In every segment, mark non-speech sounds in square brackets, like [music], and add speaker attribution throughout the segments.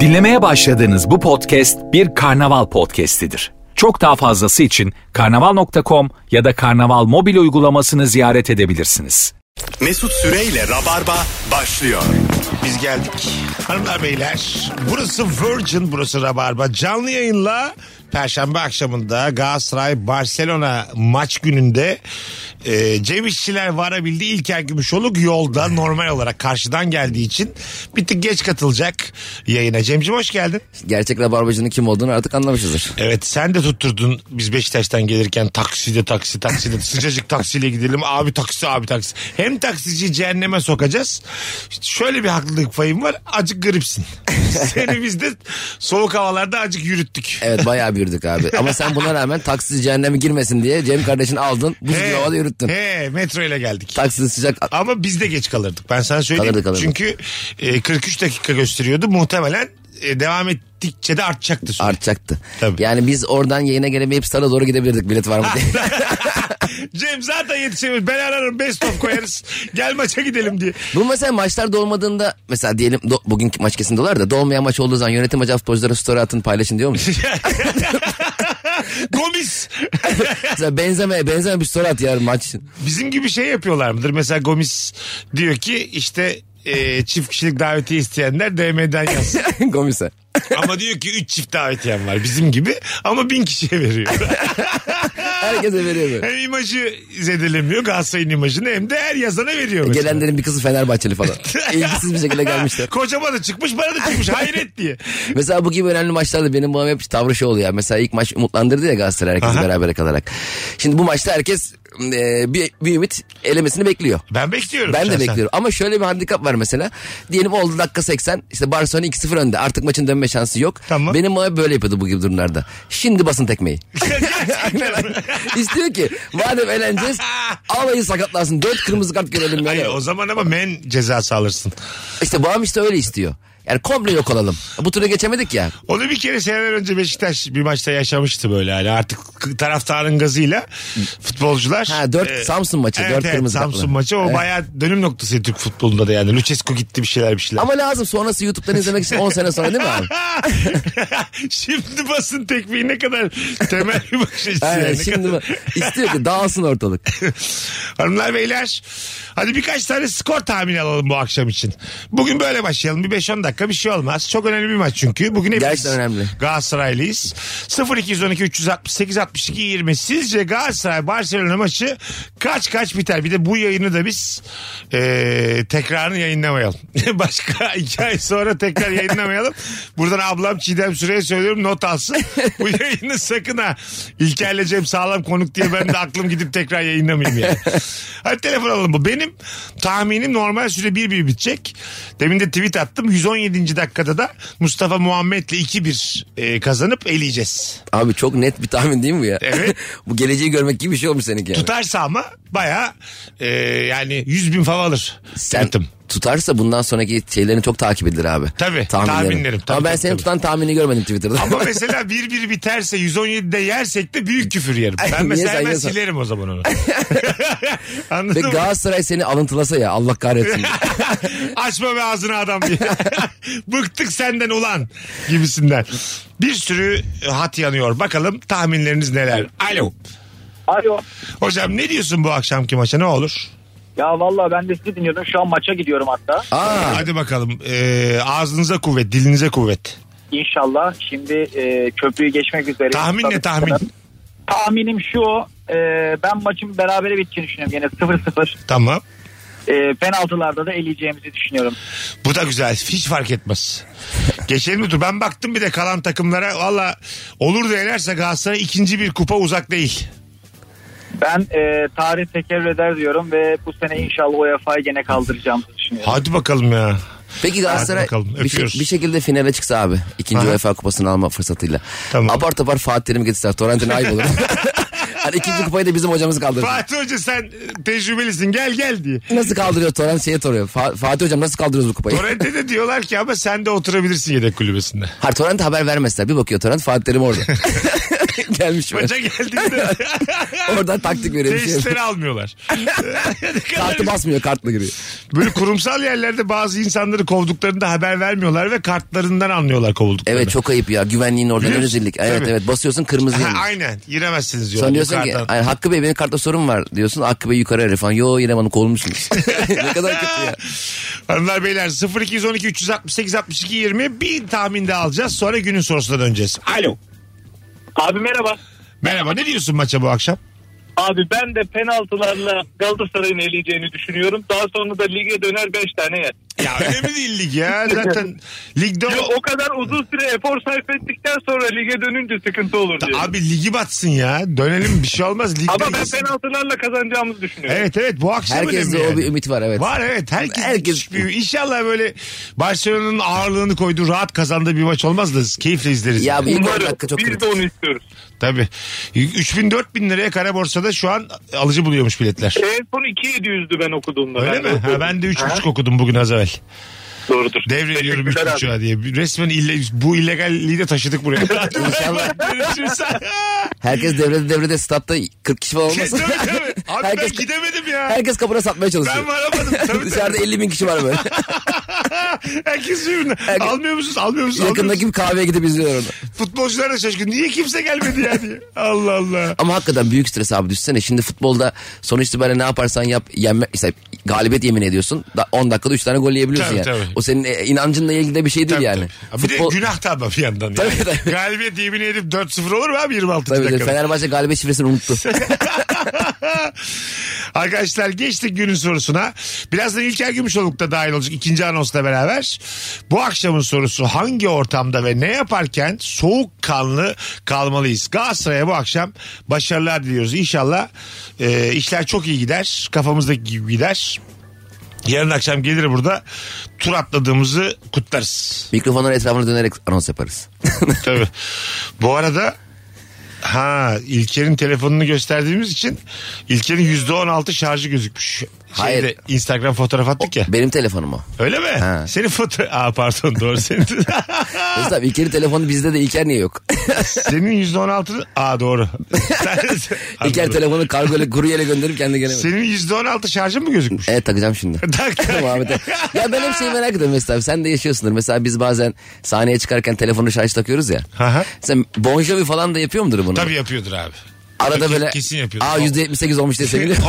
Speaker 1: Dinlemeye başladığınız bu podcast bir karnaval podcastidir. Çok daha fazlası için karnaval.com ya da karnaval mobil uygulamasını ziyaret edebilirsiniz.
Speaker 2: Mesut Süreyle Rabarba başlıyor.
Speaker 3: Biz geldik. Hanımlar beyler burası Virgin burası Rabarba. Canlı yayınla Perşembe akşamında Galatasaray Barcelona maç gününde e, Cem İşçiler varabildi. İlker Gümüşoluk yolda normal olarak karşıdan geldiği için bir tık geç katılacak yayına. Cem'cim hoş geldin.
Speaker 4: Gerçek rabarbacının kim olduğunu artık anlamışızdır.
Speaker 3: Evet sen de tutturdun biz Beşiktaş'tan gelirken takside taksi takside sıcacık taksiyle gidelim abi taksi abi taksi. Hem taksiciyi cehenneme sokacağız. Şöyle bir haklılık payım var acık
Speaker 4: [laughs]
Speaker 3: gripsin. Seni biz de soğuk havalarda acık yürüttük.
Speaker 4: Evet bayağı büyürdük abi. Ama sen buna rağmen taksi cehenneme girmesin diye Cem kardeşini aldın. Buz gibi havada yürüttün.
Speaker 3: He, metro ile geldik.
Speaker 4: Taksi sıcak.
Speaker 3: Ama biz de geç kalırdık. Ben sana söyleyeyim.
Speaker 4: Kalırdık, kalırdık.
Speaker 3: Çünkü e, 43 dakika gösteriyordu. Muhtemelen e, devam ettikçe de artacaktı süre.
Speaker 4: Artacaktı.
Speaker 3: Tabii. Ah.
Speaker 4: Yani biz oradan yayına gelemeyip stara doğru gidebilirdik bilet var mı diye.
Speaker 3: [laughs] Cem zaten yetişemez. Ben ararım best of
Speaker 4: [laughs]
Speaker 3: koyarız. Gel maça gidelim diye.
Speaker 4: Bu mesela maçlar dolmadığında mesela diyelim do- bugünkü maç kesin dolar da dolmayan maç olduğu zaman yönetim acaba futbolculara story atın paylaşın diyor mu?
Speaker 3: [laughs] Gomis.
Speaker 4: mesela benzeme benzeme bir story at yarın maç. [laughs]
Speaker 3: Bizim gibi şey yapıyorlar mıdır? Mesela Gomis diyor ki işte e, çift kişilik davetiye isteyenler DM'den
Speaker 4: [laughs]
Speaker 3: yazsın.
Speaker 4: Gomise.
Speaker 3: ama diyor ki 3 çift davetiyem var bizim gibi ama 1000 kişiye
Speaker 4: [laughs]
Speaker 3: veriyor.
Speaker 4: Herkese veriyor böyle.
Speaker 3: hem imajı zedelemiyor Galatasaray'ın imajını hem de her yazana veriyor. mesela. [laughs]
Speaker 4: Gelenlerin bir kızı Fenerbahçeli falan. İlgisiz bir şekilde gelmişler.
Speaker 3: Kocama da çıkmış bana da çıkmış hayret diye.
Speaker 4: Mesela bu gibi önemli maçlarda benim babam hep tavrı şey oluyor. Mesela ilk maç umutlandırdı ya Galatasaray herkesi
Speaker 3: Aha.
Speaker 4: beraber kalarak. Şimdi bu maçta herkes e, bir, bir ümit elemesini bekliyor.
Speaker 3: Ben bekliyorum.
Speaker 4: Ben de
Speaker 3: şahsen. [laughs]
Speaker 4: bekliyorum [laughs] ama şöyle bir handikap var mesela. Diyelim oldu dakika 80 işte Barcelona 2-0 önde artık maçın dönme şansı yok.
Speaker 3: Tamam.
Speaker 4: Benim babam böyle yapıyordu bu gibi durumlarda. Şimdi
Speaker 3: [laughs]
Speaker 4: basın tekmeyi. İstiyor ki madem eğleneceğiz alayı sakatlansın 4 kırmızı kart görelim.
Speaker 3: Hayır,
Speaker 4: Yani.
Speaker 3: o zaman ama men cezası alırsın.
Speaker 4: İşte babam işte öyle istiyor. Yani komple yok olalım. Bu tura geçemedik ya.
Speaker 3: Onu bir kere seneler önce Beşiktaş bir maçta yaşamıştı böyle hani artık taraftarın gazıyla futbolcular. e,
Speaker 4: Ha, dört- Samsun maçı, dört kırmızı
Speaker 3: Samsun
Speaker 4: kartlı.
Speaker 3: maçı o bayağı dönüm noktası Türk futbolunda da yani. Lucescu gitti bir şeyler bir şeyler.
Speaker 4: Ama lazım sonrası YouTube'dan izlemek için 10 sene sonra değil mi
Speaker 3: [laughs]
Speaker 4: abi?
Speaker 3: şimdi basın tekmeyi ne kadar temel bir bakış açısı.
Speaker 4: Aynen
Speaker 3: yani. Ne
Speaker 4: şimdi
Speaker 3: kadar-
Speaker 4: bu- istiyor ki dağılsın ortalık.
Speaker 3: Hanımlar beyler hadi birkaç tane skor tahmini alalım bu akşam için. Bugün böyle başlayalım bir 5-10 dakika bir şey olmaz. Çok önemli bir maç çünkü. Bugün hepimiz
Speaker 4: Gerçekten önemli.
Speaker 3: Galatasaraylıyız. 0212 368 62 20 sizce Galatasaray Barcelona maçı kaç kaç biter? Bir de bu yayını da biz eee tekrarını yayınlamayalım. [laughs] Başka iki ay sonra tekrar yayınlamayalım. Buradan ablam Çiğdem Süre'ye söylüyorum not alsın. [laughs] Bu yayını sakın ha. İlker'le Cem sağlam konuk diye ben de aklım gidip tekrar yayınlamayayım yani. Hadi telefon alalım bu. Benim tahminim normal süre 1-1 bitecek. Demin de tweet attım. 117. dakikada da Mustafa Muhammed'le 2-1 e, kazanıp eleyeceğiz.
Speaker 4: Abi çok net bir tahmin değil mi bu ya?
Speaker 3: Evet.
Speaker 4: [laughs] bu geleceği görmek gibi bir şey olmuş seninki yani.
Speaker 3: Tutarsa ama baya yani 100 bin fav alır.
Speaker 4: Sen
Speaker 3: Tweetim.
Speaker 4: tutarsa bundan sonraki şeylerini çok takip edilir abi.
Speaker 3: Tabii,
Speaker 4: Tahminlerin.
Speaker 3: tahminlerim, tabii,
Speaker 4: Ama ben
Speaker 3: tabii,
Speaker 4: senin
Speaker 3: tabii.
Speaker 4: tutan tahminini görmedim Twitter'da.
Speaker 3: Ama mesela 1-1 biterse 117'de yersek de büyük küfür yerim.
Speaker 4: Ay,
Speaker 3: Ben
Speaker 4: [laughs] niye
Speaker 3: mesela
Speaker 4: sen
Speaker 3: hemen
Speaker 4: yiyorsun?
Speaker 3: silerim o
Speaker 4: [laughs]
Speaker 3: zaman onu.
Speaker 4: [laughs]
Speaker 3: [laughs]
Speaker 4: Ve
Speaker 3: Anladın mı?
Speaker 4: Galatasaray seni alıntılasa ya
Speaker 3: [laughs]
Speaker 4: Allah kahretsin.
Speaker 3: Açma be ağzını adam diye. [laughs] Bıktık senden ulan gibisinden. Bir sürü hat yanıyor. Bakalım tahminleriniz neler? Alo.
Speaker 5: Alo.
Speaker 3: Hocam ne diyorsun bu akşamki maça ne olur?
Speaker 5: Ya vallahi ben de sizi dinliyordum. Şu an maça gidiyorum hatta.
Speaker 4: Aa,
Speaker 3: Hadi bakalım. Ee, ağzınıza kuvvet, dilinize kuvvet.
Speaker 5: İnşallah. Şimdi e, köprüyü geçmek üzere.
Speaker 3: Tahmin ne tahmin?
Speaker 5: Tahminim şu. e, ben maçın berabere biteceğini düşünüyorum. Yine 0-0.
Speaker 3: Tamam.
Speaker 5: E, penaltılarda da eleyeceğimizi düşünüyorum.
Speaker 3: Bu da güzel. Hiç fark etmez. Geçelim mi? Dur ben baktım bir de kalan takımlara. Valla olur da elerse Galatasaray ikinci bir kupa uzak değil.
Speaker 5: Ben e, tarih tekerrür eder diyorum ve bu sene inşallah UEFA'yı gene kaldıracağımızı düşünüyorum.
Speaker 3: Hadi bakalım ya.
Speaker 4: peki Galatasaray
Speaker 3: bakalım,
Speaker 4: bir, şey-
Speaker 3: öpüyoruz.
Speaker 4: bir şekilde finale çıksa abi. ikinci
Speaker 3: Aha.
Speaker 4: UEFA kupasını alma fırsatıyla.
Speaker 3: Tamam.
Speaker 4: Apar topar Fatih Terim getirseler Torrent'ine
Speaker 3: [laughs]
Speaker 4: ayıp olur. hani ikinci kupayı da bizim hocamız kaldırır.
Speaker 3: Fatih Hoca sen tecrübelisin gel gel diye.
Speaker 4: Nasıl kaldırıyor Torrent şeye soruyor. Fa- Fatih hocam nasıl kaldırıyoruz bu kupayı?
Speaker 3: Torrent'e de diyorlar ki
Speaker 4: [laughs]
Speaker 3: ama sen de oturabilirsin yedek kulübesinde. [laughs]
Speaker 4: Hayır Torrent haber vermezler. Bir bakıyor Torrent Fatih Terim orada. gelmiş mi?
Speaker 3: Maça geldiğinde
Speaker 4: [laughs] Oradan taktik veriyor. bir şey.
Speaker 3: Tesisleri
Speaker 4: [laughs]
Speaker 3: almıyorlar. Ne kadar
Speaker 4: Kartı basmıyor kartla giriyor.
Speaker 3: Böyle kurumsal yerlerde bazı insanları kovduklarında haber vermiyorlar ve kartlarından anlıyorlar kovulduklarını.
Speaker 4: Evet çok ayıp ya güvenliğin oradan özellik. Evet
Speaker 3: Tabii.
Speaker 4: evet basıyorsun kırmızı
Speaker 3: Ha,
Speaker 4: yanıyor.
Speaker 3: [laughs] aynen giremezsiniz diyorlar.
Speaker 4: Sonra
Speaker 3: bu
Speaker 4: diyorsun ki
Speaker 3: karttan.
Speaker 4: "Ay, Hakkı Bey benim kartta sorun var diyorsun. Hakkı Bey yukarı arıyor falan. Yo yine bana kovulmuşsunuz. [laughs] ne kadar kötü ya.
Speaker 3: [laughs] Hanımlar beyler 0212 368 62 20 bir tahmin daha alacağız sonra günün sorusuna döneceğiz. Alo.
Speaker 5: Abi merhaba.
Speaker 3: Merhaba ne diyorsun maça bu akşam?
Speaker 5: Abi ben de penaltılarla Galatasaray'ın eleyeceğini düşünüyorum. Daha sonra da lige döner 5 tane yer.
Speaker 3: Ya önemli değil lig ya zaten ligde
Speaker 5: Yok,
Speaker 3: o...
Speaker 5: o kadar uzun süre efor sarf ettikten sonra lige dönünce sıkıntı olur diye.
Speaker 3: Abi ligi batsın ya dönelim bir şey olmaz. Ligde
Speaker 5: Ama ben
Speaker 3: gitsin.
Speaker 5: penaltılarla kazanacağımızı düşünüyorum.
Speaker 3: Evet evet bu akşam önemli
Speaker 4: Herkeste o
Speaker 3: Şey yani.
Speaker 4: bir ümit var evet.
Speaker 3: Var evet herkes,
Speaker 4: Herkes-
Speaker 3: herkes... İnşallah böyle Barcelona'nın ağırlığını koyduğu rahat kazandığı bir maç olmaz da keyifle izleriz.
Speaker 4: Ya bu ilk on
Speaker 5: Umarım.
Speaker 4: dakika çok
Speaker 5: Biz
Speaker 4: kritik.
Speaker 5: de onu istiyoruz.
Speaker 3: Tabii. 3000-4000 liraya kara borsada şu an alıcı buluyormuş biletler.
Speaker 5: En son 2700'dü ben okuduğumda.
Speaker 3: Öyle mi?
Speaker 5: okudum.
Speaker 3: Ha, ben de
Speaker 5: Ha,
Speaker 3: 3.5 okudum bugün az evvel.
Speaker 5: Doğrudur.
Speaker 3: Devrediyorum
Speaker 5: Teşekkürler abi.
Speaker 3: 3.5'a diye. Resmen ille, bu illegalliği de taşıdık buraya.
Speaker 4: [laughs] İnşallah.
Speaker 3: Görüşürüz.
Speaker 4: Herkes devrede devrede statta 40 kişi falan
Speaker 3: tabii
Speaker 4: olmasın.
Speaker 3: tabii. Abi
Speaker 4: herkes,
Speaker 3: ben gidemedim ya.
Speaker 4: herkes kapına satmaya
Speaker 3: Ben
Speaker 4: çalışıyor.
Speaker 3: varamadım. Tabii
Speaker 4: Dışarıda
Speaker 3: tabii.
Speaker 4: 50 bin kişi var böyle.
Speaker 3: Herkes birbirine. Almıyor musunuz? Almıyor musunuz? Almıyor musunuz?
Speaker 4: Yakındaki bir kahveye gidip izliyor onu.
Speaker 3: Futbolcular da şaşkın. Niye kimse gelmedi ya diye. Allah Allah.
Speaker 4: Ama hakikaten büyük stres abi düşsene. Şimdi futbolda sonuç itibariyle ne yaparsan yap yenme, mesela galibiyet yemin ediyorsun. Da 10 dakikada 3 tane gol yiyebiliyorsun
Speaker 3: Tabii,
Speaker 4: yani.
Speaker 3: tabii.
Speaker 4: O senin e, inancınla ilgili de bir şey değil
Speaker 3: Tabii,
Speaker 4: yani.
Speaker 3: tabii. Bir de günah da ama bir yandan. Yani.
Speaker 4: Tabii, tabii.
Speaker 3: Galibiyet yemin edip 4-0 olur mu abi 26.
Speaker 4: Tabii tabii.
Speaker 3: dakikada?
Speaker 4: Fenerbahçe galibiyet şifresini
Speaker 3: [laughs]
Speaker 4: unuttu.
Speaker 3: Arkadaşlar geçtik günün sorusuna. Birazdan İlker Gümüşoluk da dahil olacak ikinci anonsla beraber. Bu akşamın sorusu hangi ortamda ve ne yaparken soğukkanlı kalmalıyız? Galatasaray'a bu akşam başarılar diliyoruz. İnşallah e, işler çok iyi gider. Kafamızdaki gibi gider. Yarın akşam gelir burada tur atladığımızı kutlarız.
Speaker 4: Mikrofonların etrafına dönerek anons yaparız.
Speaker 3: Tabii. Bu arada ha İlker'in telefonunu gösterdiğimiz için İlker'in %16 şarjı gözükmüş. Şeyde,
Speaker 4: Hayır.
Speaker 3: Instagram fotoğraf attık ya.
Speaker 4: Benim telefonum o.
Speaker 3: Öyle mi?
Speaker 4: Ha.
Speaker 3: Senin foto... Aa pardon doğru
Speaker 4: [laughs]
Speaker 3: senin.
Speaker 4: Mesela İlker'in telefonu bizde de İlker niye yok? [laughs]
Speaker 3: senin %16'ı... Aa doğru. Sen-
Speaker 4: İlker
Speaker 3: Anladım.
Speaker 4: telefonu kargoyla kuryeyle gönderip kendi gelemedi.
Speaker 3: Senin %16 şarjın mı gözükmüş?
Speaker 4: Evet takacağım şimdi.
Speaker 3: Tak, tak.
Speaker 4: Muhammed'e. ya ben hep şeyi merak ediyorum mesela. Sen de yaşıyorsundur. Mesela biz bazen sahneye çıkarken telefonu şarj takıyoruz ya.
Speaker 3: Aha.
Speaker 4: Sen Bon Jovi falan da yapıyor mudur bunu?
Speaker 3: Tabii yapıyordur abi.
Speaker 4: Arada
Speaker 3: Kesin-
Speaker 4: böyle
Speaker 3: kesin yapıyordur.
Speaker 4: Aa %78 olmuş
Speaker 3: [laughs]
Speaker 4: diye seviniyor. [laughs]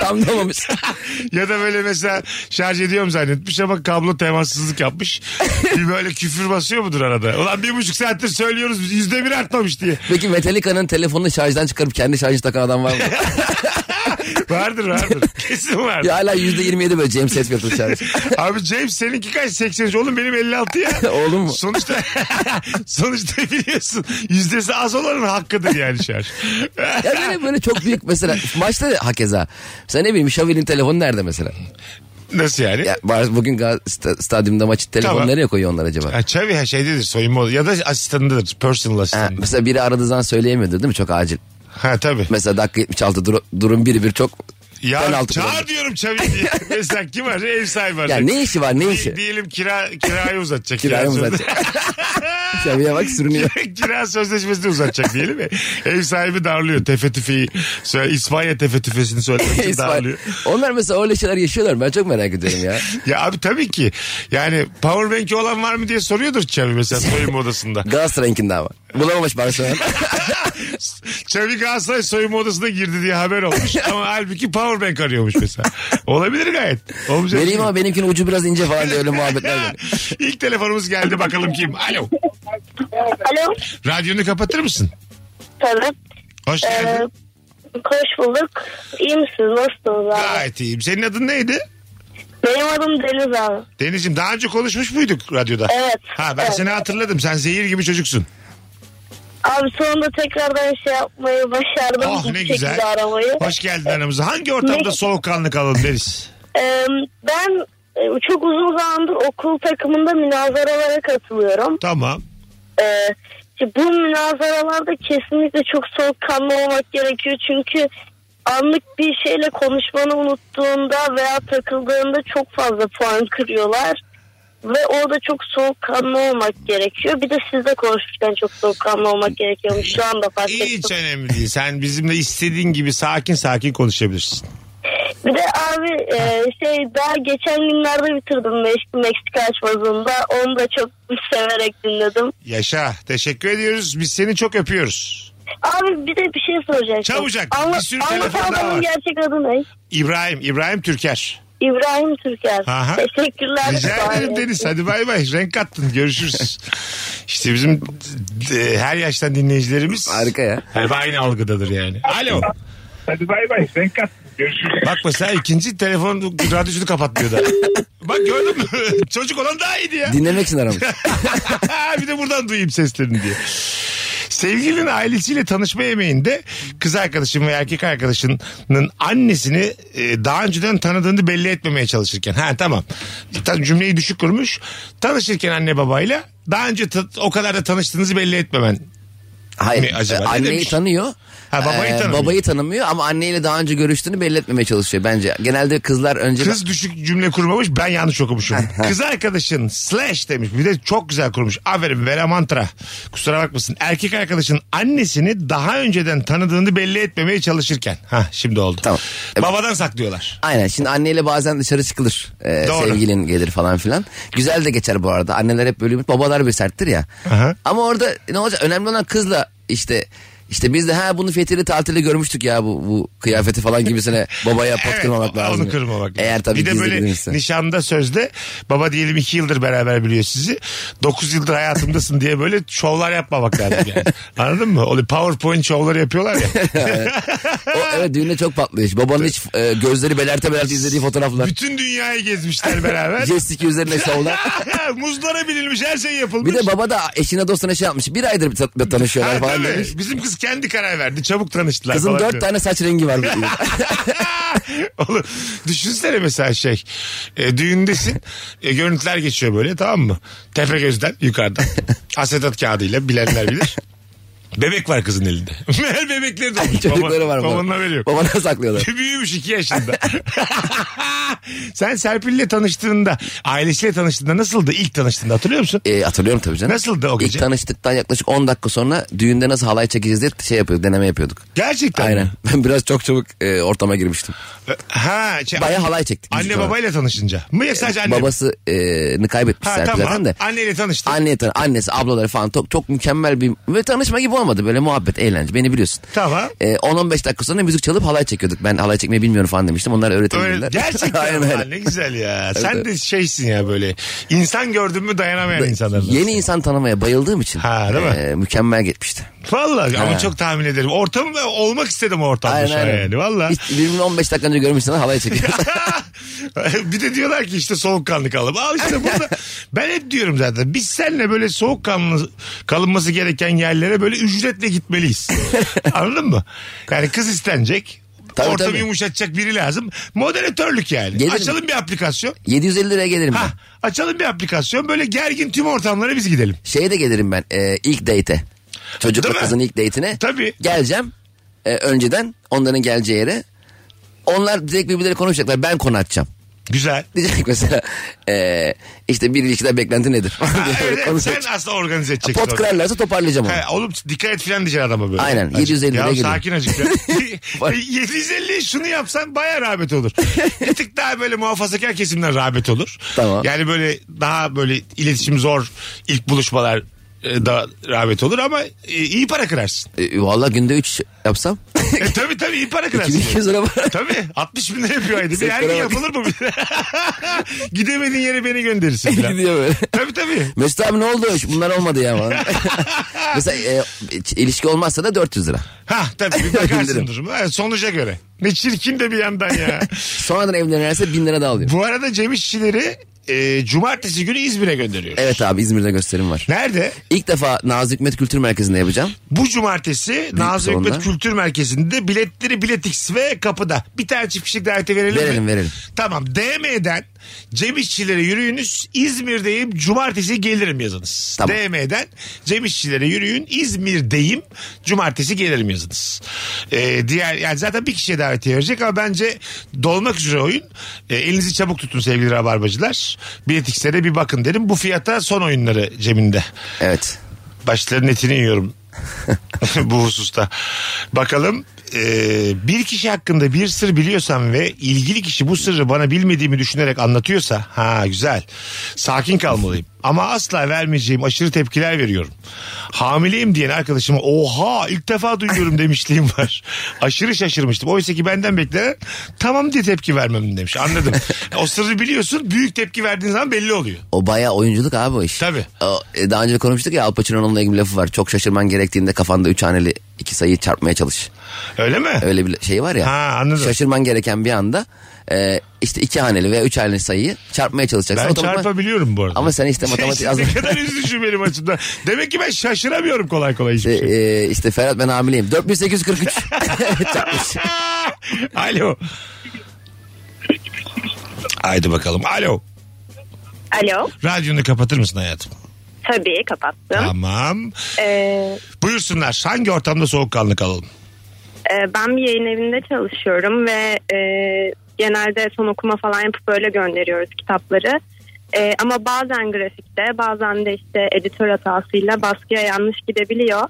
Speaker 4: Tam da olmamış.
Speaker 3: ya da böyle mesela şarj ediyorum zannetmiş ama kablo temassızlık yapmış. bir böyle küfür basıyor mudur arada? Ulan bir buçuk saattir söylüyoruz yüzde bir artmamış diye.
Speaker 4: Peki Metallica'nın telefonunu şarjdan çıkarıp kendi şarjı takan
Speaker 3: [laughs]
Speaker 4: adam var mı?
Speaker 3: Vardır
Speaker 4: [laughs]
Speaker 3: vardır. Kesin vardır.
Speaker 4: ya hala %27 böyle James Hetfield'ın şarjı.
Speaker 3: Abi James seninki kaç? 83 oğlum benim 56 ya.
Speaker 4: [laughs] Oğlum mu?
Speaker 3: Sonuçta [laughs] sonuçta biliyorsun yüzdesi az olanın hakkıdır yani şarj.
Speaker 4: [laughs] Ya
Speaker 3: [laughs]
Speaker 4: böyle, böyle çok büyük mesela maçta da hakeza. Mesela ne bileyim Xavi'nin telefonu nerede mesela?
Speaker 3: Nasıl yani?
Speaker 4: Ya var- bugün Gal- sta- stadyumda maçı telefonu
Speaker 3: Tamam.
Speaker 4: nereye koyuyor onlar acaba?
Speaker 3: Ha, Çavi her şeydedir soyunma odası. ya da asistanındadır personal
Speaker 4: Ha,
Speaker 3: asistanı.
Speaker 4: mesela biri aradığı zaman söyleyemiyordu değil mi? Çok acil.
Speaker 3: Ha tabii.
Speaker 4: Mesela dakika 76 dur- durum biri bir çok
Speaker 3: Ya
Speaker 4: penaltı.
Speaker 3: çağır
Speaker 4: kullandı.
Speaker 3: diyorum Çavi diye.
Speaker 4: [laughs]
Speaker 3: Mesela kim var? Ev sahibi
Speaker 4: Ya
Speaker 3: arayacak.
Speaker 4: ne işi var
Speaker 3: [laughs]
Speaker 4: ne
Speaker 3: Di-
Speaker 4: işi?
Speaker 3: Diyelim kira kirayı uzatacak.
Speaker 4: Kiraya mı
Speaker 3: kira sözde-
Speaker 4: zaten? Şabiye bak sürünüyor.
Speaker 3: [laughs] kira sözleşmesini uzatacak diyelim mi? Ev sahibi darlıyor. Tefe tüfeği. Söyle, İspanya tefe tüfesini söylemek
Speaker 4: [laughs]
Speaker 3: için
Speaker 4: İsmail.
Speaker 3: darlıyor.
Speaker 4: Onlar mesela öyle şeyler yaşıyorlar. Ben çok merak ediyorum ya.
Speaker 3: Ya abi tabii ki. Yani powerbank'i olan var mı diye soruyordur Çavi mesela soyunma odasında.
Speaker 4: Galatasaray'ınkinde ama.
Speaker 3: [laughs]
Speaker 4: Bulamamış Barcelona.
Speaker 3: Çavi Galatasaray soyunma odasına girdi diye haber olmuş. Ama halbuki powerbank arıyormuş mesela. Olabilir gayet. Olmayacak
Speaker 4: Vereyim
Speaker 3: şey
Speaker 4: ama benimkinin ucu biraz ince falan diye öyle muhabbetler.
Speaker 3: yok.
Speaker 4: var.
Speaker 3: İlk telefonumuz geldi bakalım kim? Alo.
Speaker 6: Alo.
Speaker 3: Radyonu kapatır mısın?
Speaker 6: Tabii.
Speaker 3: Hoş
Speaker 6: Ee,
Speaker 3: geldin.
Speaker 6: hoş bulduk. İyi misiniz? Nasılsınız abi?
Speaker 3: Gayet iyiyim. Senin adın neydi?
Speaker 6: Benim adım Deniz abi.
Speaker 3: Deniz'im daha önce konuşmuş muyduk radyoda?
Speaker 6: Evet.
Speaker 3: Ha ben
Speaker 6: Evet.
Speaker 3: seni hatırladım. Sen zehir gibi çocuksun.
Speaker 6: Abi sonunda tekrardan şey yapmayı başardım.
Speaker 3: Oh
Speaker 6: bu
Speaker 3: ne
Speaker 6: şekilde
Speaker 3: güzel.
Speaker 6: Aramayı.
Speaker 3: Hoş geldin aramıza. Hangi ortamda
Speaker 6: Ne-
Speaker 3: soğukkanlı kalalım Deniz?
Speaker 6: [laughs] Ee, ben e, çok uzun zamandır okul takımında münazaralara katılıyorum.
Speaker 3: Tamam.
Speaker 6: Ee, işte bu münazaralarda kesinlikle çok soğukkanlı olmak gerekiyor. Çünkü anlık bir şeyle konuşmanı unuttuğunda veya takıldığında çok fazla puan kırıyorlar. Ve orada çok soğukkanlı olmak gerekiyor. Bir de sizle konuşurken çok soğukkanlı olmak gerekiyormuş. Şu anda fark ettim.
Speaker 3: Hiç önemli değil. Sen bizimle istediğin gibi sakin sakin konuşabilirsin.
Speaker 6: Bir de abi e, şey daha geçen günlerde bitirdim Mex- Meksika açmazında. Onu da çok [laughs] severek dinledim.
Speaker 3: Yaşa. Teşekkür ediyoruz. Biz seni çok öpüyoruz.
Speaker 6: Abi bir de bir şey soracağım.
Speaker 3: Çabucak,
Speaker 6: Anla,
Speaker 3: bir sürü
Speaker 6: anlatan
Speaker 3: telefon daha
Speaker 6: adamın
Speaker 3: var.
Speaker 6: gerçek adı ne?
Speaker 3: İbrahim. İbrahim Türker.
Speaker 6: İbrahim Türker.
Speaker 3: Aha.
Speaker 6: Teşekkürler.
Speaker 3: Rica ederim
Speaker 6: Bye.
Speaker 3: Deniz. Hadi bay bay. Renk kattın.
Speaker 6: [laughs]
Speaker 3: Görüşürüz. işte bizim e, her yaştan dinleyicilerimiz
Speaker 4: Harika ya.
Speaker 3: hep aynı algıdadır yani. Alo.
Speaker 7: Hadi bay bay. Ben kat. Görüşürüz.
Speaker 3: Bak mesela ikinci telefon radyosunu kapatmıyor da. Bak gördün mü? [laughs] Çocuk olan daha iyiydi ya.
Speaker 4: Dinlemek için aramış.
Speaker 3: [laughs] bir de buradan duyayım seslerini diye. Sevgilinin ailesiyle tanışma yemeğinde kız arkadaşın ve erkek arkadaşının annesini e, daha önceden tanıdığını belli etmemeye çalışırken. Ha tamam. Tam cümleyi düşük kurmuş. Tanışırken anne babayla daha önce ta- o kadar da tanıştığınızı belli etmemen.
Speaker 4: Hayır.
Speaker 3: Ne acaba?
Speaker 4: e,
Speaker 3: Ne
Speaker 4: anneyi
Speaker 3: demiş?
Speaker 4: tanıyor.
Speaker 3: Ha, babayı
Speaker 4: Ee,
Speaker 3: tanımıyor.
Speaker 4: Babayı tanımıyor ama anneyle daha önce görüştüğünü belli etmemeye çalışıyor bence. Genelde kızlar önce...
Speaker 3: Kız düşük cümle kurmamış ben yanlış
Speaker 4: [laughs]
Speaker 3: okumuşum. Kız arkadaşın slash demiş bir de çok güzel kurmuş. Aferin Vera Mantra. Kusura bakmasın. Erkek arkadaşın annesini daha önceden tanıdığını belli etmemeye çalışırken. Ha şimdi oldu.
Speaker 4: Tamam. E, Evet.
Speaker 3: Babadan saklıyorlar.
Speaker 4: Aynen şimdi anneyle bazen dışarı çıkılır Ee,
Speaker 3: Doğru.
Speaker 4: sevgilin gelir falan filan Güzel de geçer bu arada anneler hep böyle babalar bir serttir ya
Speaker 3: Aha.
Speaker 4: Ama orada ne olacak önemli olan kızla işte işte biz de ha bunu Fethi'li tatilde görmüştük ya bu, bu kıyafeti
Speaker 3: [laughs]
Speaker 4: falan gibisine babaya pot kırmamak lazım.
Speaker 3: Onu kırmamak.
Speaker 4: Eğer tabii
Speaker 3: bir de
Speaker 4: gizli
Speaker 3: böyle
Speaker 4: gidilmişse.
Speaker 3: nişanda sözde baba diyelim iki yıldır beraber biliyor sizi. Dokuz yıldır hayatımdasın diye böyle şovlar yapmamak lazım
Speaker 4: [laughs]
Speaker 3: yani. Anladın mı? Öyle powerpoint şovları yapıyorlar ya.
Speaker 4: O, evet düğünde çok patlıyor. Babanın hiç e, gözleri belerte belerte izlediği fotoğraflar.
Speaker 3: Bütün dünyayı gezmişler beraber.
Speaker 4: Jestik üzerine şovlar.
Speaker 3: [laughs] Muzlara binilmiş her şey yapılmış.
Speaker 4: Bir de baba da eşine dostuna şey yapmış. Bir aydır ta-
Speaker 3: [laughs]
Speaker 4: tanışıyorlar
Speaker 3: Ha,
Speaker 4: falan
Speaker 3: tabii.
Speaker 4: demiş.
Speaker 3: Bizim kız kendi karar verdi. Çabuk tanıştılar.
Speaker 4: Kızın
Speaker 3: falan
Speaker 4: dört
Speaker 3: diyor.
Speaker 4: tane saç rengi var. diyor.
Speaker 3: [laughs] Oğlum düşünsene mesela şey. e, düğündesin. E, görüntüler geçiyor böyle tamam mı? Tepe gözden
Speaker 4: [laughs]
Speaker 3: yukarıdan. Asetat kağıdıyla bilenler bilir. Bebek var kızın elinde. [laughs] Meğer bebekleri de olmuş.
Speaker 4: Çocukları var.
Speaker 3: Babanın
Speaker 4: bunların.
Speaker 3: haberi yok.
Speaker 4: Babana
Speaker 3: [laughs]
Speaker 4: saklıyorlar.
Speaker 3: Büyümüş iki
Speaker 4: [laughs]
Speaker 3: yaşında. [laughs] Sen Serpil'le tanıştığında, ailesiyle tanıştığında nasıldı? İlk tanıştığında hatırlıyor musun?
Speaker 4: E, hatırlıyorum tabii canım.
Speaker 3: Nasıldı o gece?
Speaker 4: İlk tanıştıktan yaklaşık 10 dakika sonra düğünde nasıl halay çekeceğiz diye şey yapıyorduk, deneme yapıyorduk.
Speaker 3: Gerçekten. mi?
Speaker 4: Aynen. [laughs] Ben biraz çok çabuk e, ortama girmiştim.
Speaker 3: Ha, şey,
Speaker 4: Bayağı halay çektik.
Speaker 3: Anne
Speaker 4: Çocuklar.
Speaker 3: babayla tanışınca. Mı ya sadece anne?
Speaker 4: Babasını e, kaybetmiş
Speaker 3: Ha
Speaker 4: Serpil
Speaker 3: tamam.
Speaker 4: zaten E, de.
Speaker 3: Anneyle tanıştın.
Speaker 4: Anne tan- annesi, ablaları falan çok, çok mükemmel bir ve tanışma gibi olmadı böyle muhabbet, eğlence beni biliyorsun.
Speaker 3: Tamam.
Speaker 4: E, 10-15 dakika sonra müzik çalıp halay çekiyorduk. Ben halay çekmeyi bilmiyorum falan demiştim. Onlar
Speaker 3: Öyle,
Speaker 4: öğretebilirler.
Speaker 3: gerçekten
Speaker 4: [laughs] Aynen
Speaker 3: ulan
Speaker 4: öyle.
Speaker 3: ne güzel
Speaker 4: [laughs]
Speaker 3: ya. Sen de şeysin ya böyle. İnsan gördün mü dayanamayan insanlardan.
Speaker 4: Yeni insan tanımaya bayıldığım için
Speaker 3: Ha, değil mi?
Speaker 4: e, mükemmel gitmişti.
Speaker 3: Vallahi ama
Speaker 4: Ha.
Speaker 3: çok tahmin ederim. Ortamı ben olmak istedim o ortamda şu an yani. Vallahi.
Speaker 4: Hiç birbirini 15 dakika önce görmüşsün
Speaker 3: [laughs]
Speaker 4: halay çekiyorsun.
Speaker 3: bir de diyorlar ki işte soğukkanlı kalalım. Al işte burada ben hep diyorum zaten biz seninle böyle soğukkanlı kalınması gereken yerlere böyle ücretle
Speaker 4: [laughs]
Speaker 3: gitmeliyiz. Anladın mı? Yani kız istenecek.
Speaker 4: Tabii,
Speaker 3: ortamı
Speaker 4: tabii.
Speaker 3: yumuşatacak biri lazım. Moderatörlük yani.
Speaker 4: Gelirim.
Speaker 3: Açalım bir aplikasyon.
Speaker 4: 750 liraya gelirim
Speaker 3: Ha,
Speaker 4: ben.
Speaker 3: açalım bir aplikasyon. Böyle gergin tüm ortamlara biz gidelim.
Speaker 4: Şeye de gelirim ben e, ilk date'e. Çocukla
Speaker 3: Değil mi?
Speaker 4: kızın ilk date'ine.
Speaker 3: Tabii.
Speaker 4: Geleceğim e, önceden onların geleceği yere. Onlar direkt birbirleri konuşacaklar. Ben konu açacağım. [laughs]
Speaker 3: Güzel.
Speaker 4: Diyecek mesela e, işte bir ilişkiden beklenti nedir?
Speaker 3: Ha,
Speaker 4: [laughs] Diye
Speaker 3: evet, evet.
Speaker 4: konuşacak.
Speaker 3: sen aslında organize edeceksin.
Speaker 4: Pot
Speaker 3: orada.
Speaker 4: kırarlarsa toparlayacağım onu.
Speaker 3: Ha, oğlum dikkat et filan diyeceksin adama böyle.
Speaker 4: Aynen, 750
Speaker 3: ya,
Speaker 4: lira geliyor.
Speaker 3: Sakin azıcık
Speaker 4: [laughs]
Speaker 3: ya. [laughs] 750 şunu yapsan baya rağbet olur. Bir tık daha böyle muhafazakar kesimden rağbet olur.
Speaker 4: Tamam.
Speaker 3: Yani böyle daha böyle iletişim zor ilk buluşmalar e, da rağbet olur ama e, iyi para kırarsın.
Speaker 4: E, Valla günde 3 yapsam. [laughs]
Speaker 3: E, tabii tabii iyi para kırarsın.
Speaker 4: 2200 lira var.
Speaker 3: Tabii 60 bin lira yapıyor ayda. Bir her gün
Speaker 4: Sektöre bak.
Speaker 3: yapılır mı? [laughs] Gidemediğin yere beni gönderirsin. falan.
Speaker 4: [laughs] Gidiyor böyle.
Speaker 3: Tabii tabii.
Speaker 4: Mesut abi ne oldu? Bunlar olmadı ya. falan. [laughs] mesela e, ilişki olmazsa da 400 lira.
Speaker 3: Ha
Speaker 4: [laughs]
Speaker 3: tabii bir bakarsın
Speaker 4: Bilirim.
Speaker 3: durumu. Evet, sonuca göre. Ne çirkin de bir yandan ya.
Speaker 4: [laughs] Sonradan evlenirse 1000 lira daha alıyorum.
Speaker 3: Bu arada Cem İşçileri e, cumartesi günü İzmir'e gönderiyoruz.
Speaker 4: Evet abi İzmir'de gösterim var.
Speaker 3: Nerede?
Speaker 4: İlk defa Nazlı Hikmet Kültür Merkezi'nde yapacağım.
Speaker 3: Bu cumartesi Nazım
Speaker 4: salonda.
Speaker 3: Hikmet Kültür Merkezi'nde biletleri Biletix ve kapıda. Bir tane çift kişilik daveti verelim
Speaker 4: Verelim,
Speaker 3: mi?
Speaker 4: verelim.
Speaker 3: Tamam DM'den Cem İşçilere yürüyünüz. İzmir'deyim. Cumartesi gelirim yazınız.
Speaker 4: Tamam.
Speaker 3: DM'den Cem İşçilere yürüyün. İzmir'deyim. Cumartesi gelirim yazınız. Ee, diğer yani zaten bir kişiye davetiye verecek ama bence dolmak üzere oyun. Ee, elinizi çabuk tutun sevgili rabarbacılar. Bilet X'e de bir bakın derim. Bu fiyata son oyunları Cem'inde.
Speaker 4: Evet.
Speaker 3: Başlarının etini
Speaker 4: [laughs]
Speaker 3: yiyorum bu hususta. Bakalım eee, bir kişi hakkında bir sır biliyorsam ve ilgili kişi bu sırrı bana bilmediğimi düşünerek anlatıyorsa ha güzel sakin kalmalıyım. Ama asla vermeyeceğim aşırı tepkiler veriyorum. Hamileyim diyen arkadaşıma oha ilk defa
Speaker 4: [laughs]
Speaker 3: duyuyorum demişliğim var. Aşırı şaşırmıştım. Oysa ki benden beklenen tamam diye tepki vermem demiş.
Speaker 4: [laughs]
Speaker 3: Anladım. o sırrı biliyorsun büyük tepki verdiğin zaman belli oluyor.
Speaker 4: O bayağı oyunculuk abi o iş.
Speaker 3: Tabii.
Speaker 4: O, e, daha önce konuşmuştuk ya Al Pacino'nun onunla ilgili bir lafı var. Çok şaşırman gerektiğinde kafanda üç haneli iki sayıyı çarpmaya çalış.
Speaker 3: Öyle mi?
Speaker 4: Öyle bir şey var ya.
Speaker 3: Ha, anladım.
Speaker 4: Şaşırman gereken bir anda e, işte iki haneli veya üç haneli sayıyı çarpmaya çalışacaksın.
Speaker 3: Ben
Speaker 4: Otomatikman-
Speaker 3: çarpabiliyorum bu arada.
Speaker 4: Ama sen işte matematik az...
Speaker 3: Şey, Ne kadar üzücü benim açımdan. Demek ki ben şaşıramıyorum kolay kolay hiçbir şey.
Speaker 4: [laughs] E, işte Ferhat ben
Speaker 3: [laughs]
Speaker 4: hamileyim. 4843 çarpmış.
Speaker 3: Alo. Haydi bakalım. Alo.
Speaker 8: Alo.
Speaker 3: Radyonu kapatır mısın hayatım?
Speaker 8: Tabii kapattım.
Speaker 3: Tamam.
Speaker 8: Ee,
Speaker 3: Buyursunlar. Hangi ortamda soğukkanlı kalalım?
Speaker 8: e, ben bir yayın evinde çalışıyorum ve e, genelde son okuma falan yapıp böyle gönderiyoruz kitapları. E, ama bazen grafikte bazen de işte editör hatasıyla baskıya yanlış gidebiliyor.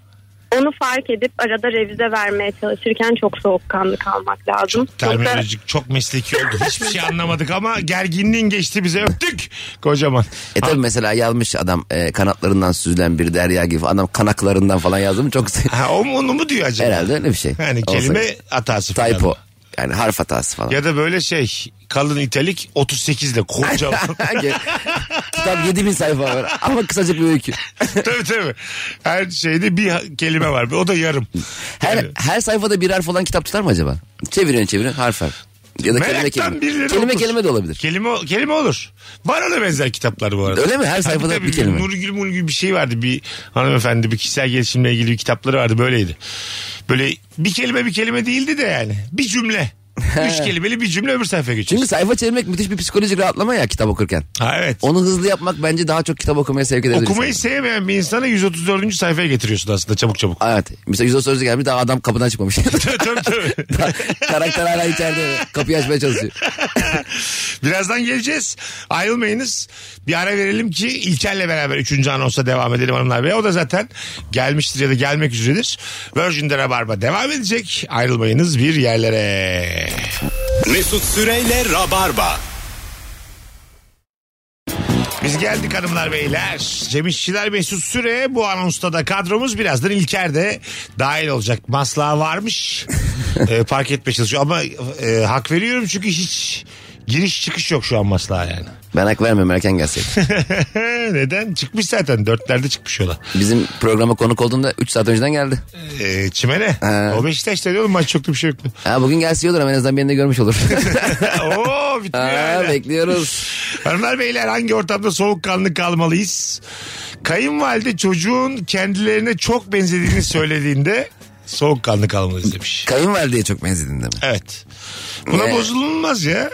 Speaker 8: Onu fark edip arada revize vermeye çalışırken çok soğukkanlı kalmak lazım. Yoksa-
Speaker 3: Terminolojik çok mesleki oldu. Hiçbir şey anlamadık ama gerginliğin geçti bize öptük. Kocaman.
Speaker 4: E tabi mesela yazmış adam e, kanatlarından süzülen bir derya gibi. Adam kanaklarından falan yazdı mı çok... [laughs]
Speaker 3: Ha, o mu, onu mu diyor acaba?
Speaker 4: Herhalde öyle bir şey.
Speaker 3: Yani
Speaker 4: Olsa-
Speaker 3: kelime hatası. falan.
Speaker 4: Typo. Yani harf hatası falan.
Speaker 3: Ya da böyle şey kalın italik 38 ile
Speaker 4: [laughs]
Speaker 3: kocaman.
Speaker 4: Kitap 7000 sayfa var ama kısacık bir öykü.
Speaker 3: [laughs] tabii tabii. Her şeyde bir ha- kelime var. O da yarım.
Speaker 4: Her,
Speaker 3: Yani
Speaker 4: her sayfada bir harf olan kitap tutar mı acaba? Çeviriyorsun çeviriyorsun harf harf. Ya da kelime
Speaker 3: Meraktan
Speaker 4: kelime.
Speaker 3: birileri
Speaker 4: Kelime
Speaker 3: okur.
Speaker 4: kelime de olabilir.
Speaker 3: kelime kelime olur. Var ona benzer kitaplar bu arada.
Speaker 4: Öyle mi? Her sayfada
Speaker 3: Tabii,
Speaker 4: bir kelime.
Speaker 3: Nurgül Murgül bir şey vardı. Bir hanımefendi bir kişisel gelişimle ilgili bir kitapları vardı. Böyleydi. Böyle bir kelime bir kelime değildi de yani. Bir
Speaker 4: [laughs]
Speaker 3: cümle. Üç kelimeli bir cümle öbür sayfaya geçiyor.
Speaker 4: Çünkü sayfa çevirmek müthiş bir psikolojik rahatlama ya kitap okurken.
Speaker 3: Ha, evet.
Speaker 4: Onu hızlı yapmak bence daha çok kitap okumaya sevk edebilir.
Speaker 3: Okumayı
Speaker 4: insanı.
Speaker 3: sevmeyen bir insanı 134. sayfaya getiriyorsun aslında çabuk
Speaker 4: [laughs]
Speaker 3: çabuk.
Speaker 4: Evet. Mesela yüz sözlü gelmiş daha adam kapıdan çıkmamış. [laughs]
Speaker 3: tabii tabii.
Speaker 4: Karakter hala içeride kapıyı açmaya çalışıyor.
Speaker 3: Birazdan geleceğiz. Ayrılmayınız. Bir ara verelim ki İlker'le beraber 3. anonsa devam edelim hanımlar beyler. O da zaten gelmiştir ya da gelmek üzeredir. Virgin'de Rabarba devam edecek. Ayrılmayınız bir yerlere.
Speaker 2: Mesut Süreyle Rabarba.
Speaker 3: Biz geldik hanımlar beyler. Cem İşçiler Mesut Süre bu anonsta da kadromuz birazdan İlker de dahil olacak. Maslağı varmış. Ee, fark etmeye çalışıyor ama e, hak veriyorum çünkü hiç giriş çıkış yok şu an maslağa yani. [laughs]
Speaker 4: Ben hak vermem erken gelseydim.
Speaker 3: Neden? Çıkmış zaten dörtlerde çıkmış yola.
Speaker 4: Bizim programa konuk olduğunda 3 saat önceden geldi.
Speaker 3: Ee, çimene.
Speaker 4: Ha.
Speaker 3: O Beşiktaş'ta diyor oğlum maç çoktu bir şey
Speaker 4: [laughs]
Speaker 3: yoktu.
Speaker 4: Ha, bugün gelse iyi olur ama en azından birini de görmüş olur. [laughs]
Speaker 3: Oo bitmiyor
Speaker 4: ha,
Speaker 3: öyle.
Speaker 4: bekliyoruz.
Speaker 3: Hanımlar beyler hangi ortamda soğukkanlı kalmalıyız? Kayınvalide çocuğun kendilerine çok benzediğini söylediğinde soğukkanlı kalmalıyız demiş.
Speaker 4: Kayınvalideye çok benzedin değil mi?
Speaker 3: Evet. Buna
Speaker 4: Ne?
Speaker 3: bozulmaz ya.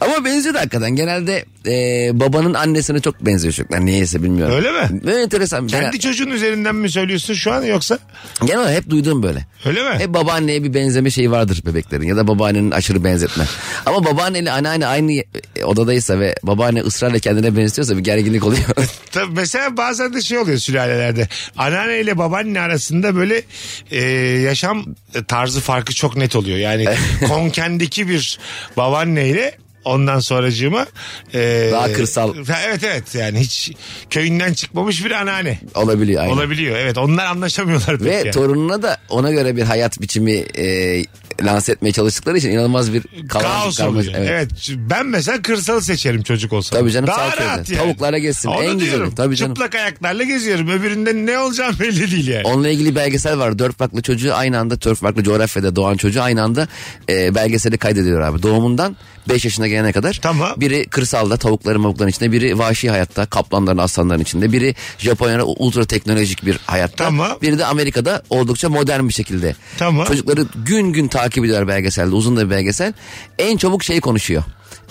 Speaker 4: Ama benziyor da hakikaten. Genelde e, babanın annesine çok benziyor çocuklar. Niyeyse bilmiyorum.
Speaker 3: Öyle mi?
Speaker 4: Böyle enteresan.
Speaker 3: Kendi
Speaker 4: Genel,
Speaker 3: çocuğun üzerinden mi söylüyorsun şu an yoksa?
Speaker 4: genel olarak hep duyduğum böyle.
Speaker 3: Öyle mi?
Speaker 4: Hep babaanneye bir benzeme şeyi vardır bebeklerin ya da babaannenin aşırı benzetme. Ama babaanneyle anneanne aynı e, odadaysa ve babaanne ısrarla kendine benziyorsa bir gerginlik oluyor. [laughs]
Speaker 3: Tabii mesela bazen de şey oluyor sülalelerde. Anneanne ile babaanne arasında böyle e, yaşam tarzı farkı çok net oluyor. Yani
Speaker 4: [laughs]
Speaker 3: konkendeki bir babaanne ile ondan sonracığıma e,
Speaker 4: Daha kırsal.
Speaker 3: Ha, Evet evet yani hiç köyünden çıkmamış bir anneanne
Speaker 4: Olabiliyor aynı.
Speaker 3: olabiliyor. Evet onlar anlaşamıyorlar pek
Speaker 4: Ve
Speaker 3: yani.
Speaker 4: torununa da ona göre bir hayat biçimi e, lanse etmeye çalıştıkları için inanılmaz bir
Speaker 3: Kaos
Speaker 4: karmaşa-
Speaker 3: oluyor. Evet. Ben mesela kırsalı seçerim çocuk olsam.
Speaker 4: Tabii canım,
Speaker 3: Daha
Speaker 4: sağ köyde.
Speaker 3: rahat yani.
Speaker 4: Tavuklarla gezsin,
Speaker 3: Onu
Speaker 4: en güzeli.
Speaker 3: diyorum.
Speaker 4: Tabii canım.
Speaker 3: Çıplak ayaklarla geziyorum. Öbüründe ne olacağım belli değil yani.
Speaker 4: Onunla ilgili belgesel var. Dört farklı çocuğu aynı anda, dört farklı coğrafyada doğan çocuğu aynı anda e, belgeseli kaydediyor abi. Doğumundan 5 yaşına gelene kadar.
Speaker 3: Tamam.
Speaker 4: Biri kırsalda tavukların mavukların içinde, biri vahşi hayatta kaplanların aslanların içinde, biri Japonya'da ultra teknolojik bir hayatta.
Speaker 3: Tamam.
Speaker 4: Biri de Amerika'da oldukça modern bir şekilde.
Speaker 3: Tamam.
Speaker 4: Çocukları gün gün takip ediyor belgeselde. Uzun da bir belgesel. En çabuk şey konuşuyor.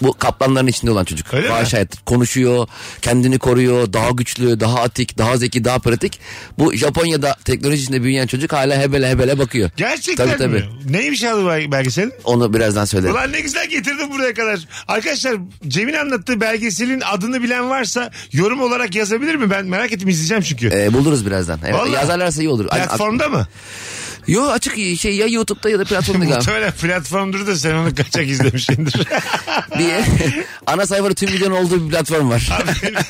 Speaker 4: bu kaplanların içinde olan çocuk.
Speaker 3: Öyle mi?
Speaker 4: Vahşi hayat. Konuşuyor, kendini koruyor, daha güçlü, daha atik, daha zeki, daha pratik. Bu Japonya'da teknoloji içinde büyüyen çocuk hala hebele hebele bakıyor.
Speaker 3: Gerçekten
Speaker 4: tabii, tabii.
Speaker 3: mi? Neymiş adı bel- belgeselin?
Speaker 4: Onu birazdan söylerim.
Speaker 3: Ulan ne güzel getirdin buraya kadar. Arkadaşlar Cem'in anlattığı belgeselin adını bilen varsa yorum olarak yazabilir mi? Ben merak ettim izleyeceğim çünkü.
Speaker 4: Ee, buluruz birazdan. Evet,
Speaker 3: Vallahi.
Speaker 4: yazarlarsa iyi olur. Ay,
Speaker 3: Platformda mı?
Speaker 4: ak- Yo açık şey ya YouTube'da ya da platformda galiba.
Speaker 3: Muhtemelen platformdur da sen onu kaçak izlemişsindir. [laughs]
Speaker 4: diye ana sayfada tüm videonun olduğu bir platform var.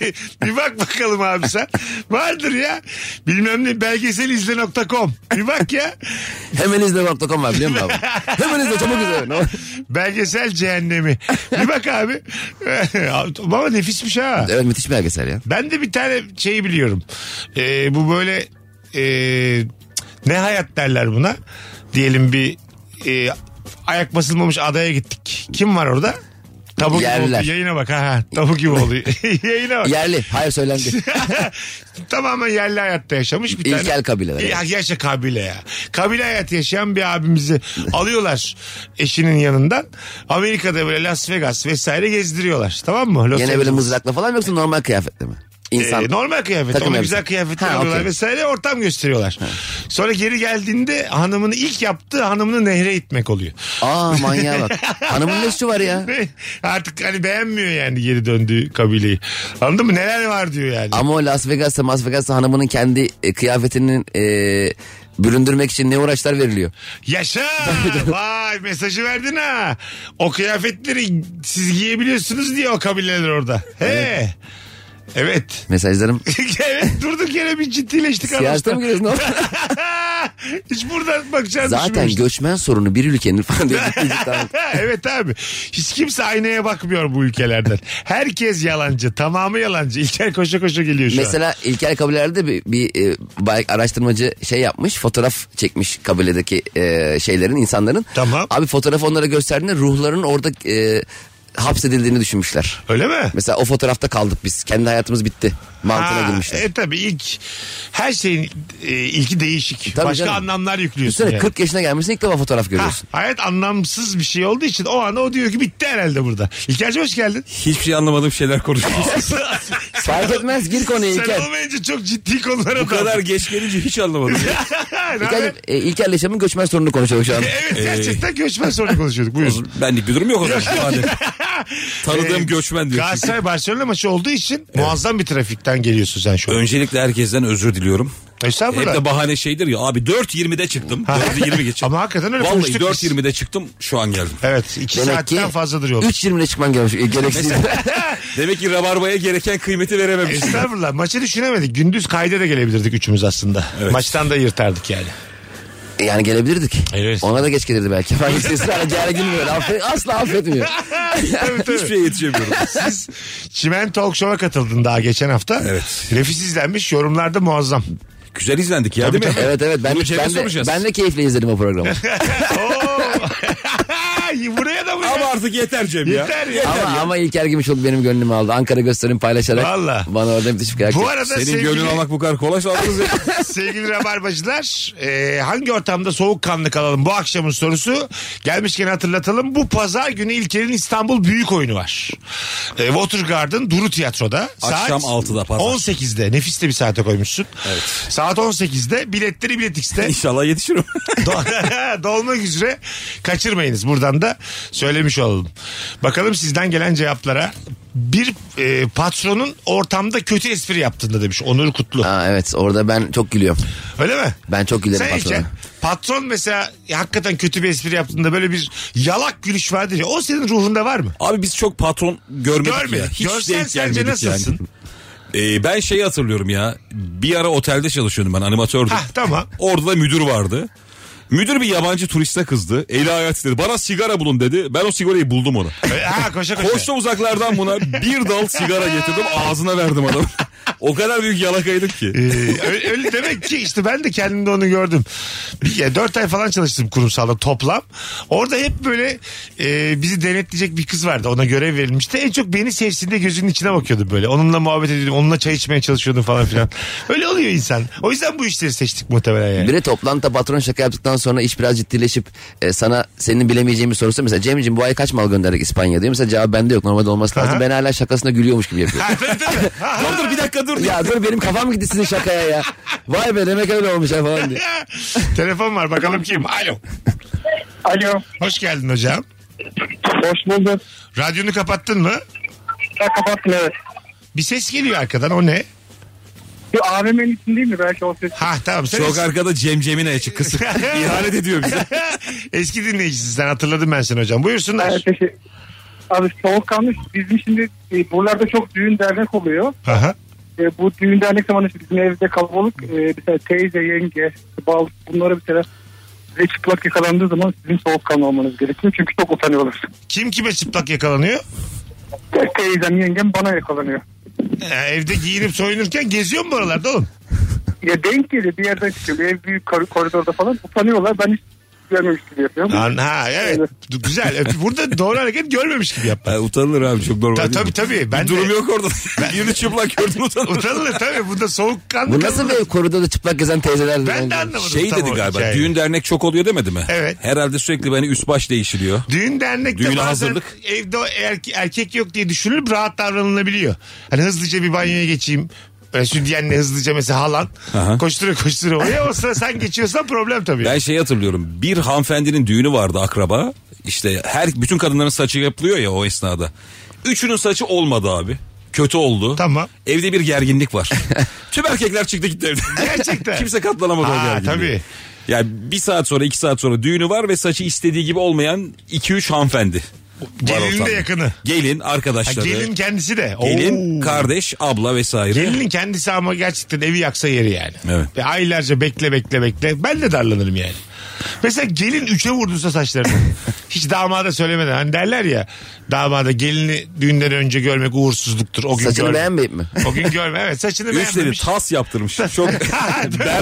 Speaker 3: bir, bir bak bakalım abi sen. Vardır ya. Bilmem ne belgeselizle.com. Bir bak ya.
Speaker 4: [laughs] Hemen izle.com var biliyor
Speaker 3: [laughs]
Speaker 4: musun abi? Hemen izle çabuk izle. Ne var?
Speaker 3: Belgesel cehennemi. Bir bak abi. [laughs] Baba nefismiş ha.
Speaker 4: Evet müthiş bir belgesel ya.
Speaker 3: Ben de bir tane şey biliyorum. Ee, bu böyle e, ne hayat derler buna? Diyelim bir e, ayak basılmamış adaya gittik. Kim var orada? Tavuk gibi oldu.
Speaker 4: Yerliler.
Speaker 3: Yayına bak. Ha, ha. tavuk gibi
Speaker 4: [laughs]
Speaker 3: oldu. Yayına bak.
Speaker 4: Yerli. Hayır söylendi.
Speaker 3: [laughs] Tamamen yerli hayatta yaşamış bir tane.
Speaker 4: İlkel kabileler.
Speaker 3: Ya yaşa kabile ya. Kabile hayatı yaşayan bir abimizi [laughs] alıyorlar eşinin yanından. Amerika'da böyle Las Vegas vesaire gezdiriyorlar. Tamam mı? Los
Speaker 4: Yine böyle
Speaker 3: Angeles.
Speaker 4: mızrakla falan mı yoksa normal kıyafetle mi? İnsan.
Speaker 3: Ee, normal kıyafet.
Speaker 4: Takım
Speaker 3: Ona
Speaker 4: elbise.
Speaker 3: güzel kıyafetler
Speaker 4: Ha,
Speaker 3: alıyorlar
Speaker 4: okey.
Speaker 3: vesaire ortam gösteriyorlar. Sonra geri geldiğinde hanımını ilk yaptığı hanımını nehre itmek oluyor.
Speaker 4: Aa manyağa
Speaker 3: [laughs]
Speaker 4: bak. Hanımın ne suçu var ya?
Speaker 3: Artık hani beğenmiyor yani geri döndüğü kabileyi. Anladın mı? Neler var diyor yani.
Speaker 4: Ama o Las Vegas'ta Las Vegas'ta hanımının kendi e, kıyafetinin e, büründürmek için ne uğraşlar veriliyor.
Speaker 3: Yaşa! Vay mesajı verdin ha. O kıyafetleri siz giyebiliyorsunuz diye o kabileler orada. He. Evet. Evet. [laughs]
Speaker 4: Mesajlarım.
Speaker 3: durduk yere bir ciddileştik
Speaker 4: Siyasete mi
Speaker 3: anlaşılan. [laughs]
Speaker 4: giriyorsun? oğlum?
Speaker 3: Hiç buradan bakacağını
Speaker 4: Zaten
Speaker 3: düşünmemiştim.
Speaker 4: göçmen sorunu bir ülkenin
Speaker 3: [laughs]
Speaker 4: falan diye ciddi ciddi anlat-
Speaker 3: evet abi. Hiç kimse aynaya bakmıyor bu ülkelerden. Herkes yalancı. Tamamı yalancı. İlker koşa koşa geliyor şu an.
Speaker 4: Mesela İlker kabilelerde bir, bir, e, bay- araştırmacı şey yapmış fotoğraf çekmiş kabiledeki e, şeylerin insanların.
Speaker 3: Tamam.
Speaker 4: Abi fotoğrafı onlara gösterdiğinde ruhlarının orada e, hapsedildiğini düşünmüşler.
Speaker 3: Öyle mi?
Speaker 4: Mesela o fotoğrafta kaldık biz. Kendi hayatımız bitti. Mantığına
Speaker 3: Ha,
Speaker 4: girmişler.
Speaker 3: E tabii ilk her şeyin e, ilki değişik.
Speaker 4: Tabii
Speaker 3: Başka
Speaker 4: canım.
Speaker 3: anlamlar yüklüyorsun.
Speaker 4: Düşünsene
Speaker 3: yani.
Speaker 4: 40 yaşına gelmişsin ilk defa fotoğraf
Speaker 3: Ha,
Speaker 4: görüyorsun.
Speaker 3: hayat anlamsız bir şey olduğu için o anda o diyor ki bitti herhalde burada. İlker'cim hoş geldin.
Speaker 9: Hiçbir şey anlamadığım şeyler konuşuyoruz.
Speaker 3: [laughs]
Speaker 4: Fark etmez gir konuya
Speaker 3: Sen
Speaker 4: Hani İlker.
Speaker 3: olmayınca çok ciddi konulara
Speaker 9: Bu kadar geç gelince hiç anlamadım.
Speaker 3: [laughs] Ne haber?
Speaker 4: İlker, e, İlker'le Şam'ın göçmen sorununu konuşuyoruz şu an.
Speaker 3: E, Evet gerçekten göçmen sorunu konuşuyorduk. Buyurun.
Speaker 9: Ee, Benlik bir durum yok o zaman. Madem.
Speaker 3: [laughs]
Speaker 9: Tanıdığım
Speaker 3: Ee,
Speaker 9: göçmen diyor. çünkü.
Speaker 3: Galatasaray Barcelona maçı olduğu için muazzam bir trafikten geliyorsun sen şu an.
Speaker 9: Öncelikle herkesten özür diliyorum. Hep
Speaker 3: Estağfurullah.
Speaker 9: de bahane şeydir ya abi 4.20'de çıktım. 4.20 geçe.
Speaker 3: Ama hakikaten öyle
Speaker 9: Vallahi
Speaker 3: konuştuk biz.
Speaker 9: 4.20'de çıktım şu an geldim.
Speaker 3: Evet iki
Speaker 4: Demek ki
Speaker 3: saatten fazladır yol.
Speaker 4: 3.20'de çıkman gerekiyor. E, Gereksiz.
Speaker 9: Demek ki rabarbaya gereken kıymeti verememiş.
Speaker 3: Estağfurullah maçı düşünemedik. Gündüz kayda da gelebilirdik üçümüz aslında. Maçtan da yırtardık
Speaker 9: [laughs]
Speaker 3: yani.
Speaker 4: [laughs] Yani gelebilirdik.
Speaker 3: Hayır.
Speaker 4: Ona da geç gelirdi belki. Fark etsin. Hala gerginmiyor. Affet, asla
Speaker 3: [laughs]
Speaker 4: affetmiyor.
Speaker 3: tabii, tabii.
Speaker 9: Hiçbir şey- şeye yetişemiyorum.
Speaker 3: Siz Çimen Talk Show'a katıldın daha geçen hafta.
Speaker 9: Evet.
Speaker 3: Nefis izlenmiş yorumlarda muazzam.
Speaker 9: Güzel izlendik ya değil mi?
Speaker 4: Evet evet ben,
Speaker 9: Bunu Cem'e
Speaker 4: ben, de,
Speaker 9: soracağız.
Speaker 4: ben de keyifle izledim
Speaker 3: [laughs]
Speaker 4: o programı.
Speaker 3: Oo. [laughs] Buraya da buraya.
Speaker 9: Ama artık yeter Cem ya.
Speaker 3: Yeter ya.
Speaker 4: ama, ama İlker gibi çok benim gönlümü aldı. Ankara gösterim paylaşarak
Speaker 3: Valla.
Speaker 4: bana orada müthiş bir
Speaker 3: Bu
Speaker 4: karakter.
Speaker 3: arada
Speaker 9: Senin
Speaker 3: sevgili,
Speaker 9: gönlünü almak bu kadar kolay sandınız ya.
Speaker 3: [laughs] sevgili rabarbacılar e, hangi ortamda soğukkanlı kalalım bu akşamın sorusu. Gelmişken hatırlatalım bu pazar günü İlker'in İstanbul Büyük Oyunu var. E, Watergarden Duru Tiyatro'da.
Speaker 9: Akşam
Speaker 3: saat
Speaker 9: 6'da pazar.
Speaker 3: 18'de nefis de bir saate koymuşsun. Saat 18'de biletleri biletikste.
Speaker 9: İnşallah yetişirim.
Speaker 3: Do- [laughs] Dolmak üzere kaçırmayınız. Buradan da söylemiş olalım. Bakalım sizden gelen cevaplara. Bir e, patronun ortamda kötü espri yaptığında demiş Onur Kutlu.
Speaker 4: Aa, evet orada ben çok gülüyorum.
Speaker 3: Öyle mi?
Speaker 4: Ben çok gülerim
Speaker 3: Sen
Speaker 4: patrona.
Speaker 3: iken patron mesela e, hakikaten kötü bir espri yaptığında böyle bir yalak gülüş vardır ya. O senin ruhunda var mı?
Speaker 9: Abi biz çok patron görmedik
Speaker 3: Görmedik.
Speaker 9: ya. Hiç
Speaker 3: Görsen
Speaker 9: denk
Speaker 3: sence
Speaker 9: gelmedik
Speaker 3: nasılsın?
Speaker 9: yani. Ee, ben şeyi hatırlıyorum ya. Bir ara otelde çalışıyordum ben animatördüm.
Speaker 3: Hah tamam.
Speaker 9: Orada da müdür vardı. Müdür bir yabancı turiste kızdı. Eli hayat dedi. Bana sigara bulun dedi. Ben o sigarayı buldum ona.
Speaker 3: E, Ha koşa koşa.
Speaker 9: Koşta uzaklardan buna bir dal sigara getirdim. Ağzına verdim adam. [laughs] o kadar büyük yalakaydık
Speaker 3: Ee,
Speaker 9: ki.
Speaker 3: öyle, öyle demek ki işte ben de kendimde onu gördüm. Bir, ya, dört ay falan çalıştım kurumsalda toplam. Orada hep böyle e, bizi denetleyecek bir kız vardı. Ona görev verilmişti. En çok beni sevsin diye gözünün içine bakıyordu böyle. Onunla muhabbet ediyordum. Onunla çay içmeye çalışıyordum falan filan. Öyle oluyor insan. O yüzden bu işleri seçtik muhtemelen yani.
Speaker 4: Bir de toplantıda patron şaka yaptıktan sonra iş biraz ciddileşip e, sana senin bilemeyeceğin bir sorusu mesela Cem'ciğim bu ay kaç mal gönderdik İspanya diyor. Mesela cevap bende yok normalde olması lazım. Ben hala şakasına gülüyormuş
Speaker 3: [laughs]
Speaker 4: gibi yapıyorum. [laughs]
Speaker 9: Lan dur bir dakika dur.
Speaker 4: ya dur benim kafam gitti sizin şakaya ya. Vay be demek öyle olmuş ya falan diye.
Speaker 3: Telefon var bakalım kim? Alo.
Speaker 7: Alo.
Speaker 3: Hoş geldin hocam.
Speaker 7: Hoş bulduk.
Speaker 3: Radyonu kapattın mı?
Speaker 7: Ya kapattın evet.
Speaker 3: Bir ses geliyor arkadan o ne?
Speaker 7: Bir AVM'nin içindeyim mi? Belki o ses.
Speaker 3: Ha tamam. Sen
Speaker 9: Çok arkada cemcemine açık kısık. İhanet ediyor bize.
Speaker 3: [laughs] Eski dinleyicisin sen hatırladım ben seni hocam. Buyursunlar.
Speaker 7: Evet, teşekkür- Abi soğuk kalmış. Bizim şimdi e, buralarda çok düğün dernek oluyor.
Speaker 3: Aha.
Speaker 7: E, bu düğün dernek zamanı işte bizim evde kalabalık. E, mesela teyze, yenge, bal bunlara bir kere size çıplak yakalandığı zaman sizin soğuk kanlı olmanız gerekiyor. Çünkü çok utanıyorlar. [laughs]
Speaker 3: Kim kime çıplak yakalanıyor?
Speaker 7: Te- Teyzem, yengem bana yakalanıyor.
Speaker 3: Ee, evde giyinip soyunurken geziyor mu buralarda oğlum?
Speaker 7: Ya denk geliyor bir yerden çıkıyor. Bir Ev büyük kor- koridorda falan utanıyorlar. Ben hiç görmemiş gibi yapıyorum.
Speaker 3: Lan ha evet. Du- Güzel. Öp- Burada doğru hareket görmemiş gibi yap.
Speaker 9: utanılır abi çok normal
Speaker 3: Ta, tabii tabii. Ben
Speaker 9: Bir durum
Speaker 3: de,
Speaker 9: yok orada. [laughs] Birini çıplak gördün utanılır.
Speaker 3: Utanılır tabii. Bunda soğukkanlı.
Speaker 4: Bu nasıl bir koridorda çıplak gezen teyzeler?
Speaker 3: Ben de anlamadım.
Speaker 9: Şey
Speaker 3: tam
Speaker 9: dedi
Speaker 3: o
Speaker 9: galiba
Speaker 3: hikayeyi.
Speaker 9: düğün dernek çok oluyor demedi mi?
Speaker 3: Evet.
Speaker 9: Herhalde sürekli beni üst baş değişiliyor.
Speaker 3: Düğün dernekte
Speaker 9: Düğüne
Speaker 3: bazen
Speaker 9: hazırlık.
Speaker 3: evde erke- erkek yok diye düşünülüp rahat davranılabiliyor. Hani hızlıca bir banyoya geçeyim. Böyle sütyenle hızlıca mesela halan.
Speaker 9: Aha.
Speaker 3: Koştura koştura oraya. O sıra sen geçiyorsan problem tabii.
Speaker 9: Ben şeyi hatırlıyorum. Bir hanımefendinin düğünü vardı akraba. İşte her bütün kadınların saçı yapılıyor ya o esnada. Üçünün saçı olmadı abi. Kötü oldu.
Speaker 3: Tamam.
Speaker 9: Evde bir gerginlik var. [laughs] Tüm erkekler çıktı gitti evden.
Speaker 3: Gerçekten.
Speaker 9: [laughs] Kimse katlanamadı o
Speaker 3: Ha,
Speaker 9: gerginliği.
Speaker 3: tabii.
Speaker 9: Yani bir saat sonra iki saat sonra düğünü var ve saçı istediği gibi olmayan 2-3 hanımefendi. var
Speaker 3: Gelinin
Speaker 9: ortamda.
Speaker 3: de yakını.
Speaker 9: Gelin
Speaker 3: Ha,
Speaker 9: arkadaşları.
Speaker 3: gelin kendisi de.
Speaker 9: gelin,
Speaker 3: Oo.
Speaker 9: kardeş, abla vesaire.
Speaker 3: Gelinin kendisi ama gerçekten evi yaksa yeri yani.
Speaker 9: Evet.
Speaker 3: Ve aylarca bekle bekle bekle. Ben de darlanırım yani. Mesela gelin üçe vurduysa
Speaker 9: [laughs]
Speaker 3: saçlarını. Hiç damada söylemeden. Hani derler ya damada gelini düğünden önce görmek uğursuzluktur. O gün
Speaker 4: Saçını
Speaker 3: görme.
Speaker 4: beğenmeyip mi?
Speaker 3: O gün görme evet saçını
Speaker 9: Üç dedi
Speaker 3: beğenmemiş. [laughs]
Speaker 9: tas yaptırmış. Çok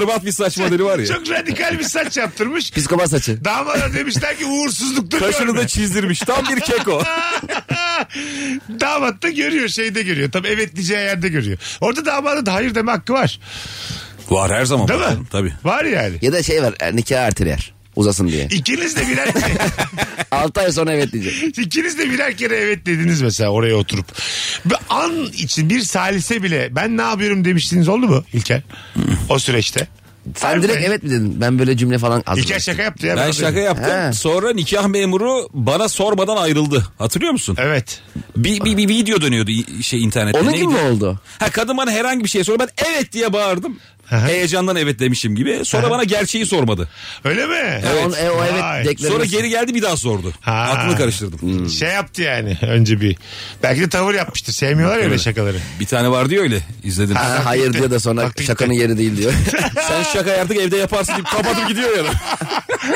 Speaker 9: berbat bir saç modeli var ya.
Speaker 3: Çok radikal bir saç yaptırmış.
Speaker 4: Psikopat saçı.
Speaker 3: Damada demişler ki uğursuzluktur
Speaker 9: Kaşını
Speaker 3: görme.
Speaker 9: da çizdirmiş. Tam
Speaker 3: [laughs]
Speaker 9: bir keko.
Speaker 3: damat da görüyor şeyde görüyor. Tabii evet diyeceği yerde görüyor. Orada damada da hayır deme hakkı var.
Speaker 9: Var her zaman.
Speaker 3: Değil mi?
Speaker 9: bakalım, Tabii.
Speaker 3: Var yani.
Speaker 4: Ya da şey var e, nikah erteler.
Speaker 3: [laughs]
Speaker 4: Uzasın diye.
Speaker 3: İkiniz de birer
Speaker 4: [laughs] 6 ay sonra
Speaker 3: [laughs]
Speaker 4: evet diyecek.
Speaker 3: ikiniz de birer kere evet dediniz mesela oraya oturup. Bir an için bir salise bile ben ne yapıyorum demiştiniz oldu mu İlker? o süreçte.
Speaker 4: Sen direkt evet mi dedin? Ben böyle cümle falan
Speaker 3: İlker
Speaker 4: hazırladım.
Speaker 3: şaka yaptı ya.
Speaker 9: Ben şaka yaptım.
Speaker 4: He.
Speaker 9: Sonra nikah memuru bana sormadan ayrıldı. Hatırlıyor musun?
Speaker 3: Evet.
Speaker 9: Bir, bir, bir video dönüyordu i- şey internette.
Speaker 4: Onun
Speaker 9: Neydi?
Speaker 4: gibi mi oldu?
Speaker 9: Ha kadın bana herhangi bir şey sordu. Ben evet diye bağırdım. Heyecandan evet demişim gibi. Sonra bana gerçeği sormadı.
Speaker 3: Öyle mi?
Speaker 4: Evet. On, e, o evet
Speaker 3: Vay.
Speaker 4: deklarası.
Speaker 9: Sonra geri geldi bir daha sordu.
Speaker 3: Ha.
Speaker 9: Aklını karıştırdım. Hmm.
Speaker 3: Şey yaptı yani önce bir. Belki de tavır yapmıştır. Sevmiyorlar ya öyle
Speaker 9: [laughs]
Speaker 3: şakaları.
Speaker 9: Bir tane vardı ya öyle izledim.
Speaker 4: Ha, hayır diyor da sonra
Speaker 3: Hakikaten.
Speaker 4: şakanın yeri
Speaker 3: [laughs]
Speaker 4: değil diyor.
Speaker 9: Sen şakayı artık evde yaparsın deyip kapatıp gidiyor ya. da.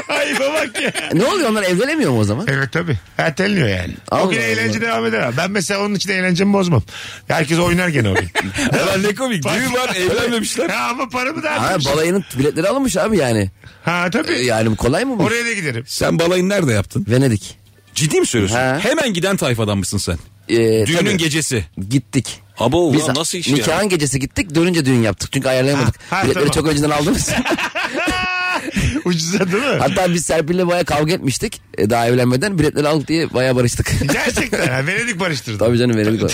Speaker 3: Ay bak ya.
Speaker 4: ne oluyor onlar evlenemiyor mu o zaman?
Speaker 3: Evet tabii. Erteleniyor yani. o
Speaker 4: Allah
Speaker 3: gün
Speaker 4: Allah.
Speaker 3: eğlence devam eder. abi. Ben mesela onun için eğlencemi bozmam. Herkes oynar gene
Speaker 4: [laughs]
Speaker 3: o gün.
Speaker 9: Ulan ne komik. Düğün var evlenmemişler.
Speaker 3: Ha, ama paramı da
Speaker 4: Ha,
Speaker 3: harcamışım.
Speaker 4: balayının biletleri alınmış abi yani.
Speaker 3: Ha
Speaker 4: E,
Speaker 3: tabii.
Speaker 4: Yani bu kolay mı bu?
Speaker 3: Oraya da giderim.
Speaker 9: [laughs] Sen balayını nerede yaptın?
Speaker 4: Venedik.
Speaker 9: Ciddi mi söylüyorsun?
Speaker 4: He.
Speaker 9: Hemen giden tayfadanmışsın sen.
Speaker 4: Ee,
Speaker 9: Düğünün
Speaker 4: tabii.
Speaker 9: gecesi.
Speaker 4: Gittik.
Speaker 9: Abo ulan
Speaker 4: Biz
Speaker 9: nasıl iş ya?
Speaker 4: nikahın gecesi gittik dönünce düğün yaptık. Çünkü ayarlayamadık.
Speaker 3: Ha, ha,
Speaker 4: Biletleri
Speaker 3: tamam.
Speaker 4: çok önceden
Speaker 9: [laughs]
Speaker 4: aldınız.
Speaker 3: Ucuza değil mi?
Speaker 4: Hatta biz Serpil'le baya kavga etmiştik. E, daha evlenmeden biletleri aldık diye baya barıştık.
Speaker 3: Gerçekten. Ha, Venedik barıştırdı.
Speaker 4: [laughs] Tabii canım
Speaker 9: [laughs]
Speaker 4: Venedik o.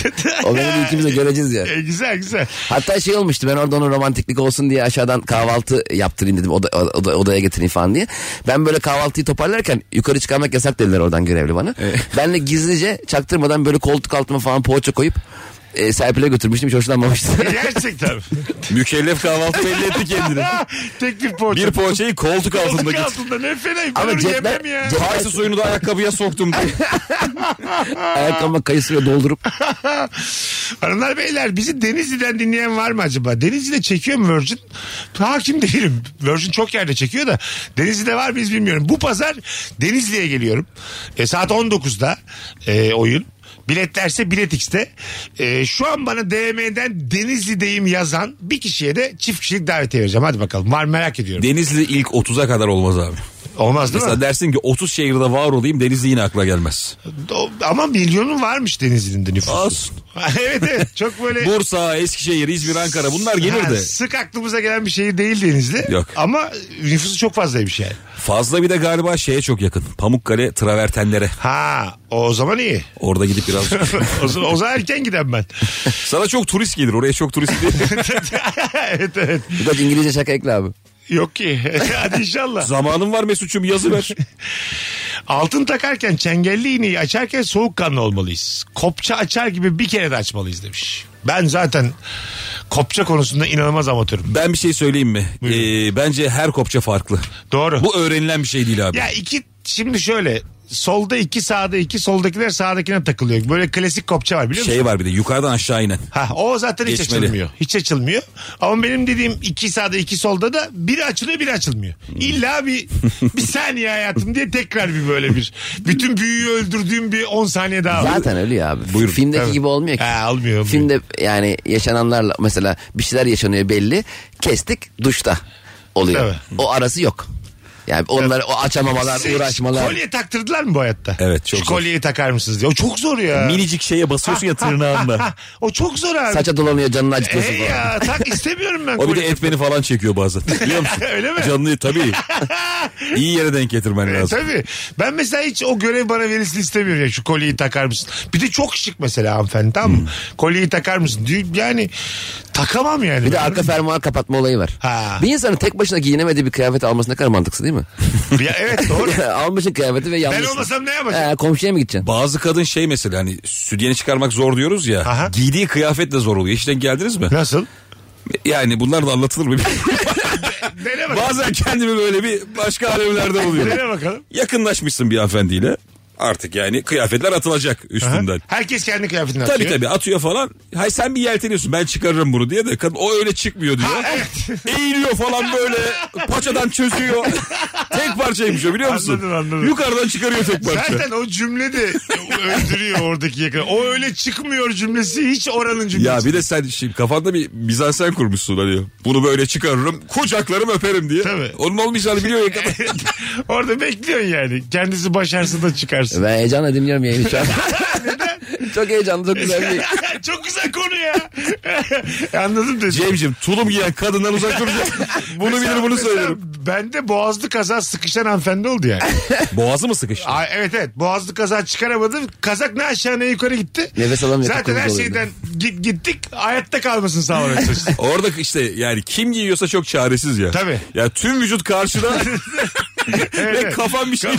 Speaker 4: O Venedik ikimiz de göreceğiz ya.
Speaker 3: E, güzel güzel.
Speaker 4: Hatta şey olmuştu ben orada onun romantiklik olsun diye aşağıdan kahvaltı yaptırayım dedim oda, oda- odaya getireyim falan diye. Ben böyle kahvaltıyı toparlarken yukarı çıkarmak yasak dediler oradan görevli bana. Ben de gizlice çaktırmadan böyle koltuk altıma falan poğaça koyup e, Serpil'e götürmüştüm hiç hoşlanmamıştı.
Speaker 3: Gerçekten.
Speaker 9: Mükellef [laughs]
Speaker 4: [laughs]
Speaker 9: kahvaltı belli etti kendini.
Speaker 3: [laughs] Tek bir poğaça.
Speaker 9: Bir poğaçayı koltuk altında
Speaker 3: Koltuk
Speaker 9: git.
Speaker 3: altında ne fenayım. Ben
Speaker 4: Ama
Speaker 3: onu
Speaker 4: cepler-
Speaker 3: yemem ya.
Speaker 4: cep-
Speaker 9: Kayısı suyunu da ayakkabıya soktum diye.
Speaker 4: Ayakkabıma kayısıyla doldurup
Speaker 3: Hanımlar beyler bizi Denizli'den dinleyen var mı acaba? Denizli'de çekiyor mu Virgin? Hakim değilim. Virgin çok yerde çekiyor da Denizli'de var mıyız bilmiyorum. Bu pazar Denizli'ye geliyorum. E, saat 19'da e, oyun. Biletlerse Bilet X'te. E, şu an bana DM'den Denizli'deyim yazan bir kişiye de çift kişilik davetiye vereceğim. Hadi bakalım var mı merak ediyorum.
Speaker 9: Denizli ilk 30'a kadar olmaz abi.
Speaker 3: Olmaz değil
Speaker 9: Mesela
Speaker 3: mi?
Speaker 9: dersin ki 30 şehirde var olayım Denizli yine akla gelmez.
Speaker 3: O- Ama milyonu varmış Denizli'nin de nüfusu.
Speaker 9: Olsun.
Speaker 3: [laughs] evet evet çok
Speaker 9: [laughs]
Speaker 3: böyle...
Speaker 9: Bursa, Eskişehir, İzmir, Ankara bunlar gelir
Speaker 3: Ha,
Speaker 9: de.
Speaker 3: sık aklımıza gelen bir şehir değil şey Denizli.
Speaker 9: Yok.
Speaker 3: Ama nüfusu çok fazlaymış yani.
Speaker 9: Fazla bir de galiba şeye çok yakın. Pamukkale travertenlere.
Speaker 3: Ha o zaman iyi. [laughs]
Speaker 9: Orada gidip biraz.
Speaker 3: o, zaman, o zaman erken giden ben. [laughs]
Speaker 9: Sana çok turist gelir. Oraya çok turist gelir.
Speaker 3: evet evet.
Speaker 4: Birkaç İngilizce şaka ekle abi.
Speaker 3: Yok ki. [laughs] Hadi inşallah.
Speaker 9: Zamanın var Mesut'cum yazı ver.
Speaker 3: Altın takarken çengelli iğneyi açarken soğukkanlı olmalıyız. Kopça açar gibi bir kere de açmalıyız demiş. Ben zaten kopça konusunda inanılmaz amatörüm.
Speaker 9: Ben bir şey söyleyeyim mi? Ee, bence her kopça farklı.
Speaker 3: Doğru.
Speaker 9: Bu öğrenilen bir şey değil abi.
Speaker 3: Ya iki şimdi şöyle solda iki sağda iki soldakiler sağdakine takılıyor. Böyle klasik kopça var biliyor musun?
Speaker 9: Şey var bir de yukarıdan aşağı inen.
Speaker 3: Ha, o zaten hiç
Speaker 9: Geçmeli.
Speaker 3: açılmıyor. Hiç açılmıyor. Ama benim dediğim iki sağda iki solda da biri açılıyor biri açılmıyor. İlla
Speaker 9: [laughs]
Speaker 3: bir bir saniye hayatım diye tekrar bir böyle bir. Bütün büyüyü öldürdüğüm bir 10 saniye daha var.
Speaker 4: Zaten öyle ya abi. Filmdeki
Speaker 3: Evet.
Speaker 4: gibi olmuyor ki.
Speaker 3: Ha, olmuyor, olmuyor.
Speaker 4: Filmde yani yaşananlarla mesela bir şeyler yaşanıyor belli. Kestik duşta oluyor.
Speaker 3: Tabii.
Speaker 4: O arası yok. Yani onlar o açamamalar,
Speaker 3: Siz
Speaker 4: uğraşmalar.
Speaker 3: Şey, Kolye taktırdılar mı bu hayatta?
Speaker 9: Evet, çok
Speaker 3: Şu
Speaker 9: zor.
Speaker 3: kolyeyi takar mısınız diye. O çok zor ya.
Speaker 9: Minicik şeye basıyorsun
Speaker 3: [laughs]
Speaker 9: ya tırnağınla.
Speaker 3: o çok zor abi.
Speaker 4: Saça dolanıyor, canını acıtıyorsun
Speaker 3: Hey
Speaker 4: falan.
Speaker 3: ya tak istemiyorum ben
Speaker 9: O bir
Speaker 3: kolye.
Speaker 9: de etmeni falan çekiyor bazen. Biliyor musun?
Speaker 3: [laughs] Öyle mi?
Speaker 9: Canlıyı tabii.
Speaker 3: [laughs]
Speaker 9: İyi yere denk getirmen
Speaker 3: E,
Speaker 9: lazım.
Speaker 3: tabii. Ben mesela hiç o görev bana verilsin istemiyorum. Ya şu kolyeyi takar mısın? Bir de çok şık mesela hanımefendi tamam
Speaker 9: Hmm.
Speaker 3: mı? Kolyeyi takar mısın? Diyor, Yani takamam yani.
Speaker 4: Bir de arka fermuar kapatma olayı var.
Speaker 3: Ha.
Speaker 4: Bir insanın tek başına giyinemediği bir kıyafet alması ne kadar mantıksız değil mi?
Speaker 3: Ya, evet
Speaker 9: [laughs]
Speaker 3: doğru.
Speaker 4: [laughs] Almışsın kıyafeti ve yanlışsın.
Speaker 3: olmasam ne yapacağım?
Speaker 4: Ee, komşuya mı gideceksin?
Speaker 9: Bazı kadın şey mesela hani sütyeni çıkarmak zor diyoruz ya.
Speaker 3: Aha.
Speaker 9: Giydiği kıyafet de zor oluyor. Hiç denk geldiniz mi?
Speaker 3: Nasıl?
Speaker 9: Yani bunlar da
Speaker 3: [laughs]
Speaker 9: anlatılır mı?
Speaker 3: Dene bakalım.
Speaker 9: Bazen kendimi böyle bir başka alemlerde
Speaker 3: Dene
Speaker 9: buluyorum.
Speaker 3: bakalım.
Speaker 9: Yakınlaşmışsın bir hanımefendiyle. Artık yani kıyafetler atılacak
Speaker 3: Aha.
Speaker 9: üstünden.
Speaker 3: Herkes kendi kıyafetini atıyor. [laughs]
Speaker 9: Tabii tabii atıyor falan. Hay sen bir yelteniyorsun ben çıkarırım bunu diye de kadın o öyle çıkmıyor diyor. [laughs] Eğiliyor falan böyle paçadan çözüyor. tek parçaymış o biliyor musun?
Speaker 3: Anladım, anladım.
Speaker 9: Yukarıdan çıkarıyor tek parça.
Speaker 3: Zaten o cümle de öldürüyor oradaki yakın. O öyle çıkmıyor cümlesi hiç oranın cümlesi.
Speaker 9: Ya bir de sen şimdi kafanda bir mizansen kurmuşsun hani. Bunu böyle çıkarırım, kucaklarım öperim diye.
Speaker 3: Tabii.
Speaker 9: Onun olmayacağını biliyor ya
Speaker 3: [laughs]
Speaker 9: kadın.
Speaker 3: [laughs] Orada bekliyorsun yani. Kendisi başarsa da çıkarsın.
Speaker 4: Ben heyecanla dinliyorum
Speaker 3: [laughs]
Speaker 4: yayını şu an. [laughs] çok heyecanlı, çok güzel bir...
Speaker 3: Çok güzel konu ya. [laughs] Anladım da.
Speaker 9: Cemcim tulum giyen kadından uzak duracak.
Speaker 3: [laughs]
Speaker 9: bunu bilir bunu
Speaker 3: Mesela
Speaker 9: söylerim.
Speaker 3: Bende boğazlı kaza sıkışan hanımefendi oldu
Speaker 9: [laughs]
Speaker 3: yani.
Speaker 9: Boğazı mı sıkıştı?
Speaker 3: Ay, evet evet boğazlı kaza çıkaramadım. Kazak ne aşağı ne yukarı gitti.
Speaker 4: Nefes alamıyor,
Speaker 3: Zaten
Speaker 4: takıldı
Speaker 3: her
Speaker 4: olabilir.
Speaker 3: şeyden git, gittik. Hayatta kalmasın
Speaker 9: [laughs]
Speaker 3: sağlamak çalıştık.
Speaker 9: Orada işte yani kim giyiyorsa çok çaresiz ya.
Speaker 3: Tabii.
Speaker 9: Ya tüm vücut karşıda
Speaker 3: [laughs] Evet,
Speaker 9: ve
Speaker 3: evet. [laughs]
Speaker 9: kafan bir şey.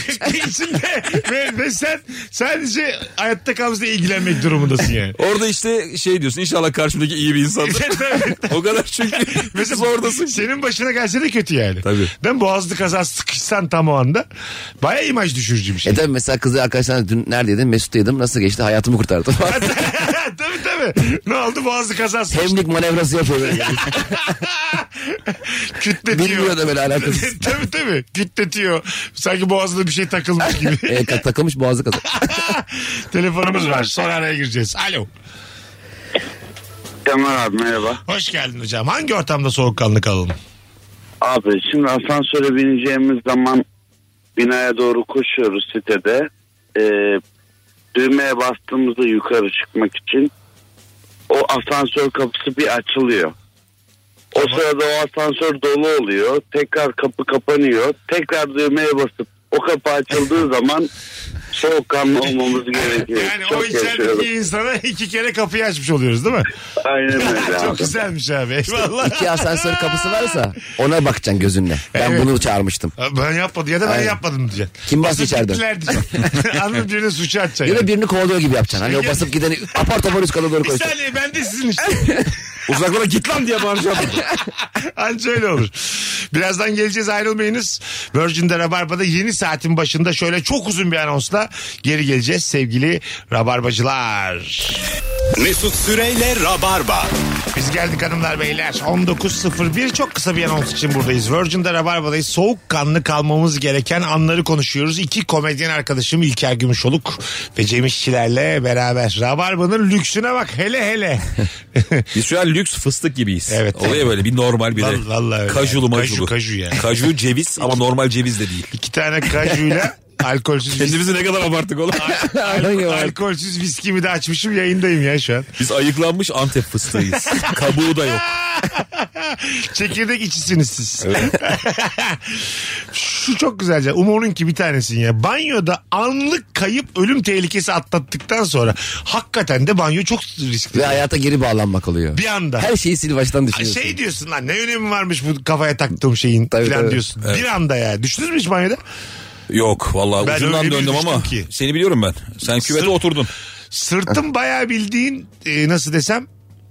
Speaker 3: İçinde ve, ve sen sadece hayatta kalmasına ilgilenmek durumundasın
Speaker 9: [laughs]
Speaker 3: yani.
Speaker 9: Orada işte şey diyorsun inşallah karşımdaki iyi bir
Speaker 3: [laughs]
Speaker 9: insandır. o kadar çünkü
Speaker 3: Mesela
Speaker 9: zordasın. ki.
Speaker 3: Senin başına gelse de kötü yani.
Speaker 9: Tabii.
Speaker 3: Ben boğazlı kaza sıkışsan tam o anda baya imaj düşürücü bir şey.
Speaker 4: E tabii mesela kızı arkadaşlar dün neredeydin? Mesut'taydım. Nasıl geçti? Hayatımı kurtardım. [laughs]
Speaker 3: [laughs] tabii tabii. Ne oldu boğazlı kaza sıkıştı.
Speaker 4: Hemlik manevrası yapıyor böyle.
Speaker 3: Kütletiyor.
Speaker 4: Bilmiyor da böyle
Speaker 3: [laughs]
Speaker 4: alakası.
Speaker 3: tabii tabii. Kütletiyor. Sanki boğazına bir şey takılmış
Speaker 4: [laughs]
Speaker 3: gibi.
Speaker 4: E, ka- takılmış boğazı kazan.
Speaker 3: Telefonumuz var. Sonra araya gireceğiz. Alo.
Speaker 5: Kemal abi merhaba.
Speaker 3: Hoş geldin hocam. Hangi ortamda soğukkanlı kalalım?
Speaker 5: Abi şimdi asansöre bineceğimiz zaman binaya doğru koşuyoruz sitede. Ee, düğmeye bastığımızda yukarı çıkmak için o asansör kapısı bir açılıyor. O sırada o asansör dolu oluyor. Tekrar kapı kapanıyor. Tekrar düğmeye basıp o
Speaker 3: [laughs]
Speaker 5: kapı açıldığı zaman soğukkanlı olmamız gerekiyor.
Speaker 3: Yani o
Speaker 5: Çok yaşıyorum.
Speaker 3: içerideki insana iki kere kapıyı açmış oluyoruz değil mi? [laughs]
Speaker 5: Aynen öyle
Speaker 3: Çok
Speaker 5: abi.
Speaker 3: güzelmiş abi. Eyvallah.
Speaker 4: İki asansör kapısı varsa ona bakacaksın gözünle. Ben
Speaker 3: Evet.
Speaker 4: bunu çağırmıştım.
Speaker 3: Ben yapmadım ya da ben
Speaker 4: Aynen.
Speaker 3: yapmadım diyeceksin.
Speaker 4: Kim bastı
Speaker 3: Basıp
Speaker 4: içeride?
Speaker 3: gittiler
Speaker 4: [laughs]
Speaker 3: diyeceksin. Anladın mı? birine suçu
Speaker 4: Ya
Speaker 3: atacaksın.
Speaker 4: da
Speaker 3: yani.
Speaker 4: birini kovalıyor gibi yapacaksın. Hani o
Speaker 3: Şey-
Speaker 4: basıp gideni apar topar üst kata doğru
Speaker 3: Bir
Speaker 4: koysun.
Speaker 3: saniye ben de sizin
Speaker 4: [laughs]
Speaker 3: işte.
Speaker 9: Uzaklara git lan diye bağıracağım.
Speaker 3: Anca öyle olur. Birazdan geleceğiz ayrılmayınız. Virgin'de Rabarba'da yeni saatin başında şöyle çok uzun bir anonsla geri geleceğiz sevgili Rabarbacılar.
Speaker 2: Mesut Süreyle Rabarba.
Speaker 3: Biz geldik hanımlar beyler. 19.01 çok kısa bir anons için buradayız. Virgin'de Rabarba'dayız. Soğukkanlı kalmamız gereken anları konuşuyoruz. İki komedyen arkadaşım İlker Gümüşoluk ve Cem İşçilerle beraber. Rabarba'nın lüksüne bak hele hele. [laughs]
Speaker 9: Biz şu an lüks fıstık gibiyiz.
Speaker 3: Evet.
Speaker 9: Olaya böyle bir normal bir
Speaker 3: Vallahi-
Speaker 9: de.
Speaker 3: vallahi öyle.
Speaker 9: Kajulu
Speaker 3: Kaju-
Speaker 9: majulu.
Speaker 3: kaju yani.
Speaker 9: Kaju ceviz ama normal ceviz de değil.
Speaker 3: İki tane kajuyla Alkolsüz viski-
Speaker 9: Kendimizi ne kadar abarttık oğlum.
Speaker 3: Alkolsüz viskimi de açmışım yayındayım ya şu an.
Speaker 9: Biz ayıklanmış Antep
Speaker 3: [laughs]
Speaker 9: fıstığıyız. Kabuğu da yok.
Speaker 3: Çekirdek içisiniz siz. Şu çok güzelce. Umur'un ki bir tanesin ya. Banyoda anlık kayıp ölüm tehlikesi atlattıktan sonra hakikaten de banyo çok riskli.
Speaker 4: Ve hayata geri bağlanmak oluyor.
Speaker 3: Bir anda.
Speaker 4: Her şeyi sil baştan düşünüyorsun.
Speaker 3: Şey diyorsun lan ne önemi varmış bu kafaya taktığım şeyin
Speaker 4: Tabii,
Speaker 3: falan
Speaker 4: tabii.
Speaker 3: diyorsun. Bir anda ya. Düştünüz mü hiç banyoda?
Speaker 9: Yok vallahi
Speaker 3: Ben öyle
Speaker 9: ucundan
Speaker 3: bir
Speaker 9: döndüm
Speaker 3: düştüm
Speaker 9: ama
Speaker 3: ki.
Speaker 9: seni biliyorum ben. Sen küvete
Speaker 3: Sırf-
Speaker 9: oturdun.
Speaker 3: Sırtım bayağı bildiğin e, nasıl desem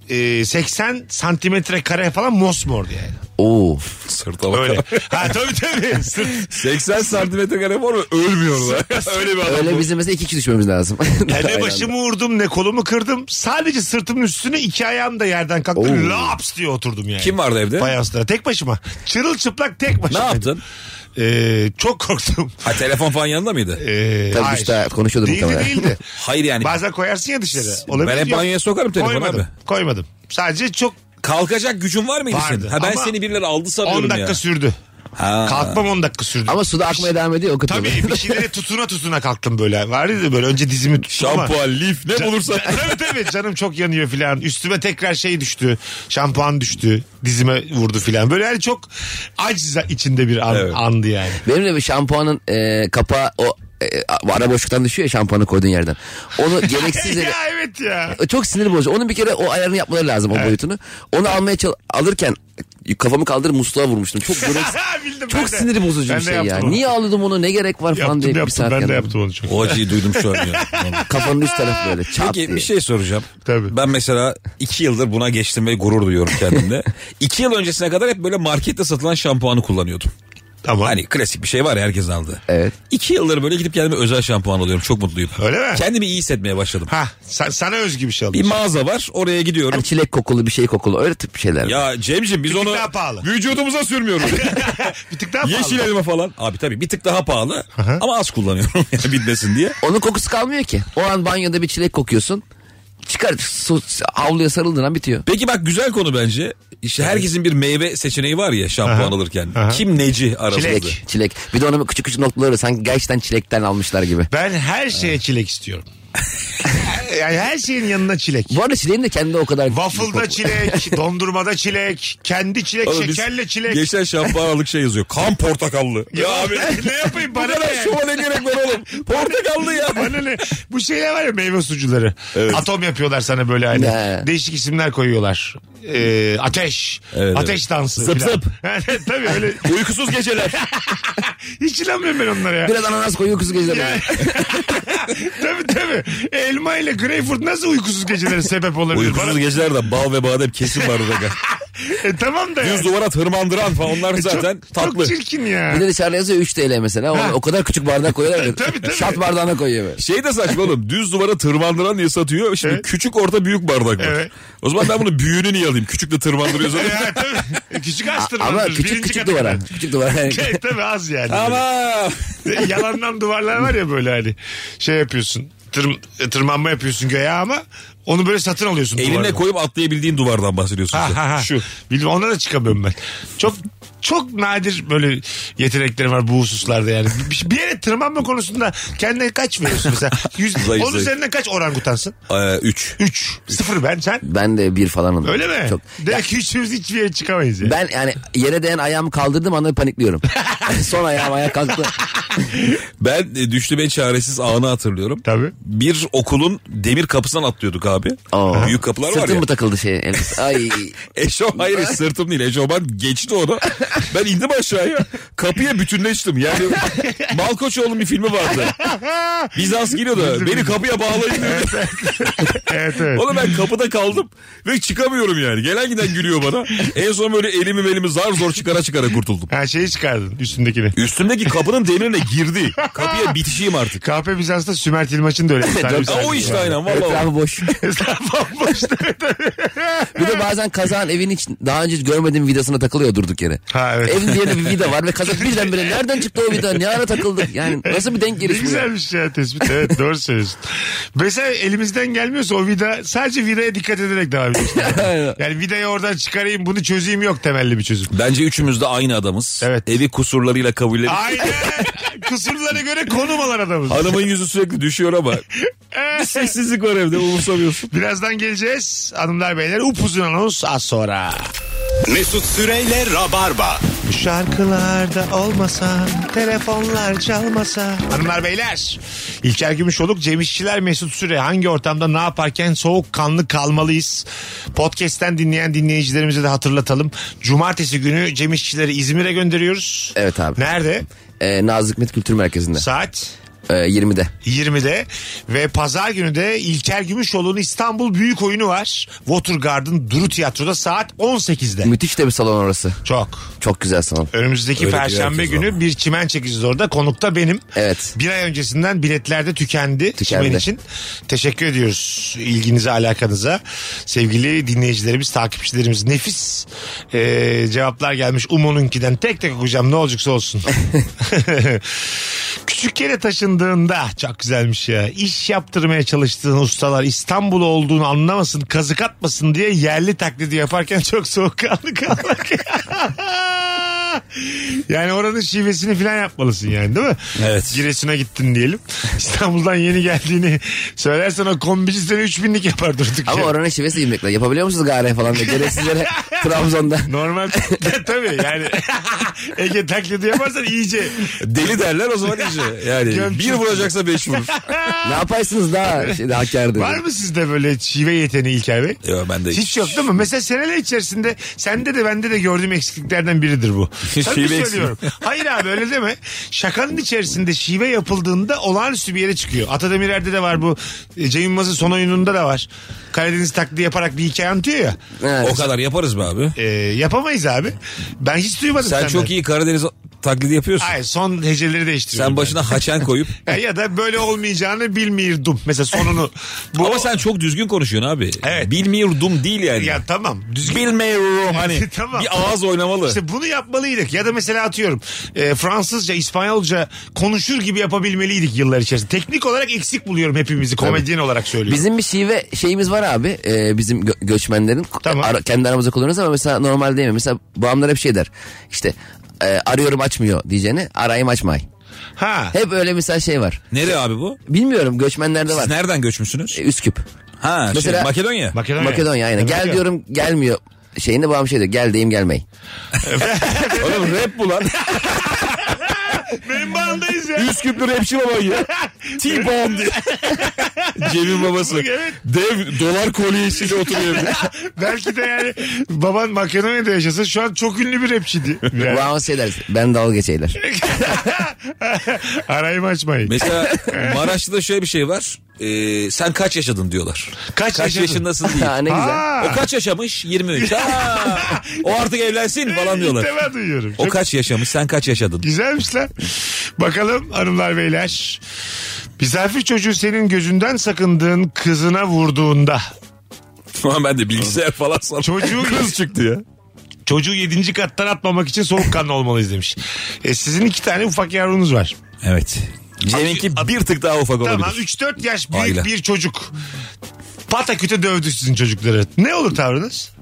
Speaker 3: e, 80 santimetre kare falan mosmordu yani.
Speaker 4: Oo.
Speaker 9: Sırta bak. [laughs]
Speaker 3: Öyle. ha tabii tabii. Sırt,
Speaker 9: 80 santimetre kare var mı? Ölmüyor lan. Öyle bir adam.
Speaker 4: Öyle bizim mesela iki kişi düşmemiz lazım. [laughs]
Speaker 3: Ya
Speaker 4: Aynı
Speaker 3: ne
Speaker 4: anda.
Speaker 3: başımı vurdum ne kolumu kırdım. Sadece sırtımın üstüne iki ayağım da yerden kalktı.
Speaker 4: Oo.
Speaker 3: Laps diye oturdum yani.
Speaker 9: Kim vardı evde?
Speaker 3: Fayanslara tek başıma. Çırılçıplak tek
Speaker 9: Ne
Speaker 3: başıma.
Speaker 9: yaptın?
Speaker 3: Ee, çok
Speaker 9: [laughs]
Speaker 3: korktum.
Speaker 9: Ha telefon falan yanında mıydı?
Speaker 3: Ee,
Speaker 4: Tabii
Speaker 3: hayır.
Speaker 4: işte konuşuyordur
Speaker 3: Değildi
Speaker 4: muhtemelen.
Speaker 9: [laughs]
Speaker 3: değildi.
Speaker 9: Hayır yani.
Speaker 3: Bazen koyarsın ya dışarı.
Speaker 9: Hani Ben hep
Speaker 3: Yok.
Speaker 9: banyoya sokarım telefonu
Speaker 3: koymadım,
Speaker 9: abi.
Speaker 3: Koymadım. Sadece çok
Speaker 9: Kalkacak gücün var mıydı
Speaker 3: Vardı.
Speaker 9: senin? Ha ben
Speaker 3: Ama
Speaker 9: seni birileri aldı
Speaker 3: 10
Speaker 9: sanıyorum
Speaker 3: dakika
Speaker 9: ya.
Speaker 3: sürdü.
Speaker 9: Ha.
Speaker 3: Kalkmam 10 dakika sürdü.
Speaker 4: Ama suda akmaya devam ediyor o kıtlığı.
Speaker 9: [laughs]
Speaker 3: Tabii bir şeylere tutuna tutuna kalktım böyle. Var ya böyle önce dizimi tuttum ama.
Speaker 9: Şampuan, lif
Speaker 3: [laughs]
Speaker 9: ne bulursan.
Speaker 3: tabii tabii canım çok yanıyor filan. Üstüme tekrar şey düştü. Şampuan düştü. Dizime vurdu filan. Böyle yani çok aciz içinde bir an,
Speaker 9: Evet.
Speaker 3: andı yani.
Speaker 4: Benim de bir şampuanın e, kapağı o e, a- ara boşluktan düşüyor ya şampuanı koyduğun yerden.
Speaker 3: [laughs]
Speaker 4: Onu gereksiz yere...
Speaker 3: ya evet ya.
Speaker 4: Çok sinir bozucu. Onun bir kere o ayarını yapmaları lazım o boyutunu. Onu almaya çal- alırken kafamı kaldırıp musluğa vurmuştum.
Speaker 3: [laughs]
Speaker 4: Çok gereksiz.
Speaker 3: Bildim ben
Speaker 4: Çok
Speaker 3: de.
Speaker 4: sinir bozucu
Speaker 3: Ben de
Speaker 4: bir şey ya.
Speaker 3: yaptım onu.
Speaker 4: Niye ağladım onu ne gerek var falan
Speaker 3: Yaptım
Speaker 4: diye bir
Speaker 3: yaptım
Speaker 4: saat
Speaker 3: ben de
Speaker 4: yandım.
Speaker 3: yaptım onu çok.
Speaker 9: O acıyı duydum şu an ya.
Speaker 3: [laughs]
Speaker 4: Kafanın üst tarafı böyle çat
Speaker 9: Peki
Speaker 4: diye.
Speaker 9: bir şey soracağım.
Speaker 3: Tabii.
Speaker 9: Ben mesela iki yıldır buna geçtim ve gurur duyuyorum kendimle. iki yıl öncesine kadar hep böyle markette satılan şampuanı kullanıyordum.
Speaker 3: Tamam.
Speaker 9: Hani klasik bir şey var ya herkes aldı.
Speaker 4: Evet.
Speaker 9: İki yıldır böyle gidip kendime özel şampuan alıyorum. Çok mutluyum.
Speaker 3: Öyle mi?
Speaker 9: Kendimi iyi hissetmeye başladım.
Speaker 3: Ha, sen- sana özgü bir şey
Speaker 9: Bir
Speaker 3: alıyorsun.
Speaker 9: mağaza var oraya gidiyorum.
Speaker 4: Hani çilek kokulu bir şey kokulu öyle tip şeyler.
Speaker 9: Ya Cemciğim biz
Speaker 3: Bir tık
Speaker 9: onu
Speaker 3: daha pahalı.
Speaker 9: vücudumuza sürmüyoruz.
Speaker 3: [laughs] Bir tık daha pahalı.
Speaker 9: Yeşil elma falan. Abi tabii bir tık daha pahalı ama az kullanıyorum [laughs] yani bitmesin diye.
Speaker 4: Onun kokusu kalmıyor ki. O an banyoda bir çilek kokuyorsun. Çıkar su, havluya sarıldığın an bitiyor.
Speaker 9: Peki bak güzel konu bence. İşte herkesin bir meyve seçeneği var ya şampuan alırken. Kim neci arasında.
Speaker 3: Çilek.
Speaker 4: Çilek. Bir de onun küçük küçük noktaları sanki gerçekten çilekten almışlar gibi.
Speaker 3: Ben her şeye çilek istiyorum. [laughs] yani her şeyin yanına çilek.
Speaker 4: Bu arada çileğin de kendi o kadar...
Speaker 3: Waffle'da çilek, dondurmada çilek, kendi çilek,
Speaker 9: Oğlum biz
Speaker 3: şekerle çilek.
Speaker 9: Geçen şampuan aldık şey yazıyor.
Speaker 3: [laughs]
Speaker 9: Kan portakallı.
Speaker 3: Ya abi ne yapayım
Speaker 9: Bu
Speaker 3: bana
Speaker 9: kadar
Speaker 3: ne? yani?
Speaker 9: şova ne gerek var oğlum? Portakallı ya.
Speaker 3: [laughs] Bana ne? Bu şeyler var ya meyve sucuları. Atom yapıyorlar sana böyle hani.
Speaker 4: Ne?
Speaker 3: Değişik isimler koyuyorlar. Ee, ateş.
Speaker 9: Evet,
Speaker 3: ateş
Speaker 9: evet.
Speaker 3: dansı.
Speaker 9: Zıp
Speaker 3: filan. [laughs]
Speaker 9: zıp.
Speaker 3: Tabii öyle.
Speaker 9: [laughs] Uykusuz geceler.
Speaker 3: [laughs] Hiç inanmıyorum ben onlara ya.
Speaker 4: Biraz ananas koyuyor
Speaker 3: [laughs]
Speaker 4: kuzu
Speaker 3: Ya-
Speaker 4: geceler.
Speaker 3: tabii tabii. Elma ile greyfurt nasıl uykusuz gecelere sebep olabilir?
Speaker 9: Uykusuz
Speaker 3: Bana-
Speaker 9: geceler de bal ve badem kesin
Speaker 3: [laughs]
Speaker 9: var orada.
Speaker 3: E, tamam da. ya.
Speaker 9: Düz duvara tırmandıran falan onlar
Speaker 3: Çok-
Speaker 9: zaten tatlı.
Speaker 3: Çok çirkin ya.
Speaker 4: Bir de dışarıda yazıyor 3 TL mesela. O, o kadar küçük bardak koyuyorlar. ki.
Speaker 3: [laughs] Tabii, tabii.
Speaker 4: Şat bardağına koyuyor böyle.
Speaker 9: Şey de saçma oğlum düz duvara tırmandıran diye satıyor. Şimdi
Speaker 3: Evet.
Speaker 9: küçük orta büyük bardak var.
Speaker 3: Evet.
Speaker 9: O zaman ben bunu büyüğünü niye alayım? Küçükle tırmandırıyor zaten.
Speaker 3: [laughs] Ya, tabii. Küçük astırma.
Speaker 4: Ama küçük küçük duvara. Küçük duvara.
Speaker 3: [laughs] tabii az yani.
Speaker 9: Ama
Speaker 3: [laughs] Yalandan duvarlar var ya böyle hani. Şey yapıyorsun. tırm- tırmanma yapıyorsun göğe ama onu böyle satın alıyorsun.
Speaker 9: elinle
Speaker 3: duvardan.
Speaker 9: koyup atlayabildiğin duvardan bahsediyorsun.
Speaker 3: Ha,
Speaker 9: sen.
Speaker 3: ha, ha.
Speaker 9: Şu.
Speaker 3: Bilmem ona da çıkamıyorum ben. Çok çok nadir böyle yeteneklerim var bu hususlarda yani. Bir, bir yere tırmanma konusunda kendine kaç veriyorsun mesela? Yüz,
Speaker 9: Zayıf,
Speaker 3: onun
Speaker 9: zayıf.
Speaker 3: üzerinden kaç orangutansın?
Speaker 9: Ee, üç.
Speaker 3: 3. 0 ben sen.
Speaker 4: Ben de bir falanım.
Speaker 3: Öyle mi?
Speaker 4: Çok.
Speaker 3: Demek ki üçümüz hiçbir yere çıkamayız yani.
Speaker 4: Ben yani yere değen ayağımı kaldırdığım
Speaker 3: [laughs]
Speaker 4: anda panikliyorum. Son ayağım ayağa kalktı.
Speaker 9: Ben e, düştü ve çaresiz anı hatırlıyorum.
Speaker 3: Tabii.
Speaker 9: Bir okulun demir kapısından atlıyorduk abi.
Speaker 4: Aa.
Speaker 9: Büyük kapılar var
Speaker 4: Sırtım
Speaker 9: ya.
Speaker 4: mı takıldı şey? elbise?
Speaker 9: [laughs]
Speaker 4: Ay.
Speaker 9: Eşo hayır sırtım değil. Eşofman geçti onu. Ben indim aşağıya. Kapıya bütünleştim. Yani Malkoçoğlu'nun bir filmi vardı. Bizans geliyordu. Beni kapıya bağlayın diyordu.
Speaker 3: Evet evet.
Speaker 9: Oğlum ben kapıda kaldım ve çıkamıyorum yani. Gelen giden gülüyor bana. En son böyle elimi elimi zar zor çıkara çıkara kurtuldum.
Speaker 3: Ha şeyi çıkardın üstündekini.
Speaker 9: Üstümdeki kapının demirine girdi. Kapıya bitişeyim artık.
Speaker 3: KP Bizans'ta Sümer Tilmaç'ın da
Speaker 9: [laughs]
Speaker 3: öyle bir tane
Speaker 4: Tabii,
Speaker 3: bir
Speaker 9: Ha, o
Speaker 3: sahnesi [laughs]
Speaker 9: işte
Speaker 3: var.
Speaker 9: aynen valla.
Speaker 4: Etrafı boş.
Speaker 3: Bomboş evet, evet.
Speaker 4: Bir de bazen kazağın evin hiç daha önce görmediğim vidasına takılıyor durduk yere.
Speaker 3: Ha, evet.
Speaker 4: Evin diğerinde bir
Speaker 3: [laughs]
Speaker 4: vida var ve kazak birdenbire nereden çıktı o vida? Ne ara takıldık? Yani nasıl bir
Speaker 3: Ne
Speaker 4: denk geliş bu? ya?
Speaker 3: güzelmiş ya tespit. Evet doğru söylüyorsun. Mesela elimizden gelmiyorsa o vida sadece vidaya dikkat ederek devam ediyorsun. yani vidayı oradan çıkarayım bunu çözeyim yok temelli bir çözüm.
Speaker 9: Bence üçümüz de aynı adamız.
Speaker 3: Evet.
Speaker 9: Evi kusurlarıyla kabul edip
Speaker 3: Aynen. kusurlara göre konum alan adamız.
Speaker 9: Hanımın yüzü sürekli düşüyor ama [laughs] bir sessizlik var evde umursamıyorsun.
Speaker 3: Birazdan geleceğiz. Hanımlar beyler upuzun anons az sonra.
Speaker 2: Mesut Süreyle Rabarba.
Speaker 3: Şarkılarda olmasa, telefonlar çalmasa. Hanımlar beyler, İlker Gümüşoluk, Cem İşçiler, Mesut Süre hangi ortamda ne yaparken soğukkanlı kalmalıyız? Podcast'ten dinleyen dinleyicilerimize de hatırlatalım. Cumartesi günü Cem İşçileri İzmir'e gönderiyoruz.
Speaker 4: Evet abi.
Speaker 3: Nerede?
Speaker 4: Ee, Nazlı Hikmet Kültür Merkezi'nde.
Speaker 3: Saat
Speaker 4: Ee, 20'de.
Speaker 3: 20'de ve pazar günü de İlker Gümüşoğlu'nun İstanbul Büyük Oyunu var. Watergarden Duru Tiyatro'da saat 18'de.
Speaker 4: [laughs] Müthiş de bir salon orası.
Speaker 3: Çok.
Speaker 4: Çok güzel salon.
Speaker 3: Önümüzdeki
Speaker 9: Öyle diyor
Speaker 3: perşembe
Speaker 9: herkes
Speaker 3: günü bir çimen çekeceğiz orada. Konukta benim.
Speaker 4: Evet.
Speaker 3: Bir ay öncesinden biletler de tükendi,
Speaker 4: Tükendi.
Speaker 3: çimen için. Teşekkür ediyoruz ilginize, alakanıza. Sevgili dinleyicilerimiz, takipçilerimiz nefis ee, cevaplar gelmiş. Umo'nunkinden tek tek okuyacağım ne olacaksa olsun. Küçük yere taşındığında çok güzelmiş ya. İş yaptırmaya çalıştığın ustalar İstanbul olduğunu anlamasın, kazık atmasın diye yerli taklidi yaparken çok soğukkanlı kalmak. yani oranın şivesini falan yapmalısın yani değil mi?
Speaker 9: Evet.
Speaker 3: Giresun'a gittin diyelim. [laughs] İstanbul'dan yeni geldiğini söylersen o kombici seni 3000'lik yapar durduk
Speaker 4: Ama
Speaker 3: yere.
Speaker 4: oranın şivesi yemekler. Yapabiliyor musunuz gare falan
Speaker 3: [laughs]
Speaker 4: da gereksizlere Trabzon'da.
Speaker 9: [laughs]
Speaker 3: Normal tabii yani Ege taklidi yaparsan iyice
Speaker 9: Deli derler o zaman iyice. Yani
Speaker 3: Gömçük.
Speaker 9: bir vuracaksa beş [laughs] vurur.
Speaker 4: ne yaparsınız daha şeyde Hakkari'de?
Speaker 3: Var mı sizde böyle şive yeteneği İlker Bey?
Speaker 9: Yo, bende
Speaker 3: hiç.
Speaker 9: hiç.
Speaker 3: yok değil mi? Mesela seneler içerisinde sende de bende de gördüğüm eksikliklerden biridir
Speaker 9: [laughs]
Speaker 3: bu.
Speaker 9: Şive
Speaker 3: Tabii
Speaker 9: eksikliği.
Speaker 3: söylüyorum. Hayır abi öyle deme. Şakanın içerisinde şive yapıldığında olağanüstü bir yere çıkıyor. Atademirer'de de var bu. E, Cem Yılmaz'ın son oyununda da var. Karadeniz taklidi yaparak bir hikaye anlatıyor ya.
Speaker 4: Evet.
Speaker 9: O kadar yaparız mı abi?
Speaker 3: E, yapamayız abi. Ben hiç duymadım
Speaker 9: Sen
Speaker 3: senden.
Speaker 9: çok iyi Karadeniz taklidi yapıyorsun.
Speaker 3: Hayır son heceleri değiştiriyorum.
Speaker 9: Sen başına haçen koyup. [laughs]
Speaker 3: ben. Ya da böyle olmayacağını bilmiyordum. Mesela sonunu. Bu...
Speaker 9: Ama sen çok düzgün konuşuyorsun abi.
Speaker 3: Evet.
Speaker 9: Bilmiyordum değil yani.
Speaker 3: Ya tamam. Düzgün
Speaker 9: [laughs] Bilmiyorum hani.
Speaker 3: Tamam.
Speaker 9: Bir ağız oynamalı.
Speaker 3: İşte bunu yapmalıydık. Ya da mesela atıyorum e, Fransızca, İspanyolca konuşur gibi yapabilmeliydik yıllar içerisinde. Teknik olarak eksik buluyorum hepimizi komedyen olarak söylüyorum.
Speaker 4: Bizim bir şive şeyimiz var abi. Ee, bizim gö- göçmenlerin
Speaker 3: Tamam.
Speaker 4: Ara- kendi aramızda kullanıyoruz ama mesela normal değil mi? Mesela babamlar hep şey der. İşte e, arıyorum açmıyor diyeceğini arayayım açmay.
Speaker 3: Ha.
Speaker 4: Hep öyle mesela şey var.
Speaker 9: Nereye abi bu?
Speaker 4: Bilmiyorum göçmenlerde
Speaker 9: Siz
Speaker 4: var.
Speaker 9: nereden göçmüşsünüz?
Speaker 4: E, Üsküp.
Speaker 9: Ha şey,
Speaker 4: Mesela-
Speaker 9: Makedonya.
Speaker 3: Makedonya.
Speaker 4: Makedonya aynen.
Speaker 3: Evet,
Speaker 4: Gel
Speaker 3: yok.
Speaker 4: diyorum gelmiyor. Şeyinde babam şey diyor gel deyim gelmey.
Speaker 9: Oğlum rap bu lan. [laughs]
Speaker 3: Benim bandayız ya.
Speaker 9: Üsküplü rapçi baban ya. T-Bomb diye. [laughs] Cem'in babası.
Speaker 3: Evet.
Speaker 9: Dev dolar kolyesiyle oturuyor evde.
Speaker 3: Belki de yani baban Makedonya'da yaşasa şu an çok ünlü bir rapçiydi. Yani.
Speaker 4: Babam şey der ben dalga
Speaker 3: Şey-
Speaker 4: [laughs] geçeyler.
Speaker 3: Arayı açmayın.
Speaker 9: Mesela Maraşlı'da şöyle bir şey var. Ee, sen kaç yaşadın diyorlar.
Speaker 3: Kaç
Speaker 9: Kaç
Speaker 3: yaşadın?
Speaker 4: [laughs]
Speaker 9: yaşındasın
Speaker 4: Ha,
Speaker 9: değil.
Speaker 4: ne güzel.
Speaker 3: Ha.
Speaker 9: O kaç yaşamış? 23. Ha, o artık evlensin falan diyorlar.
Speaker 3: İlk defa duyuyorum.
Speaker 9: O
Speaker 3: Çok
Speaker 9: kaç yaşamış sen
Speaker 3: [laughs]
Speaker 9: kaç yaşadın?
Speaker 3: Güzelmiş lan. Bakalım hanımlar beyler. Misafir çocuğu senin gözünden sakındığın kızına vurduğunda
Speaker 9: Ulan ben de bilgisayar falan sandım.
Speaker 3: Çocuğu-
Speaker 9: kız çıktı ya.
Speaker 3: Çocuğu yedinci kattan atmamak için soğukkanlı olmalıyız demiş. E, sizin iki tane ufak yavrunuz var.
Speaker 9: Evet. Cem'inki bir tık daha ufak olabilir.
Speaker 3: Tamam 3-4 yaş büyük
Speaker 9: Aile.
Speaker 3: bir çocuk. Pataküte dövdü sizin çocukları. Ne olur tavrınız?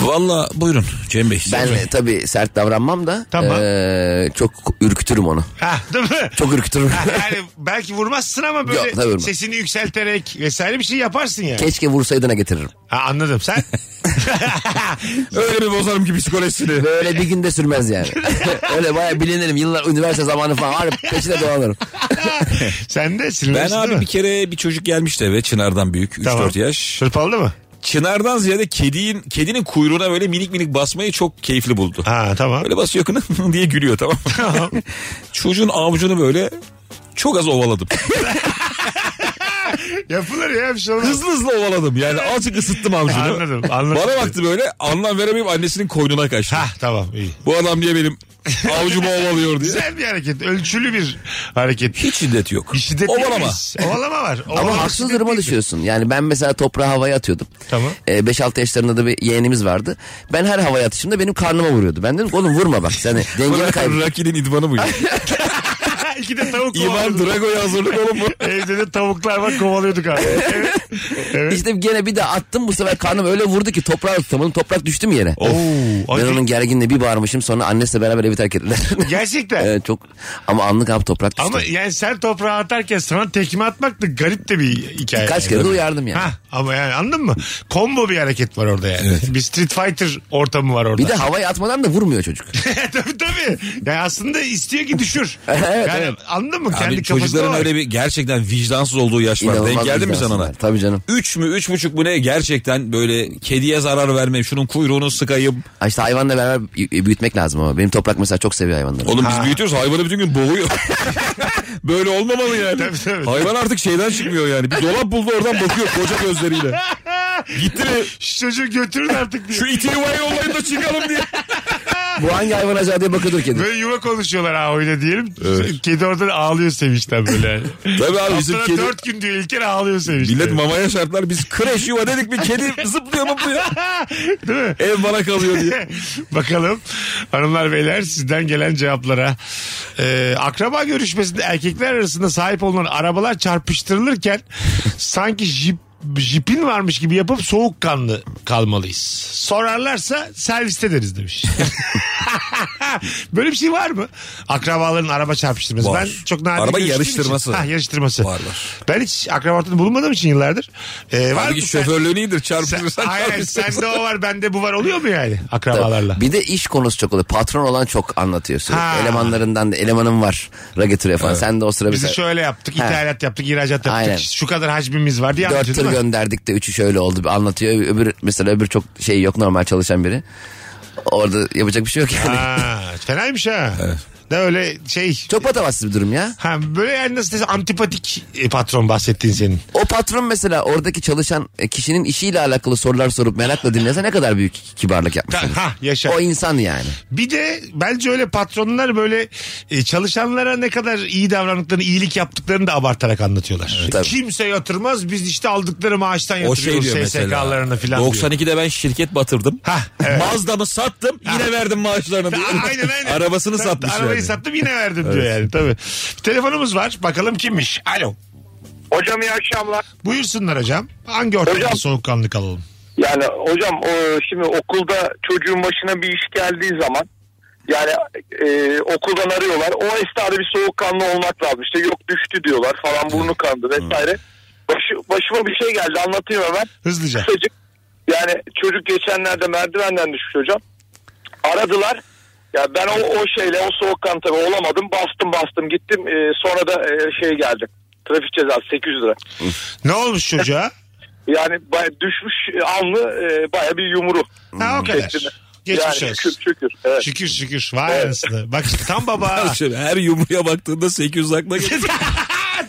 Speaker 9: Valla buyurun Cem Bey.
Speaker 4: Ben e, tabii sert davranmam da
Speaker 3: Tamam.
Speaker 4: e, çok ürkütürüm onu.
Speaker 3: Ha değil mi? [laughs]
Speaker 4: Çok ürkütürüm.
Speaker 3: Ha, yani belki vurmazsın ama
Speaker 4: Yok, tabii
Speaker 3: böyle
Speaker 4: vurmam.
Speaker 3: sesini yükselterek vesaire bir şey yaparsın yani.
Speaker 4: Keşke vursaydına getiririm.
Speaker 3: Ha, anladım sen.
Speaker 9: Öyle bir bozarım ki psikolojisini.
Speaker 4: Böyle bir günde sürmez yani. [laughs] Öyle bayağı bilinirim. Yıllar üniversite zamanı falan. Harbi peşine dolanırım.
Speaker 3: sen de
Speaker 9: Ben
Speaker 3: sinirlenirsin
Speaker 9: abi
Speaker 3: değil mi?
Speaker 9: bir kere bir çocuk gelmişti eve Çınar'dan büyük 3-4
Speaker 3: Tamam.
Speaker 9: yaş.
Speaker 3: Hırpaladı mı?
Speaker 9: Çınar'dan ziyade kedinin kedinin kuyruğuna böyle minik minik basmayı çok keyifli buldu.
Speaker 3: Ha tamam. [laughs]
Speaker 9: Böyle basıyor kına [laughs] diye gülüyor tamam mı? Çocuğun avucunu böyle çok az ovaladım.
Speaker 3: Yapılır ya bir şey olmaz.
Speaker 9: Hızlı hızlı ovaladım yani azıcık ısıttım avucunu.
Speaker 3: Anladım, anladım.
Speaker 9: Bana baktı böyle anlam veremeyip annesinin koynuna kaçtı.
Speaker 3: Ha tamam iyi.
Speaker 9: Bu adam
Speaker 3: [laughs]
Speaker 9: diye benim avucumu ovalıyor diye.
Speaker 3: Güzel bir hareket. Ölçülü bir hareket.
Speaker 9: Hiç şiddet yok.
Speaker 3: Bir şiddet
Speaker 9: Ovalama.
Speaker 3: diyemeyiz. Ovalama var. Ovalama
Speaker 4: Ama haksız
Speaker 3: şiddet
Speaker 4: duruma
Speaker 3: değil.
Speaker 4: düşüyorsun. Yani ben mesela toprağı havaya atıyordum.
Speaker 3: Tamam.
Speaker 4: Ee, 5-6 yaşlarında da bir yeğenimiz vardı. Ben her havaya atışımda benim karnıma vuruyordu. Ben dedim ki, oğlum vurma bak. Sen de hani dengeni
Speaker 3: [laughs]
Speaker 9: Bana
Speaker 4: kaybettin.
Speaker 9: Raki'nin idmanı bu ya.
Speaker 3: [laughs] İki de tavuk
Speaker 9: İvan
Speaker 3: kovalıyorduk.
Speaker 9: Drago'ya hazırlık oğlum bu.
Speaker 3: Evde de tavuklar var kovalıyorduk abi. Evet. Evet.
Speaker 4: İşte gene bir de attım bu sefer karnım öyle vurdu ki toprağa tutamadım. Toprak düştü mü yere?
Speaker 3: Oo,
Speaker 4: Ben
Speaker 3: ay-
Speaker 4: onun gerginliği bir bağırmışım sonra annesiyle beraber evi terk ettiler.
Speaker 3: Gerçekten.
Speaker 4: Evet, çok ama anlık abi toprak düştü.
Speaker 3: Ama yani sen toprağa atarken sana tekme atmak da garip de bir hikaye.
Speaker 4: Kaç kere de uyardım yani.
Speaker 3: Ha, ama yani anladın mı? Kombo bir hareket var orada yani. Bir Street Fighter ortamı var orada.
Speaker 4: Bir de havaya atmadan da vurmuyor çocuk.
Speaker 3: [laughs] E, tabii tabii. Yani aslında istiyor ki
Speaker 9: [laughs]
Speaker 3: düşür.
Speaker 4: Evet,
Speaker 3: yani
Speaker 4: evet.
Speaker 3: anladın mı? Kendi
Speaker 9: Abi çocukların öyle bir gerçekten vicdansız olduğu yaş var. Denk
Speaker 4: İnanılmaz
Speaker 9: geldin mi sen
Speaker 4: vicdansızlar.
Speaker 9: ona?
Speaker 4: Tabii canım.
Speaker 9: Üç mü üç buçuk mu ne gerçekten böyle kediye zarar vermem şunun kuyruğunu sıkayım.
Speaker 4: Ha İşte hayvanla beraber y- büyütmek lazım ama. Benim toprak mesela çok seviyor
Speaker 9: [laughs]
Speaker 4: hayvanları.
Speaker 9: Oğlum biz büyütüyoruz hayvanı bütün
Speaker 3: [laughs]
Speaker 9: gün boğuyor. böyle olmamalı yani.
Speaker 3: Tabii, tabii.
Speaker 9: Hayvan artık şeyden çıkmıyor yani. Bir dolap buldu oradan bakıyor koca gözleriyle. Gitti mi?
Speaker 3: Şu çocuğu götürün artık diye.
Speaker 9: [laughs] Şu iti yuvayı yollayın da çıkalım diye.
Speaker 4: Bu hangi hayvan acaba diye bakıyordur kedi.
Speaker 3: Böyle yuva konuşuyorlar ha öyle diyelim.
Speaker 9: Evet.
Speaker 3: Kedi orada ağlıyor sevinçten böyle. Yani.
Speaker 9: [laughs] Tabii abi bizim
Speaker 3: Haftada
Speaker 9: kedi...
Speaker 3: dört gün diyor İlker ağlıyor sevinçten.
Speaker 9: Millet mamaya şartlar biz kreş yuva dedik mi kedi zıplıyor mıplıyor.
Speaker 3: Değil mi?
Speaker 9: Ev bana kalıyor diye.
Speaker 3: [laughs] Bakalım hanımlar beyler sizden gelen cevaplara. Ee, akraba görüşmesinde erkekler arasında sahip olunan arabalar çarpıştırılırken sanki jip jipin varmış gibi yapıp soğukkanlı kalmalıyız. Sorarlarsa serviste deriz demiş. [laughs] Böyle bir şey var mı? Akrabaların araba çarpıştırması.
Speaker 9: Var.
Speaker 3: Ben çok nadir
Speaker 9: Araba
Speaker 3: görüştüğüm için-
Speaker 9: yarıştırması.
Speaker 3: Ha, yarıştırması.
Speaker 9: Var, var.
Speaker 3: Ben hiç akraba ortamında bulunmadığım için yıllardır. Ee, var mı?
Speaker 9: Halbuki şoförlüğün iyidir
Speaker 3: Sen,
Speaker 9: çarpışırsan
Speaker 3: hayır
Speaker 9: çarpışırsın.
Speaker 3: sende o var bende bu var oluyor mu yani akrabalarla?
Speaker 4: Bir de iş konusu çok oluyor. Patron olan çok anlatıyor sürekli.
Speaker 3: Ha.
Speaker 4: Elemanlarından da elemanım var. Ra getiriyor falan. Sen de o sıra
Speaker 3: Bizi
Speaker 4: bize
Speaker 3: şöyle yaptık
Speaker 4: Ha.
Speaker 3: ithalat yaptık ihracat yaptık
Speaker 4: Aynen.
Speaker 3: şu kadar hacmimiz var diye
Speaker 4: dört
Speaker 3: anlatıyor
Speaker 4: tır
Speaker 3: değil mi?
Speaker 4: gönderdik de üçü şöyle oldu. Bir Anlatıyor. Öbür, mesela öbür çok şey yok normal çalışan biri. Orada yapacak bir şey yok yani.
Speaker 3: Ha, fenaymış ha. Ne öyle şey
Speaker 4: Çok patavatsız bir durum ya.
Speaker 3: ha, böyle yani nasıl desem antipatik e, patron bahsettiğin senin.
Speaker 4: O patron mesela oradaki çalışan e, kişinin işiyle alakalı sorular sorup merakla dinlese ne kadar büyük kibarlık yapmış.
Speaker 3: Ta- Ha yaşa.
Speaker 4: O insan yani.
Speaker 3: Bir de bence öyle patronlar böyle e, çalışanlara ne kadar iyi davrandıklarını, iyilik yaptıklarını da abartarak anlatıyorlar.
Speaker 4: Tabii.
Speaker 3: Kimse yatırmaz. Biz işte aldıkları maaştan
Speaker 9: O şey
Speaker 3: yatırıyoruz
Speaker 9: diyor
Speaker 3: SSK'larını
Speaker 9: mesela.
Speaker 3: falan diyor.
Speaker 9: 92'de ben şirket batırdım.
Speaker 3: Ha, evet.
Speaker 9: Mazda'mı sattım yine verdim maaşlarını diyor.
Speaker 3: A- Aynen aynen.
Speaker 9: Arabasını
Speaker 3: Tabii,
Speaker 9: satmış
Speaker 3: Arabayı
Speaker 9: yani.
Speaker 3: sattım yine verdim diyor yani tabii. Bir telefonumuz var. Bakalım kimmiş? Alo.
Speaker 5: Hocam iyi akşamlar.
Speaker 3: Buyursunlar hocam. Hangi ortamda
Speaker 5: Hocam.
Speaker 3: soğukkanlı kalalım?
Speaker 5: Yani hocam o, şimdi okulda çocuğun başına bir iş geldiği zaman yani e, okuldan arıyorlar. O esnada bir soğukkanlı olmak lazım. İşte yok düştü diyorlar falan burnu kandı vesaire. Başı, başıma bir şey geldi anlatayım hemen. [laughs]
Speaker 3: Hızlıca.
Speaker 5: Kısacık yani çocuk geçenlerde merdivenden düşmüş hocam. Aradılar. Ya ben o, o şeyle o soğukkan tabii olamadım. Bastım bastım gittim. Ee, sonra da e, şey geldi. Trafik cezası 800 lira.
Speaker 3: Ne olmuş çocuğa?
Speaker 5: Yani baya, düşmüş e, anlı e, baya bir yumru.
Speaker 3: ha o kadar.
Speaker 5: Şeklinde.
Speaker 3: Geçmiş
Speaker 5: yani,
Speaker 3: olsun.
Speaker 5: Şükür şükür. Evet.
Speaker 3: Şükür şükür. Vay anasını. Bak işte tam
Speaker 9: [laughs]
Speaker 3: baba.
Speaker 9: Şimdi Her yumruya baktığında 800
Speaker 3: [laughs]
Speaker 9: akla geçiyor.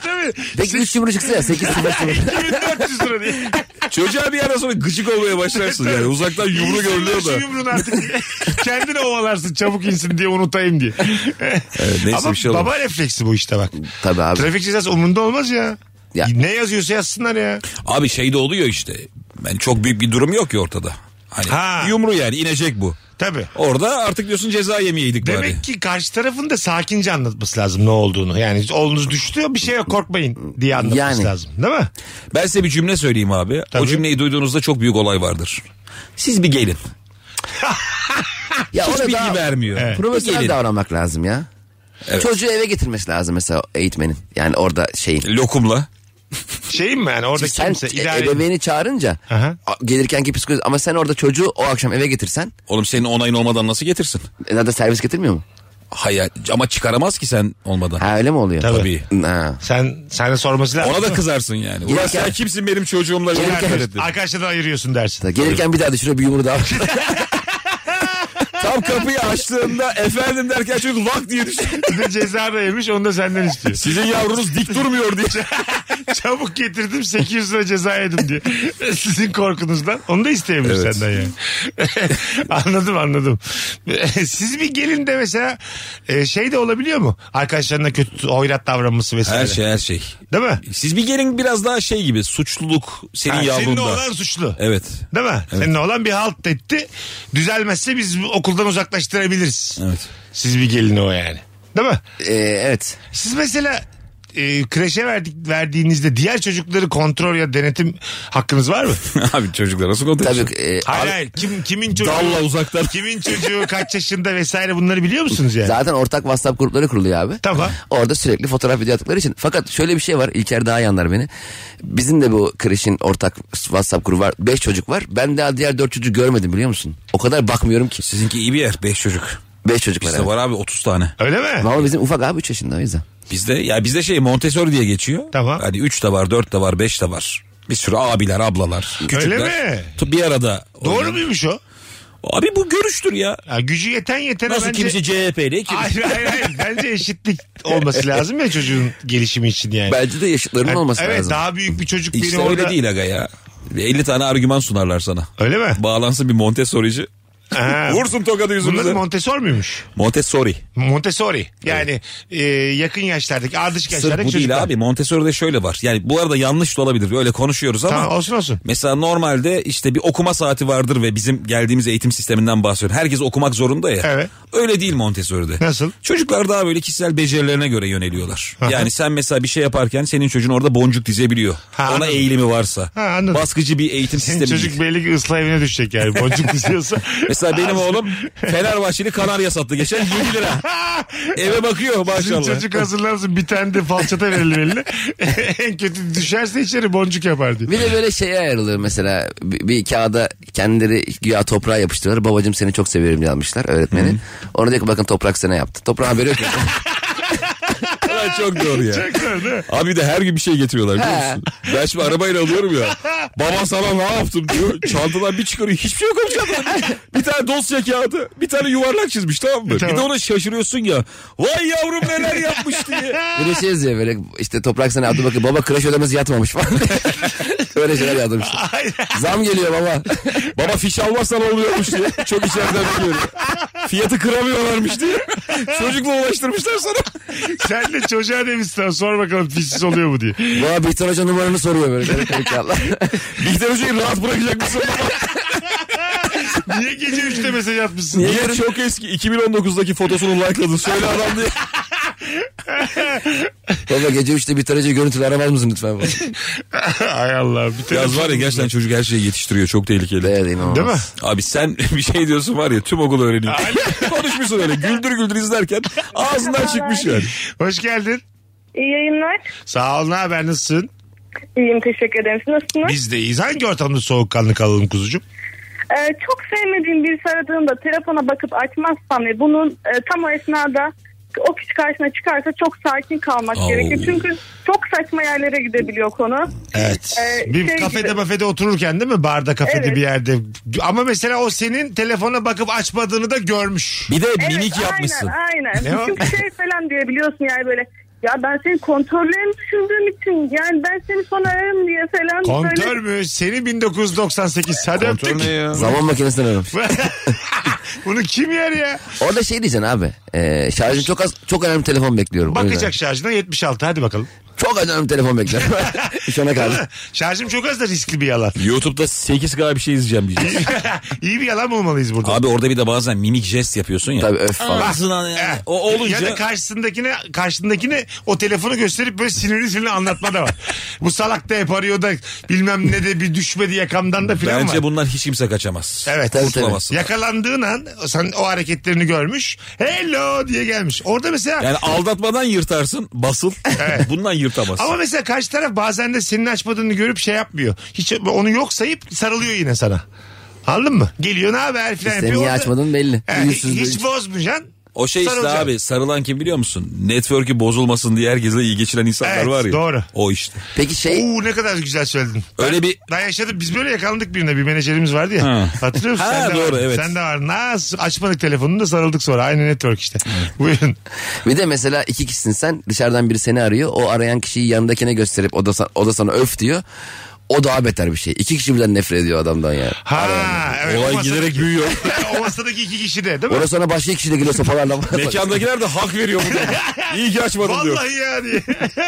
Speaker 3: Tabii.
Speaker 4: Peki 3 yumru çıksa ya
Speaker 3: [laughs]
Speaker 4: 8
Speaker 3: 2400 lira
Speaker 9: [laughs]
Speaker 3: diye.
Speaker 9: Çocuğa bir ara sonra gıcık olmaya başlarsın yani. Uzaktan yumru
Speaker 3: İnsanlar
Speaker 9: görülüyor
Speaker 3: şu
Speaker 9: da.
Speaker 3: yumruğunu artık [laughs] kendini ovalarsın çabuk insin diye unutayım diye. [laughs]
Speaker 9: neyse
Speaker 3: Ama
Speaker 9: bir şey olmaz.
Speaker 3: baba refleksi bu işte bak.
Speaker 4: Tabii abi.
Speaker 3: Trafik cezası umurunda olmaz ya.
Speaker 4: Ya.
Speaker 3: Ne yazıyorsa yazsınlar ya.
Speaker 9: Abi şey de oluyor işte. Yani çok büyük bir durum yok ki ortada. Hani
Speaker 3: Ha.
Speaker 9: yumru yani inecek bu.
Speaker 3: Tabii.
Speaker 9: Orada artık diyorsun ceza yemeyeydik bari.
Speaker 3: Demek ki karşı tarafın da sakince anlatması lazım ne olduğunu. Yani oğlunuz düştü bir şey yok korkmayın diye anlatması
Speaker 4: Yani.
Speaker 3: lazım. Değil mi?
Speaker 9: Ben size bir cümle söyleyeyim abi.
Speaker 3: Tabii.
Speaker 9: O cümleyi duyduğunuzda çok büyük olay vardır. Siz bir gelin.
Speaker 4: Ya
Speaker 9: Hiç
Speaker 4: ona
Speaker 9: bilgi
Speaker 4: daha
Speaker 9: vermiyor. Bir
Speaker 4: Profesyonel
Speaker 9: gelin.
Speaker 4: davranmak lazım ya. Çocuğu eve getirmesi lazım mesela eğitmenin. Yani orada şeyin.
Speaker 9: Lokumla.
Speaker 3: Şeyim mi yani orada
Speaker 4: Sen
Speaker 3: kimse
Speaker 4: e-
Speaker 3: idare
Speaker 4: ebeveyni çağırınca
Speaker 3: Aha.
Speaker 4: a- gelirkenki psikoloji ama sen orada çocuğu o akşam eve getirsen
Speaker 9: Oğlum senin onayın olmadan nasıl getirsin?
Speaker 4: e, zaten servis getirmiyor mu?
Speaker 9: Hayır ama çıkaramaz ki sen olmadan.
Speaker 4: Ha öyle mi oluyor?
Speaker 3: Tabii.
Speaker 9: Tabii.
Speaker 4: Ha.
Speaker 3: Sen sana sorması lazım.
Speaker 9: Ona
Speaker 3: [laughs]
Speaker 9: da
Speaker 3: Değil mi?
Speaker 9: kızarsın yani. Ulan sen
Speaker 4: Gelirken-
Speaker 9: kimsin benim çocuğumla?
Speaker 4: Gelirken-
Speaker 9: Gelirken...
Speaker 3: Arkadaş- Arkadaşlardan ayırıyorsun dersin.
Speaker 4: Gelirken bir daha düşürüyor
Speaker 3: [laughs]
Speaker 4: bir yumru daha.
Speaker 9: Tam kapıyı açtığında efendim derken çocuk lak diye düştü.
Speaker 3: Bir de ceza da yemiş onu da senden
Speaker 9: [laughs]
Speaker 3: istiyor. [laughs]
Speaker 9: Sizin yavrunuz dik durmuyor diye.
Speaker 3: Çabuk getirdim 800 lira ceza yedim diye. [laughs] Sizin korkunuzdan. Onu da isteyebilir
Speaker 9: Evet.
Speaker 3: senden yani. [laughs] anladım anladım. [laughs] Siz bir gelin de mesela e, şey de olabiliyor mu? Arkadaşlarına kötü hoyrat davranması vesaire.
Speaker 9: Her şey her şey.
Speaker 3: Değil mi?
Speaker 9: Siz bir gelin biraz daha şey gibi suçluluk senin
Speaker 3: Ha, Senin
Speaker 9: yavrunda.
Speaker 3: oğlan suçlu.
Speaker 9: Evet.
Speaker 3: Değil mi? Senin oğlan bir halt etti. Düzelmezse biz okuldan uzaklaştırabiliriz.
Speaker 9: Evet. [laughs]
Speaker 3: Siz bir gelin o yani. Değil mi?
Speaker 4: Ee, evet.
Speaker 3: Siz mesela e, kreşe verdik, verdiğinizde diğer çocukları kontrol ya denetim hakkınız var
Speaker 9: [laughs]
Speaker 3: mı?
Speaker 9: Abi çocuklar nasıl kontrol
Speaker 4: Tabii
Speaker 9: Tabii.
Speaker 4: e,
Speaker 3: Hayır hayır. Kim, kimin çocuğu?
Speaker 9: Dalla uzaktan.
Speaker 3: Kimin çocuğu kaç yaşında vesaire bunları biliyor musunuz yani?
Speaker 4: Zaten ortak WhatsApp grupları kuruluyor abi.
Speaker 3: Tamam.
Speaker 4: Orada sürekli fotoğraf video attıkları için. Fakat şöyle bir şey var. İlker daha iyi anlar beni. Bizim de bu kreşin ortak WhatsApp grubu var. 5 çocuk var. Ben daha diğer 4 çocuğu görmedim biliyor musun? O kadar bakmıyorum ki.
Speaker 9: Sizinki iyi bir yer. 5 çocuk.
Speaker 4: 5 çocuk var.
Speaker 9: Bizde
Speaker 4: evet.
Speaker 9: var abi 30 tane.
Speaker 3: Öyle mi?
Speaker 4: Ama bizim ufak abi 3 yaşında o yüzden.
Speaker 9: Bizde ya bizde şey Montessori diye geçiyor.
Speaker 3: Tamam.
Speaker 9: Hani 3 de var, 4 de var, 5 de var. Bir sürü abiler, ablalar. Küçükler.
Speaker 3: mi?
Speaker 9: Tu- Bir arada.
Speaker 3: Doğru
Speaker 9: oynuyor.
Speaker 3: muymuş o?
Speaker 9: Abi bu görüştür ya.
Speaker 3: Ya gücü yeten yetene
Speaker 9: Nasıl
Speaker 3: bence...
Speaker 9: kimisi CHP'li,
Speaker 3: Hayır
Speaker 9: kimisi...
Speaker 3: hayır hayır. Bence eşitlik
Speaker 9: [laughs]
Speaker 3: olması lazım ya çocuğun gelişimi için yani.
Speaker 4: Bence de yaşıtlarının
Speaker 3: Yani
Speaker 4: olması
Speaker 3: evet,
Speaker 4: lazım.
Speaker 3: daha büyük bir çocuk biri
Speaker 9: İşte
Speaker 3: orada.
Speaker 9: öyle değil aga ya. 50 tane argüman
Speaker 3: [laughs]
Speaker 9: sunarlar sana.
Speaker 3: Öyle mi?
Speaker 9: Bağlansın bir Montessori'ci.
Speaker 3: Ha.
Speaker 9: Vursun tokadı
Speaker 3: Bunun adı
Speaker 9: yüzümüze.
Speaker 3: Montessori muymuş?
Speaker 9: Montessori.
Speaker 3: Montessori. Yani e, yakın yaşlardaki, ardışık
Speaker 9: Sırf
Speaker 3: yaşlardaki
Speaker 9: bu
Speaker 3: çocuklar.
Speaker 9: değil abi. Montessori'de şöyle var. Yani bu arada yanlış da olabilir. Öyle konuşuyoruz ama.
Speaker 3: Tamam olsun olsun.
Speaker 9: Mesela normalde işte bir okuma saati vardır ve bizim geldiğimiz eğitim sisteminden bahsediyorum. Herkes okumak zorunda ya.
Speaker 3: Evet.
Speaker 9: Öyle değil Montessori'de.
Speaker 3: Nasıl?
Speaker 9: Çocuklar daha böyle kişisel becerilerine göre yöneliyorlar.
Speaker 3: Aha.
Speaker 9: Yani sen mesela bir şey yaparken senin çocuğun orada boncuk dizebiliyor.
Speaker 3: Ha,
Speaker 9: Ona
Speaker 3: anladım.
Speaker 9: eğilimi varsa.
Speaker 3: Ha, anladım.
Speaker 9: Baskıcı bir eğitim
Speaker 3: Senin
Speaker 9: sistemi
Speaker 3: çocuk
Speaker 9: değil.
Speaker 3: belli ki ıslah evine düşecek yani. Boncuk istiyorsa.
Speaker 9: [laughs]
Speaker 3: [laughs]
Speaker 9: Mesela benim oğlum Fenerbahçeli kanarya sattı geçen 20 lira. Eve bakıyor
Speaker 3: Bizim
Speaker 9: maşallah.
Speaker 3: çocuk hazırlansın bir tane de falçata verilir eline. [laughs] en kötü düşerse içeri boncuk yapar diye.
Speaker 4: Bir de böyle şeye ayrılıyor mesela bir, bir kağıda kendileri güya toprağa yapıştırıyorlar. Babacım seni çok seviyorum yazmışlar öğretmeni. Ona diyor ki bakın toprak sana yaptı. Toprağın haberi
Speaker 3: [laughs]
Speaker 4: yok.
Speaker 9: Ulan çok doğru ya. [laughs] Abi bir de her gün bir şey getiriyorlar biliyor
Speaker 4: He.
Speaker 9: musun? Ben şimdi arabayla alıyorum ya. Baba sana ne yaptım diyor. Çantadan bir çıkarıyor. Hiçbir şey yok oğlum çantada. Bir tane dosya kağıdı. Bir tane yuvarlak çizmiş tamam mı?
Speaker 3: Tamam.
Speaker 9: Bir de ona şaşırıyorsun ya. Vay yavrum neler yapmış diye.
Speaker 4: Böyle şey yazıyor böyle işte toprak sana yaptı bakın baba kreş ödemesi yatmamış falan. Öyle şeyler yazmışlar. Zam geliyor baba.
Speaker 9: [laughs] Baba fiş almazsan oluyormuş diye. Çok içeriden biliyorum. Fiyatı kıramıyorlarmış diye. Çocukla ulaştırmışlar sana.
Speaker 3: Sen de çocuğa demişsin sor bakalım fişsiz oluyor mu diye.
Speaker 4: Baba Bihter Hoca numaranı soruyor böyle. garip garip yallah.
Speaker 9: [laughs] Bihter Hoca'yı rahat bırakacak mısın?
Speaker 4: [laughs]
Speaker 3: Niye gece 3'te mesaj atmışsın?
Speaker 9: Niye çok eski 2019'daki fotosunu like'ladın? Söyle adam diye.
Speaker 4: baba gece 3'te Bihter Hoca'yı görüntülü aramaz mısın
Speaker 3: [laughs]
Speaker 4: lütfen? Baba?
Speaker 3: [laughs] Ay Allah. Bir tane
Speaker 9: Yaz var ya gerçekten çocuk her şeyi yetiştiriyor. Çok tehlikeli.
Speaker 4: Evet inanılmaz.
Speaker 3: Değil mi?
Speaker 9: Abi sen [laughs] bir şey diyorsun var ya tüm okul öğreniyor. [laughs] Konuşmuşsun öyle güldür güldür izlerken ağzından çıkmış yani.
Speaker 3: Hoş geldin.
Speaker 8: İyi yayınlar.
Speaker 3: Sağ ol ne haber nasılsın?
Speaker 8: İyiyim teşekkür ederim. Siz nasılsınız?
Speaker 3: Biz de iyiyiz. Hangi ortamda soğukkanlı kalalım kuzucuğum?
Speaker 8: Ee, çok sevmediğim birisi aradığında telefona bakıp açmazsam ve bunun e, tam o esnada o kişi karşına çıkarsa çok sakin kalmak
Speaker 9: Oo.
Speaker 8: gerekiyor. Çünkü çok saçma yerlere gidebiliyor konu.
Speaker 3: Evet.
Speaker 8: Ee,
Speaker 3: bir
Speaker 8: şey
Speaker 3: kafede
Speaker 8: gibi.
Speaker 3: mafede otururken değil mi? Barda kafede
Speaker 8: Evet.
Speaker 3: bir yerde. Ama mesela o senin telefona bakıp açmadığını da görmüş.
Speaker 9: Bir de
Speaker 8: Evet,
Speaker 9: minik yapmışsın.
Speaker 8: Aynen
Speaker 3: Ne o?
Speaker 8: aynen. Çünkü şey falan diyebiliyorsun yani böyle ya ben senin kontrollerini düşündüğüm için yani ben seni sonra ararım diye falan.
Speaker 3: Kontör
Speaker 8: böyle-
Speaker 3: mü? Seni 1998. Hadi öptük.
Speaker 4: Zaman makinesinden aramış.
Speaker 3: [laughs] Bunu kim yer ya?
Speaker 4: Orada şey diyeceksin abi. E, şarjım çok az, çok önemli telefon bekliyorum. O yüzden.
Speaker 3: Bakacak şarjına 76. Hadi bakalım.
Speaker 4: Çok önemli
Speaker 3: [laughs]
Speaker 4: telefon bekliyorum. İş ona kaldı.
Speaker 3: Şarjım çok az da riskli bir yalan. [laughs]
Speaker 9: YouTube'da 8K bir şey izleyeceğim diyeceğiz.
Speaker 3: İyi bir yalan bulmalıyız burada.
Speaker 9: Abi orada bir de bazen minik jest yapıyorsun ya.
Speaker 4: Tabii öf falan.
Speaker 9: Aslında
Speaker 3: Eh.
Speaker 9: yani. O olunca
Speaker 3: Ya da karşısındakine, karşısındakine o telefonu gösterip böyle sinirli sinirli anlatma da var. Bu salak da hep arıyor da bilmem ne de bir düşmedi yakamdan da filan var.
Speaker 9: bence bundan hiç kimse kaçamaz.
Speaker 3: Evet.
Speaker 4: Tabii,
Speaker 9: Kurtulamazsın.
Speaker 3: Yakalandığın an sen o hareketlerini görmüş. Hello diye gelmiş. Orada mesela
Speaker 9: Yani aldatmadan yırtarsın basıl. Bundan yırtamazsın.
Speaker 3: ama mesela karşı taraf bazen de senin açmadığını görüp şey yapmıyor. Hiç onu yok sayıp sarılıyor yine sana. Anladın mı? Geliyor ne haber filan
Speaker 4: Seni niye
Speaker 3: Orada-
Speaker 4: açmadın belli.
Speaker 3: He,
Speaker 4: Yüzsüz
Speaker 3: hiç
Speaker 4: böyle.
Speaker 3: bozmayacaksın.
Speaker 9: O şey işte
Speaker 3: Sarılacaksın.
Speaker 9: abi sarılan kim biliyor musun? Network'ü bozulmasın diye herkesle iyi geçilen insanlar
Speaker 3: Evet,
Speaker 9: var ya.
Speaker 3: doğru.
Speaker 9: O işte.
Speaker 4: Peki şey
Speaker 3: Oo ne kadar güzel söyledin.
Speaker 9: Öyle bir
Speaker 3: Daha yaşadık. Biz böyle yakalandık birine. Bir menajerimiz vardı ya.
Speaker 9: Ha.
Speaker 3: Hatırlıyor musun?
Speaker 9: Ha,
Speaker 3: Sen de
Speaker 9: doğru,
Speaker 3: vardın.
Speaker 9: evet.
Speaker 3: Sen de vardın. Ha, açmadık telefonunu da sarıldık sonra. Aynı network işte. Buyurun.
Speaker 4: bir de mesela iki kişisin sen dışarıdan biri seni arıyor. O arayan kişiyi yanındakine gösterip o da, sa- o da sana öf diyor. O daha beter bir şey. İki kişi birden nefret ediyor adamdan ya.
Speaker 3: Ha, evet, o
Speaker 9: Olay
Speaker 3: masadaki-
Speaker 9: giderek büyüyor.
Speaker 3: [laughs] o masadaki iki kişi de değil mi?
Speaker 4: Orası sonra başka iki kişiyle geliyor sopalarla.
Speaker 9: Mekandakiler de hak veriyor
Speaker 3: [laughs]
Speaker 9: buna. İyi ki açmadım diyor.
Speaker 3: Vallahi ya diye.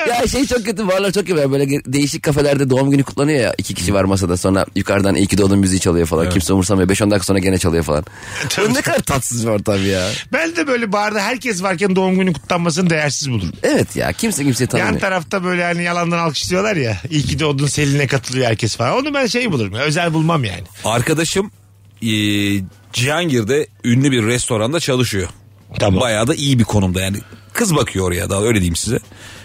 Speaker 4: ya şey çok kötü varlar çok kötü. Böyle ge- değişik kafelerde doğum günü kutlanıyor ya. iki kişi var masada sonra yukarıdan iyi ki doğdun müziği çalıyor falan. Kimse umursamıyor. 5-10 dakika sonra gene çalıyor falan.
Speaker 3: [laughs] Tabii.
Speaker 4: Bu ne kadar tatsız bir ortam ya.
Speaker 3: [laughs] ben de böyle barda herkes varken doğum günü kutlanmasını değersiz bulurum.
Speaker 4: Evet ya kimse kimseyi
Speaker 3: Yan
Speaker 4: tanımıyor.
Speaker 3: tarafta böyle hani yalandan alkışlıyorlar ya. İyi ki doğdun Selin'e katılıyor herkes falan. Onu ben şey bulurum. Özel bulmam yani.
Speaker 9: Arkadaşım e, Cihangir'de ünlü bir restoranda çalışıyor.
Speaker 3: Tamam.
Speaker 9: Bayağı da iyi bir konumda yani. Kız bakıyor oraya daha öyle diyeyim size.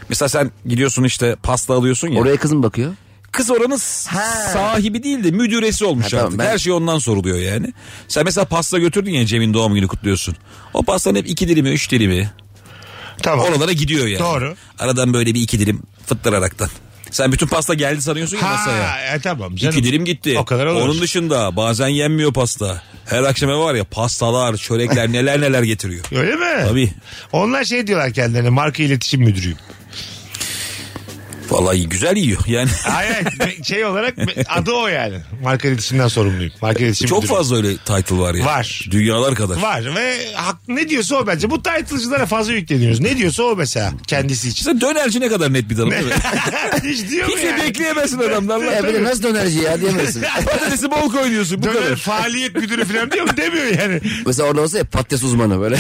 Speaker 9: Mesela sen gidiyorsun işte pasta alıyorsun ya.
Speaker 4: Oraya kız mı bakıyor?
Speaker 9: Kız oranın sahibi değil de müdüresi olmuş
Speaker 4: Ha, tamam,
Speaker 9: artık.
Speaker 4: ben-
Speaker 9: Her şey ondan soruluyor yani. Sen mesela pasta götürdün ya Cem'in doğum günü kutluyorsun. O pastanın hep iki dilimi üç dilimi
Speaker 3: Tamam.
Speaker 9: oralara gidiyor yani.
Speaker 3: Doğru.
Speaker 9: Aradan böyle bir iki dilim fıttıraraktan. Sen bütün pasta geldi sanıyorsun ya masaya.
Speaker 3: Ha, e, tamam canım.
Speaker 9: İki dilim gitti.
Speaker 3: O kadar olur.
Speaker 9: Onun dışında bazen yenmiyor pasta. Her akşama var ya
Speaker 3: [laughs]
Speaker 9: pastalar, çörekler neler neler getiriyor.
Speaker 3: Öyle mi?
Speaker 9: Tabii.
Speaker 3: Onlar şey diyorlar kendilerine marka iletişim müdürüyüm.
Speaker 9: Vallahi güzel yiyor.
Speaker 3: [laughs]
Speaker 9: Yani
Speaker 3: Hayır hayır. şey olarak adı o yani. Marka iletişimden sorumluyum. Marka iletişim
Speaker 9: çok
Speaker 3: müdürüyüm.
Speaker 9: fazla öyle title var ya.
Speaker 3: Var.
Speaker 9: Dünyalar kadar.
Speaker 3: Var ve hak- ne diyorsa o bence. Bu title'cılara fazla yükleniyoruz. Ne diyorsa o mesela kendisi için.
Speaker 9: İşte dönerci ne kadar net bir
Speaker 3: [laughs]
Speaker 9: tanım [laughs] değil mi?
Speaker 3: Hiç diyor mu
Speaker 9: Hiç de
Speaker 3: yani? [laughs]
Speaker 9: bekleyemezsin adamlarla.
Speaker 4: Ya E, böyle nasıl dönerci ya diyemezsin.
Speaker 9: Patatesi bol koyuyorsun bu
Speaker 3: Döner
Speaker 9: kadar.
Speaker 3: faaliyet müdürü falan diyor mu? Demiyor yani.
Speaker 4: Mesela orada olsa ya patates
Speaker 3: [laughs]
Speaker 4: uzmanı böyle.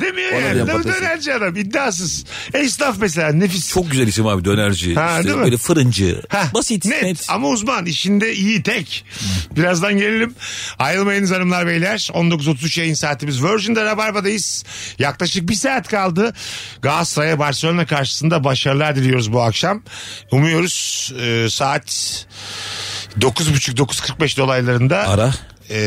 Speaker 3: Demiyor
Speaker 4: Ona
Speaker 3: yani. Dö-
Speaker 4: diyen patates.
Speaker 3: Dönerci adam iddiasız. Esnaf mesela nefis.
Speaker 9: Çok güzel isim abi dönerci.
Speaker 3: Ha,
Speaker 9: İşte
Speaker 3: değil mi?
Speaker 9: böyle fırıncı.
Speaker 3: Hah,
Speaker 9: Basit.
Speaker 3: net,
Speaker 9: Net.
Speaker 3: ama uzman işinde iyi tek. Birazdan gelelim. Ayrılmayınız hanımlar beyler. 19.33 yayın saatimiz Virgin'de Rabarba'dayız. Yaklaşık bir saat kaldı. Galatasaray'a Barcelona karşısında başarılar diliyoruz bu akşam. Umuyoruz e, saat 9.30-9.45 dolaylarında
Speaker 9: Ara.
Speaker 3: e,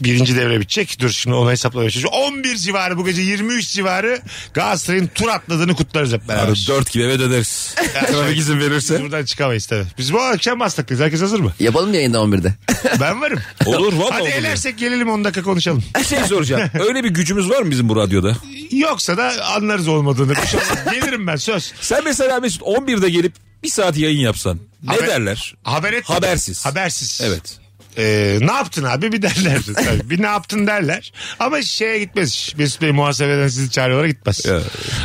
Speaker 3: birinci devre bitecek. Dur şimdi onu hesaplamaya çalışıyorum. 11 civarı bu gece 23 civarı Galatasaray'ın tur atladığını kutlarız hep beraber.
Speaker 9: Ara dört gibi eve döneriz. Trafik izin
Speaker 3: Biz
Speaker 9: verirse.
Speaker 3: buradan çıkamayız tabii. Biz bu akşam hastaklıyız. Herkes hazır
Speaker 9: [laughs]
Speaker 3: mı?
Speaker 4: Yapalım yayında 11'de.
Speaker 3: Ben varım.
Speaker 9: Olur valla
Speaker 3: Hadi
Speaker 9: olur.
Speaker 3: elersek gelelim 10 dakika konuşalım.
Speaker 9: Bir şey
Speaker 3: [laughs]
Speaker 9: soracağım. Öyle bir gücümüz var mı bizim bu radyoda?
Speaker 3: Yoksa da anlarız olmadığını. Bir şey olmaz. Gelirim ben söz.
Speaker 9: Sen mesela Mesut 11'de gelip bir saat yayın yapsan. Ne
Speaker 3: Haber-
Speaker 9: derler?
Speaker 3: Haber et.
Speaker 9: Habersiz.
Speaker 3: Habersiz.
Speaker 9: Evet.
Speaker 3: Ee, ne yaptın abi bir derler. Tabii. bir ne yaptın derler. Ama şeye gitmez. iş. Mesut Bey muhasebeden sizi çağırıyorlar gitmez.
Speaker 9: Evet.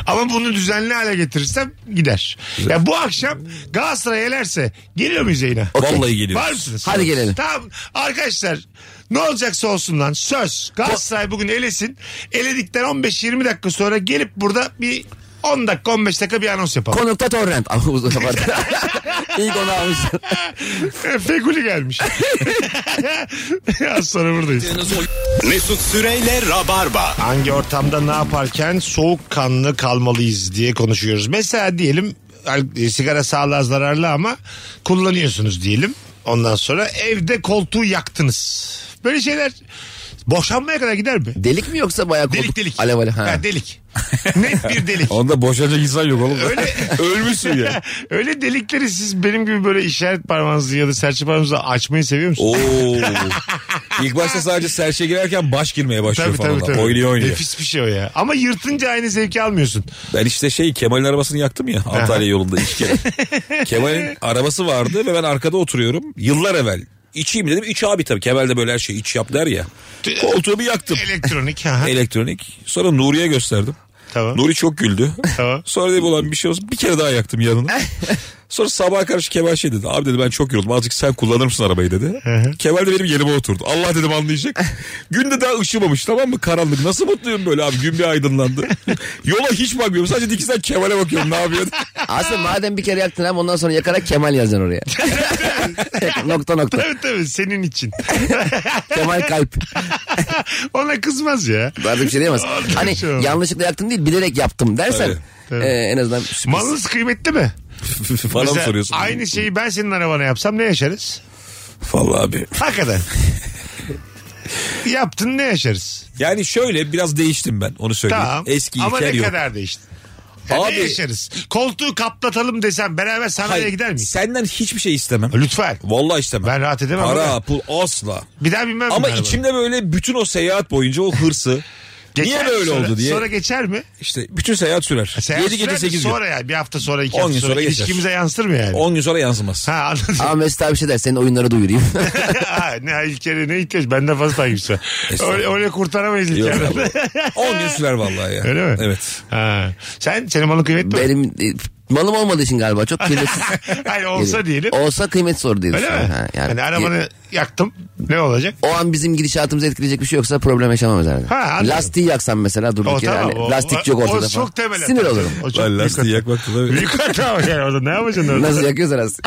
Speaker 3: Ama bunu düzenli hale getirirsem gider. Ya bu akşam Galatasaray elerse geliyor muyuz yayına?
Speaker 9: Vallahi
Speaker 3: Var
Speaker 9: geliyoruz.
Speaker 3: mısınız?
Speaker 4: Hadi gelelim.
Speaker 3: Tamam arkadaşlar ne olacaksa olsun lan söz. Galatasaray bugün elesin. Eledikten 15-20 dakika sonra gelip burada bir 10 dakika 15 dakika bir anons yapalım.
Speaker 4: Konukta torrent. Ama uzun kapat. [laughs] İlk onu almış.
Speaker 3: [laughs] Feguli gelmiş. [laughs] Az sonra buradayız.
Speaker 2: Mesut Süreyle Rabarba.
Speaker 3: Hangi ortamda ne yaparken soğukkanlı kalmalıyız diye konuşuyoruz. Mesela diyelim al- e, sigara sağlığa zararlı ama kullanıyorsunuz diyelim. Ondan sonra evde koltuğu yaktınız. Böyle şeyler boşanmaya kadar gider mi?
Speaker 4: Delik mi yoksa bayağı koltuk?
Speaker 3: Delik delik.
Speaker 4: Alev alev. Ha.
Speaker 3: Ha,
Speaker 9: [laughs]
Speaker 3: delik. Net bir delik.
Speaker 9: Onda boşanacak insan yok oğlum.
Speaker 3: Öyle-
Speaker 9: [laughs] Ölmüşsün ya.
Speaker 3: [laughs] Öyle delikleri siz benim gibi böyle işaret parmağınızı ya da serçe parmağınızı açmayı seviyor musunuz?
Speaker 9: Oo. İlk başta sadece serçe girerken baş girmeye başlıyor
Speaker 3: Tabii
Speaker 9: şey falan.
Speaker 3: tabii tabii.
Speaker 9: Oynuyor oynuyor.
Speaker 3: Nefis bir şey o ya. Ama yırtınca aynı zevki almıyorsun.
Speaker 9: Ben işte şey Kemal'in arabasını yaktım ya Antalya yolunda
Speaker 3: [laughs]
Speaker 9: iki kere. Kemal'in arabası vardı ve ben arkada oturuyorum. Yıllar evvel. İçeyim dedim. İç abi tabii. Kemal de böyle her şeyi iç yap der ya. Koltuğumu yaktım.
Speaker 3: Elektronik. ha.
Speaker 9: E, Elektronik. Sonra Nuri'ye gösterdim.
Speaker 3: tamam.
Speaker 9: Nuri çok güldü.
Speaker 3: Tamam.
Speaker 9: Sonra dedi olan bir şey olsun. Bir kere daha yaktım yanını.
Speaker 3: [laughs]
Speaker 9: Sonra sabaha karşı Kemal şey dedi. Abi dedi ben çok yoruldum. Azıcık sen kullanır mısın arabayı dedi. Kemal de benim yerime oturdu. Allah
Speaker 3: [laughs]
Speaker 9: dedim anlayacak. Gün de daha ışımamış tamam mı? Karanlık. Nasıl mutluyum böyle abi. Gün bir
Speaker 3: [laughs]
Speaker 9: aydınlandı. Yola hiç bakmıyorum. Sadece dikizden Kemal'e bakıyorum. Ne yapıyor?
Speaker 4: Aslında madem bir kere yaktın hem ondan sonra yakarak Kemal yazacaksın oraya.
Speaker 3: [laughs]
Speaker 4: nokta nokta.
Speaker 3: Tabii tabii senin için. [laughs]
Speaker 4: Kemal kalp.
Speaker 3: Ona kızmaz ya.
Speaker 4: Artık bir
Speaker 3: [laughs]
Speaker 4: şey diyemez.
Speaker 3: Artık
Speaker 4: hani
Speaker 3: bir şey olmaz.
Speaker 4: yanlışlıkla yaktım değil bilerek yaptım dersen
Speaker 9: Tabii,
Speaker 3: tabii.
Speaker 4: e, en azından sürpriz.
Speaker 3: Malınız kıymetli mi?
Speaker 9: Bana mı
Speaker 3: Mesela
Speaker 9: soruyorsun?
Speaker 3: Aynı şeyi ben senin arabana yapsam ne yaşarız?
Speaker 9: Vallahi abi.
Speaker 3: Hakikaten. Yaptın ne yaşarız?
Speaker 9: Yani şöyle biraz değiştim ben. Onu söyleyeyim.
Speaker 3: Tamam.
Speaker 9: Eski
Speaker 3: Ama
Speaker 9: İlker
Speaker 3: ne
Speaker 9: yok.
Speaker 3: kadar değişti? Ya
Speaker 9: Abi-
Speaker 3: ne yaşarız? Koltuğu kaplatalım desem beraber sanayiye
Speaker 9: Hayır,
Speaker 3: gider miyiz?
Speaker 9: Senden hiçbir şey istemem.
Speaker 3: Lütfen.
Speaker 9: Vallahi istemem.
Speaker 3: Ben rahat edemem
Speaker 9: Para,
Speaker 3: ama.
Speaker 9: pul asla.
Speaker 3: Bir daha bilmem.
Speaker 9: Ama
Speaker 3: ben arabaya.
Speaker 9: içimde böyle bütün o seyahat boyunca o hırsı Niye
Speaker 3: mi
Speaker 9: böyle
Speaker 3: sonra?
Speaker 9: oldu diye.
Speaker 3: Sonra geçer mi?
Speaker 9: İşte bütün seyahat sürer.
Speaker 3: Seyahat
Speaker 9: 7 gece
Speaker 3: sürer mi?
Speaker 9: 8 gün.
Speaker 3: Sonra ya bir hafta sonra iki
Speaker 9: On
Speaker 3: hafta
Speaker 9: gün
Speaker 3: sonra,
Speaker 9: sonra geçer.
Speaker 3: ilişkimize yansır mı yani?
Speaker 9: 10 gün sonra yansımaz.
Speaker 3: Ha anladım.
Speaker 4: Ama Mesut abi şey der senin
Speaker 3: [laughs]
Speaker 4: oyunları duyurayım.
Speaker 3: Ha, ne İlker'e ne ihtiyaç? Benden fazla takipçi var.
Speaker 9: Estağfurullah.
Speaker 3: Öyle, öyle kurtaramayız
Speaker 9: Yok
Speaker 3: İlker'i.
Speaker 9: abi. 10 gün sürer vallahi ya.
Speaker 3: [laughs] Öyle mi?
Speaker 9: Evet.
Speaker 3: Ha. Sen, senin malın kıymetli mi?
Speaker 4: [laughs] Benim e, malım olmadığı için
Speaker 3: [laughs]
Speaker 4: galiba çok kıymetsiz.
Speaker 3: Hayır olsa
Speaker 4: geliyor.
Speaker 3: diyelim.
Speaker 4: Olsa kıymet soru diye
Speaker 3: Öyle mi? Hani
Speaker 4: düşünüyorum. Ha,
Speaker 3: yani, arabanı yaktım. Ne olacak?
Speaker 4: O an bizim gidişatımızı etkileyecek bir şey yoksa problem yaşamamız herhalde.
Speaker 3: Ha, anladım.
Speaker 4: Lastiği yaksan mesela durduk
Speaker 3: O
Speaker 4: yere.
Speaker 3: tamam.
Speaker 4: hani
Speaker 3: o-
Speaker 4: lastik yok
Speaker 3: o-
Speaker 4: ortada
Speaker 3: O
Speaker 4: falan.
Speaker 3: çok temel. hata.
Speaker 4: Sinir olurum.
Speaker 3: O çok
Speaker 9: Lan
Speaker 3: büyük
Speaker 9: lastiği
Speaker 3: hata.
Speaker 9: yakmakta da
Speaker 3: Büyük hata var yani orada ne yapacaksın orada?
Speaker 4: Nasıl
Speaker 3: [laughs]
Speaker 4: yakıyorsa lastik.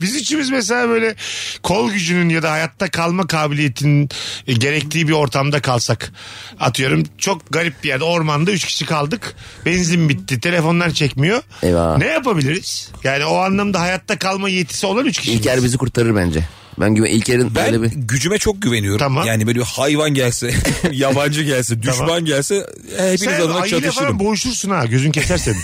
Speaker 3: Biz üçümüz mesela böyle kol gücünün ya da hayatta kalma kabiliyetinin e, gerektiği bir ortamda kalsak. Atıyorum çok garip bir yerde ormanda üç kişi kaldık. Benzin bitti. Telefonlar çekmiyor.
Speaker 4: Eyvah.
Speaker 3: Ne yapabiliriz? Yani o anlamda hayatta kalma yetisi olan üç kişi.
Speaker 4: İlker bizi kurtarır bence. Ben güven İlker'in
Speaker 9: Ben
Speaker 3: [laughs]
Speaker 4: böyle bir...
Speaker 9: gücüme çok güveniyorum.
Speaker 3: Tamam.
Speaker 9: Yani böyle bir
Speaker 3: [laughs]
Speaker 9: hayvan gelse, yabancı gelse, düşman
Speaker 3: Tamam.
Speaker 9: gelse e, hepiniz
Speaker 3: Sen
Speaker 9: adına
Speaker 3: ayıyla falan
Speaker 9: çatışırım.
Speaker 3: boğuşursun ha. Gözün keser senin.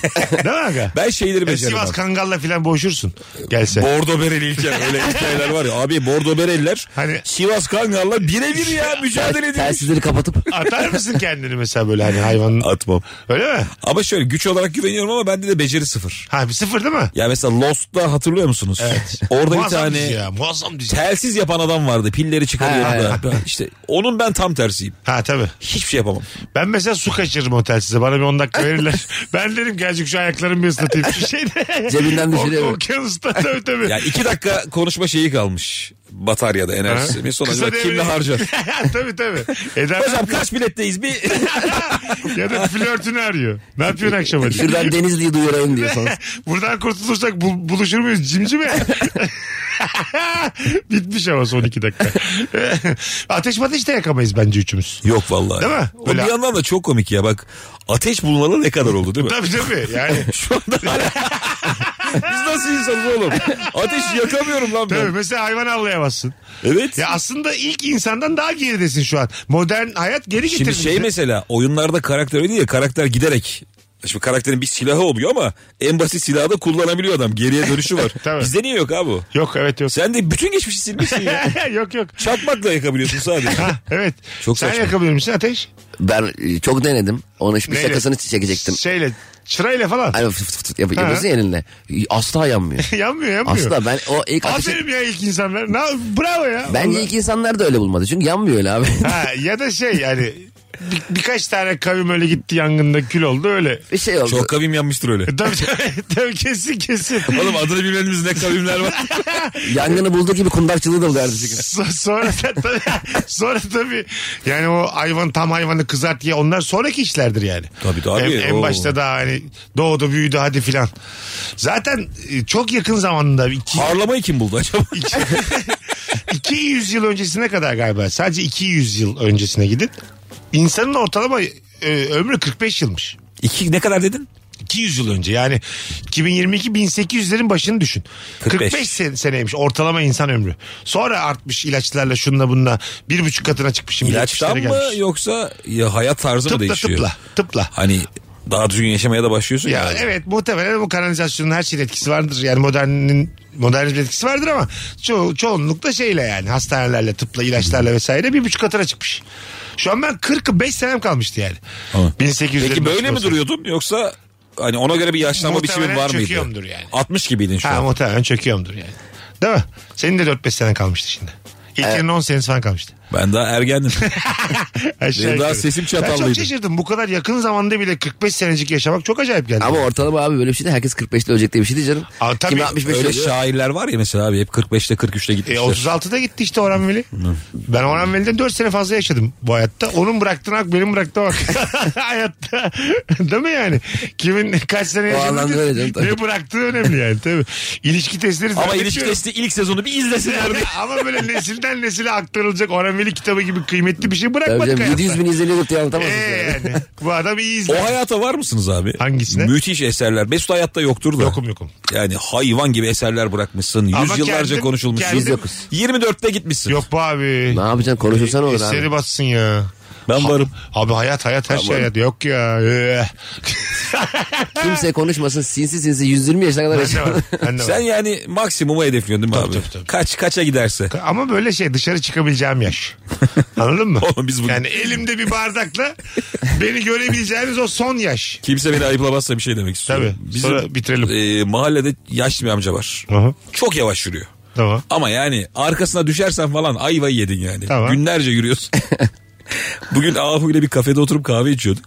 Speaker 3: Değil mi aga?
Speaker 9: Ben şeyleri
Speaker 3: E,
Speaker 9: beceririm.
Speaker 3: Sivas
Speaker 9: abi.
Speaker 3: Kangal'la falan boğuşursun. Gelse.
Speaker 9: Bordo bereli İlker öyle
Speaker 3: [laughs]
Speaker 9: hikayeler var ya. Abi Bordo bereller
Speaker 3: Hani-
Speaker 9: Sivas Kangal'la birebir ya mücadele edilmiş.
Speaker 4: Telsizleri kapatıp
Speaker 3: Atar mısın kendini mesela böyle hani hayvanın?
Speaker 9: Atmam.
Speaker 3: Öyle mi?
Speaker 9: Ama şöyle güç olarak güveniyorum ama bende de beceri sıfır.
Speaker 3: Ha bir sıfır değil mi?
Speaker 9: Ya mesela Lost'ta hatırlıyor musunuz? [laughs] Orada bir
Speaker 3: Muazzam
Speaker 9: tane
Speaker 3: dizi ya, muazzam dizi.
Speaker 9: telsiz yapan adam vardı. Pilleri
Speaker 4: Ha,
Speaker 9: çıkarıyordu da.
Speaker 4: ha.
Speaker 9: Ben- İşte onun ben tam tersiyim.
Speaker 3: Ha tabii.
Speaker 9: Hiçbir şey yapamam.
Speaker 3: Ben mesela su kaçırırım otel size. Bana bir 10 dakika
Speaker 9: [laughs]
Speaker 3: verirler. [laughs] ben dedim ki azıcık şu ayaklarımı bir ıslatayım. Şu şeyde.
Speaker 4: Cebinden
Speaker 9: şey
Speaker 4: düşürüyor.
Speaker 3: O, okyanusta tabii tabii.
Speaker 9: Yani iki dakika konuşma şeyi kalmış. Bataryada enerjisi. Bir sonra
Speaker 3: Kısa
Speaker 9: acaba kimle
Speaker 3: devre- [laughs]
Speaker 9: harcar?
Speaker 3: tabii tabii. Eder
Speaker 9: Hocam kaç biletteyiz bir?
Speaker 3: [laughs] ya da flörtünü arıyor. Ne yapıyorsun akşam hadi? [laughs]
Speaker 4: şuradan Denizli'yi duyurayım diyor sonra.
Speaker 3: Buradan kurtulursak bu- buluşur muyuz cimcime? [laughs] Bitmiş ama son iki dakika. [laughs] Ateş ateş de yakamayız bence üçümüz.
Speaker 9: Yok vallahi.
Speaker 3: Değil mi?
Speaker 9: O
Speaker 3: Öyle-
Speaker 9: Bir yandan da çok komik ya bak. Ateş bulunalı ne kadar oldu değil mi?
Speaker 3: Tabii tabii yani.
Speaker 9: [laughs] Şu
Speaker 3: [laughs]
Speaker 9: anda [laughs] Biz nasıl insanız oğlum? Ateş yakamıyorum lan
Speaker 3: Tabii
Speaker 9: ben.
Speaker 3: mesela hayvan avlayamazsın.
Speaker 9: Evet.
Speaker 3: Ya aslında ilk insandan daha geridesin şu an. Modern hayat geri getirdi.
Speaker 9: Şimdi şey
Speaker 3: bizi.
Speaker 9: mesela oyunlarda karakter öyle değil ya karakter giderek Şimdi karakterin bir silahı oluyor ama en basit silahı da kullanabiliyor adam. Geriye dönüşü var.
Speaker 3: [laughs] Tabii.
Speaker 9: Bizde niye yok abi bu?
Speaker 3: Yok evet yok.
Speaker 9: Sen de bütün geçmişi silmişsin ya.
Speaker 3: [laughs] yok yok.
Speaker 9: Çakmakla yakabiliyorsun sadece.
Speaker 3: Ha, evet.
Speaker 9: Çok
Speaker 3: Sen
Speaker 9: saçma.
Speaker 3: yakabilir misin ateş?
Speaker 4: Ben e, çok denedim. Onun hiçbir
Speaker 3: Neyle?
Speaker 4: şakasını çekecektim.
Speaker 3: Şeyle çırayla falan.
Speaker 4: Hani fıt fıt fıt yap- yapıyorsun ya elinle.
Speaker 3: [laughs]
Speaker 4: Asla yanmıyor.
Speaker 3: yanmıyor yanmıyor.
Speaker 4: Asla ben o ilk ateşi...
Speaker 3: Aferin ya ilk insanlar. Na, bravo ya.
Speaker 4: Bence
Speaker 3: Vallahi.
Speaker 4: ilk insanlar da öyle bulmadı. Çünkü yanmıyor öyle abi. [laughs]
Speaker 3: Ha, ya da şey yani bir- birkaç tane kavim öyle gitti yangında kül oldu öyle.
Speaker 4: bir şey oldu.
Speaker 9: Çok kavim
Speaker 3: [laughs]
Speaker 9: yanmıştır öyle.
Speaker 3: E, Tabii tabii, tabii kesin kesin.
Speaker 9: Oğlum adını bilmediğimiz ne
Speaker 3: [laughs]
Speaker 9: kavimler var.
Speaker 4: Yangını bulduğu gibi kundakçılığı da buldu çünkü.
Speaker 3: So- sonra da- tabii, sonra tabii yani o hayvan tam hayvanı kızart ye onlar sonraki işlerdir yani.
Speaker 9: Tabii, tabii.
Speaker 3: En, en
Speaker 9: Oo.
Speaker 3: başta daha hani doğdu büyüdü hadi filan. Zaten e, çok yakın zamanda iki,
Speaker 9: Harlamayı kim buldu acaba?
Speaker 3: iki, [laughs] 200 yıl öncesine kadar galiba sadece 200 yıl öncesine gidin. İnsanın ortalama e, ömrü 45 yılmış.
Speaker 9: İki ne kadar dedin?
Speaker 3: 200 yıl önce yani 2022 1800'lerin başını düşün. 45,
Speaker 9: 45
Speaker 3: sen- seneymiş ortalama insan ömrü. Sonra artmış ilaçlarla şunla bunla bir buçuk katına çıkmışım.
Speaker 9: İlaçtan
Speaker 3: 70'lere
Speaker 9: mı
Speaker 3: gelmiş.
Speaker 9: yoksa ya hayat tarzı mı
Speaker 3: Tıpla
Speaker 9: değişiyor?
Speaker 3: tıpla tıpla.
Speaker 9: Hani daha düzgün yaşamaya da başlıyorsun
Speaker 3: Ya
Speaker 9: ya.
Speaker 3: evet muhtemelen bu kanalizasyonun her şeyin etkisi vardır. Yani modernin modernizmin etkisi vardır ama ço çoğunlukla şeyle yani hastanelerle, tıpla, ilaçlarla vesaire bir buçuk katına çıkmış. Şu an ben 45 senem kalmıştı yani.
Speaker 9: Ama.
Speaker 3: 1800
Speaker 9: Peki böyle mi duruyordun yoksa hani ona göre bir yaşlanma biçimin
Speaker 3: Muhtemelen
Speaker 9: var mıydı?
Speaker 3: çöküyorumdur yani.
Speaker 9: 60 gibiydin şu
Speaker 3: Ha
Speaker 9: an.
Speaker 3: muhtemelen çöküyorumdur yani. Değil mi? Senin de 4-5 senen kalmıştı şimdi. İlker'in 10 senesi falan kalmıştı.
Speaker 9: Ben daha
Speaker 3: [laughs]
Speaker 9: ergendim.
Speaker 3: Aşağı
Speaker 9: Benim daha
Speaker 3: yukarı.
Speaker 9: sesim
Speaker 3: Ben çok
Speaker 9: çatallıydı.
Speaker 3: şaşırdım. Bu kadar yakın zamanda bile 45 senecik yaşamak çok acayip geldi.
Speaker 4: Ama ortalama abi böyle bir şey de herkes 45'te ölecek diye bir şey değil canım.
Speaker 3: Aa, tabii.
Speaker 4: Kim 65
Speaker 9: Öyle
Speaker 4: oluyor?
Speaker 9: şairler var ya mesela abi hep 45'te 43'te
Speaker 3: E,
Speaker 9: gitmişler.
Speaker 3: 36'da gitti işte Orhan Veli. Ben Orhan Veli'den 4 sene fazla yaşadım bu hayatta. Onun bıraktığına bak benim bıraktığıma bak. [laughs] hayatta. Değil mi yani? Kimin kaç sene
Speaker 4: O anlamda öyle canım,
Speaker 3: yaşadığı
Speaker 4: tabii.
Speaker 3: ne bıraktığı önemli yani tabii. İlişki testleri
Speaker 9: Ama
Speaker 3: zannetmiyorum.
Speaker 9: ilişki testi ilk sezonu bir izlesinler diye.
Speaker 3: [laughs] Ama böyle nesilden nesile aktarılacak Orhan Veli kitabı gibi kıymetli bir şey
Speaker 4: Tabii
Speaker 3: bırakmadık
Speaker 4: canım,
Speaker 3: hayatta.
Speaker 4: 700 bin izleniyorduk diye anlatamazsın.
Speaker 3: Ee, yani. [laughs] Bu adam iyi izler.
Speaker 9: O hayata var mısınız abi?
Speaker 3: Hangisine?
Speaker 9: Müthiş eserler. Mesut hayatta yoktur da.
Speaker 3: Yokum yokum.
Speaker 9: Yani hayvan gibi eserler bırakmışsın.
Speaker 3: Ama
Speaker 9: Yüzyıllarca
Speaker 3: kendim-
Speaker 9: konuşulmuşsun.
Speaker 3: kendim-
Speaker 9: 24'te gitmişsin.
Speaker 3: Yok bu abi.
Speaker 4: Ne yapacaksın konuşursan olur
Speaker 3: Eseri
Speaker 4: abi.
Speaker 3: batsın ya.
Speaker 9: Ben
Speaker 3: Ha-
Speaker 9: varım.
Speaker 3: Abi hayat hayat her şey hayat. Yok ya. Ee.
Speaker 4: Kimse konuşmasın sinsi sinsi 120 yaşına kadar
Speaker 3: [laughs] Ben de
Speaker 4: yaşa.
Speaker 3: var, ben de var.
Speaker 9: Sen yani maksimumu hedefliyorsun değil mi
Speaker 3: Tabii,
Speaker 9: abi?
Speaker 3: tabii, tabii.
Speaker 9: Kaç kaça giderse.
Speaker 3: Ama böyle şey dışarı çıkabileceğim
Speaker 9: [laughs]
Speaker 3: yaş. Anladın mı?
Speaker 9: Oğlum biz bugün-
Speaker 3: Yani elimde bir
Speaker 9: [laughs]
Speaker 3: bardakla beni görebileceğiniz o son yaş.
Speaker 9: Kimse beni ayıplamazsa bir şey demek istiyorum.
Speaker 3: Tabii. Sonra bitirelim.
Speaker 9: e, mahallede yaşlı bir amca var.
Speaker 3: Aha.
Speaker 9: Çok yavaş yürüyor. [laughs]
Speaker 3: Tamam.
Speaker 9: Ama yani arkasına düşersen falan ayvayı yedin yani.
Speaker 3: Tamam. [laughs]
Speaker 9: Günlerce yürüyorsun. Bugün Ahu ile bir kafede oturup kahve içiyorduk.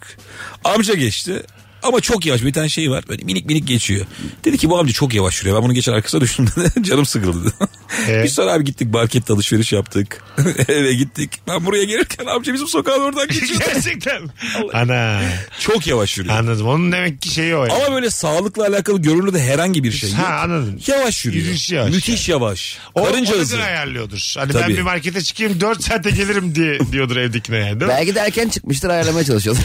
Speaker 9: Amca geçti. Ama çok yavaş bir tane şey var. Böyle minik minik geçiyor. Dedi ki bu amca çok yavaş yürüyor. Ben bunu geçen arkasına düştüm [laughs] dedi. Canım sıkıldı dedi.
Speaker 3: Ee?
Speaker 9: Biz sonra abi gittik markette alışveriş yaptık. [laughs] Eve gittik. Ben buraya gelirken amca bizim sokağın oradan geçiyordu.
Speaker 3: [laughs] Gerçekten. Ana.
Speaker 9: çok yavaş yürüyor.
Speaker 3: Anladım. Onun demek ki şeyi o. yani.
Speaker 9: Ama böyle sağlıkla alakalı görünürde herhangi bir şey yok.
Speaker 3: Ha, anladım.
Speaker 9: Yavaş yürüyor.
Speaker 3: Yürüyüşü yavaş
Speaker 9: Müthiş yavaş.
Speaker 3: O,
Speaker 9: Karınca
Speaker 3: o
Speaker 9: hızı.
Speaker 3: yüzden ayarlıyordur. Hani ben
Speaker 9: Tabii.
Speaker 3: bir markete çıkayım 4 saate gelirim diye diyordur evdekine yani. Değil mi?
Speaker 4: Belki de erken çıkmıştır
Speaker 3: [laughs]
Speaker 4: ayarlamaya çalışıyorlar.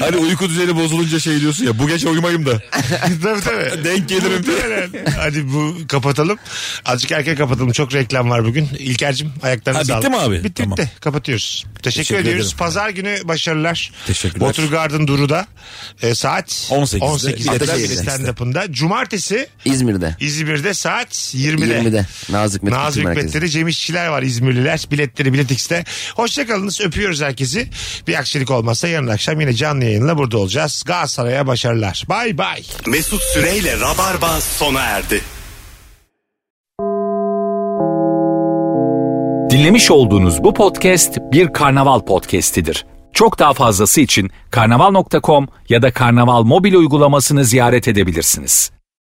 Speaker 9: Hani uyku düzeni bozulunca şey diyorsun ya bu gece uyumayayım da.
Speaker 3: tabii tabii.
Speaker 9: [laughs] Denk gelirim diye.
Speaker 3: Muhtemelen. Hadi bu kapatalım. Azıcık erken kapatalım. Çok reklam var bugün. İlker'cim ayaklarına
Speaker 9: Ha, bitti
Speaker 3: sağlık.
Speaker 9: mi abi?
Speaker 3: Bitti
Speaker 9: Tamam.
Speaker 3: bitti. Kapatıyoruz. Teşekkür,
Speaker 9: Teşekkür
Speaker 3: ediyoruz.
Speaker 9: ederim.
Speaker 3: Pazar günü başarılar.
Speaker 9: Teşekkürler.
Speaker 3: Watergarden Duru'da e, saat
Speaker 9: 18'de.
Speaker 3: 18'de.
Speaker 4: Ataşehir'de.
Speaker 3: stand-up'ında. Cumartesi
Speaker 4: İzmir'de.
Speaker 3: İzmir'de saat 20'de.
Speaker 4: 20'de. Nazik Hikmet
Speaker 3: Nazım
Speaker 4: Kültür Merkezi.
Speaker 3: Hikmetleri, Cem İşçiler var İzmirliler. Biletleri Bilet X'te. Hoşçakalınız. Öpüyoruz herkesi. Bir aksilik olmazsa yarın akşam yine canlı yayınla burada olacağız. Galatasaray'a başarılar. Bay bay.
Speaker 2: Mesut Süreyle Rabarba sona erdi.
Speaker 1: Dinlemiş olduğunuz bu podcast bir karnaval podcastidir. Çok daha fazlası için karnaval.com ya da karnaval mobil uygulamasını ziyaret edebilirsiniz.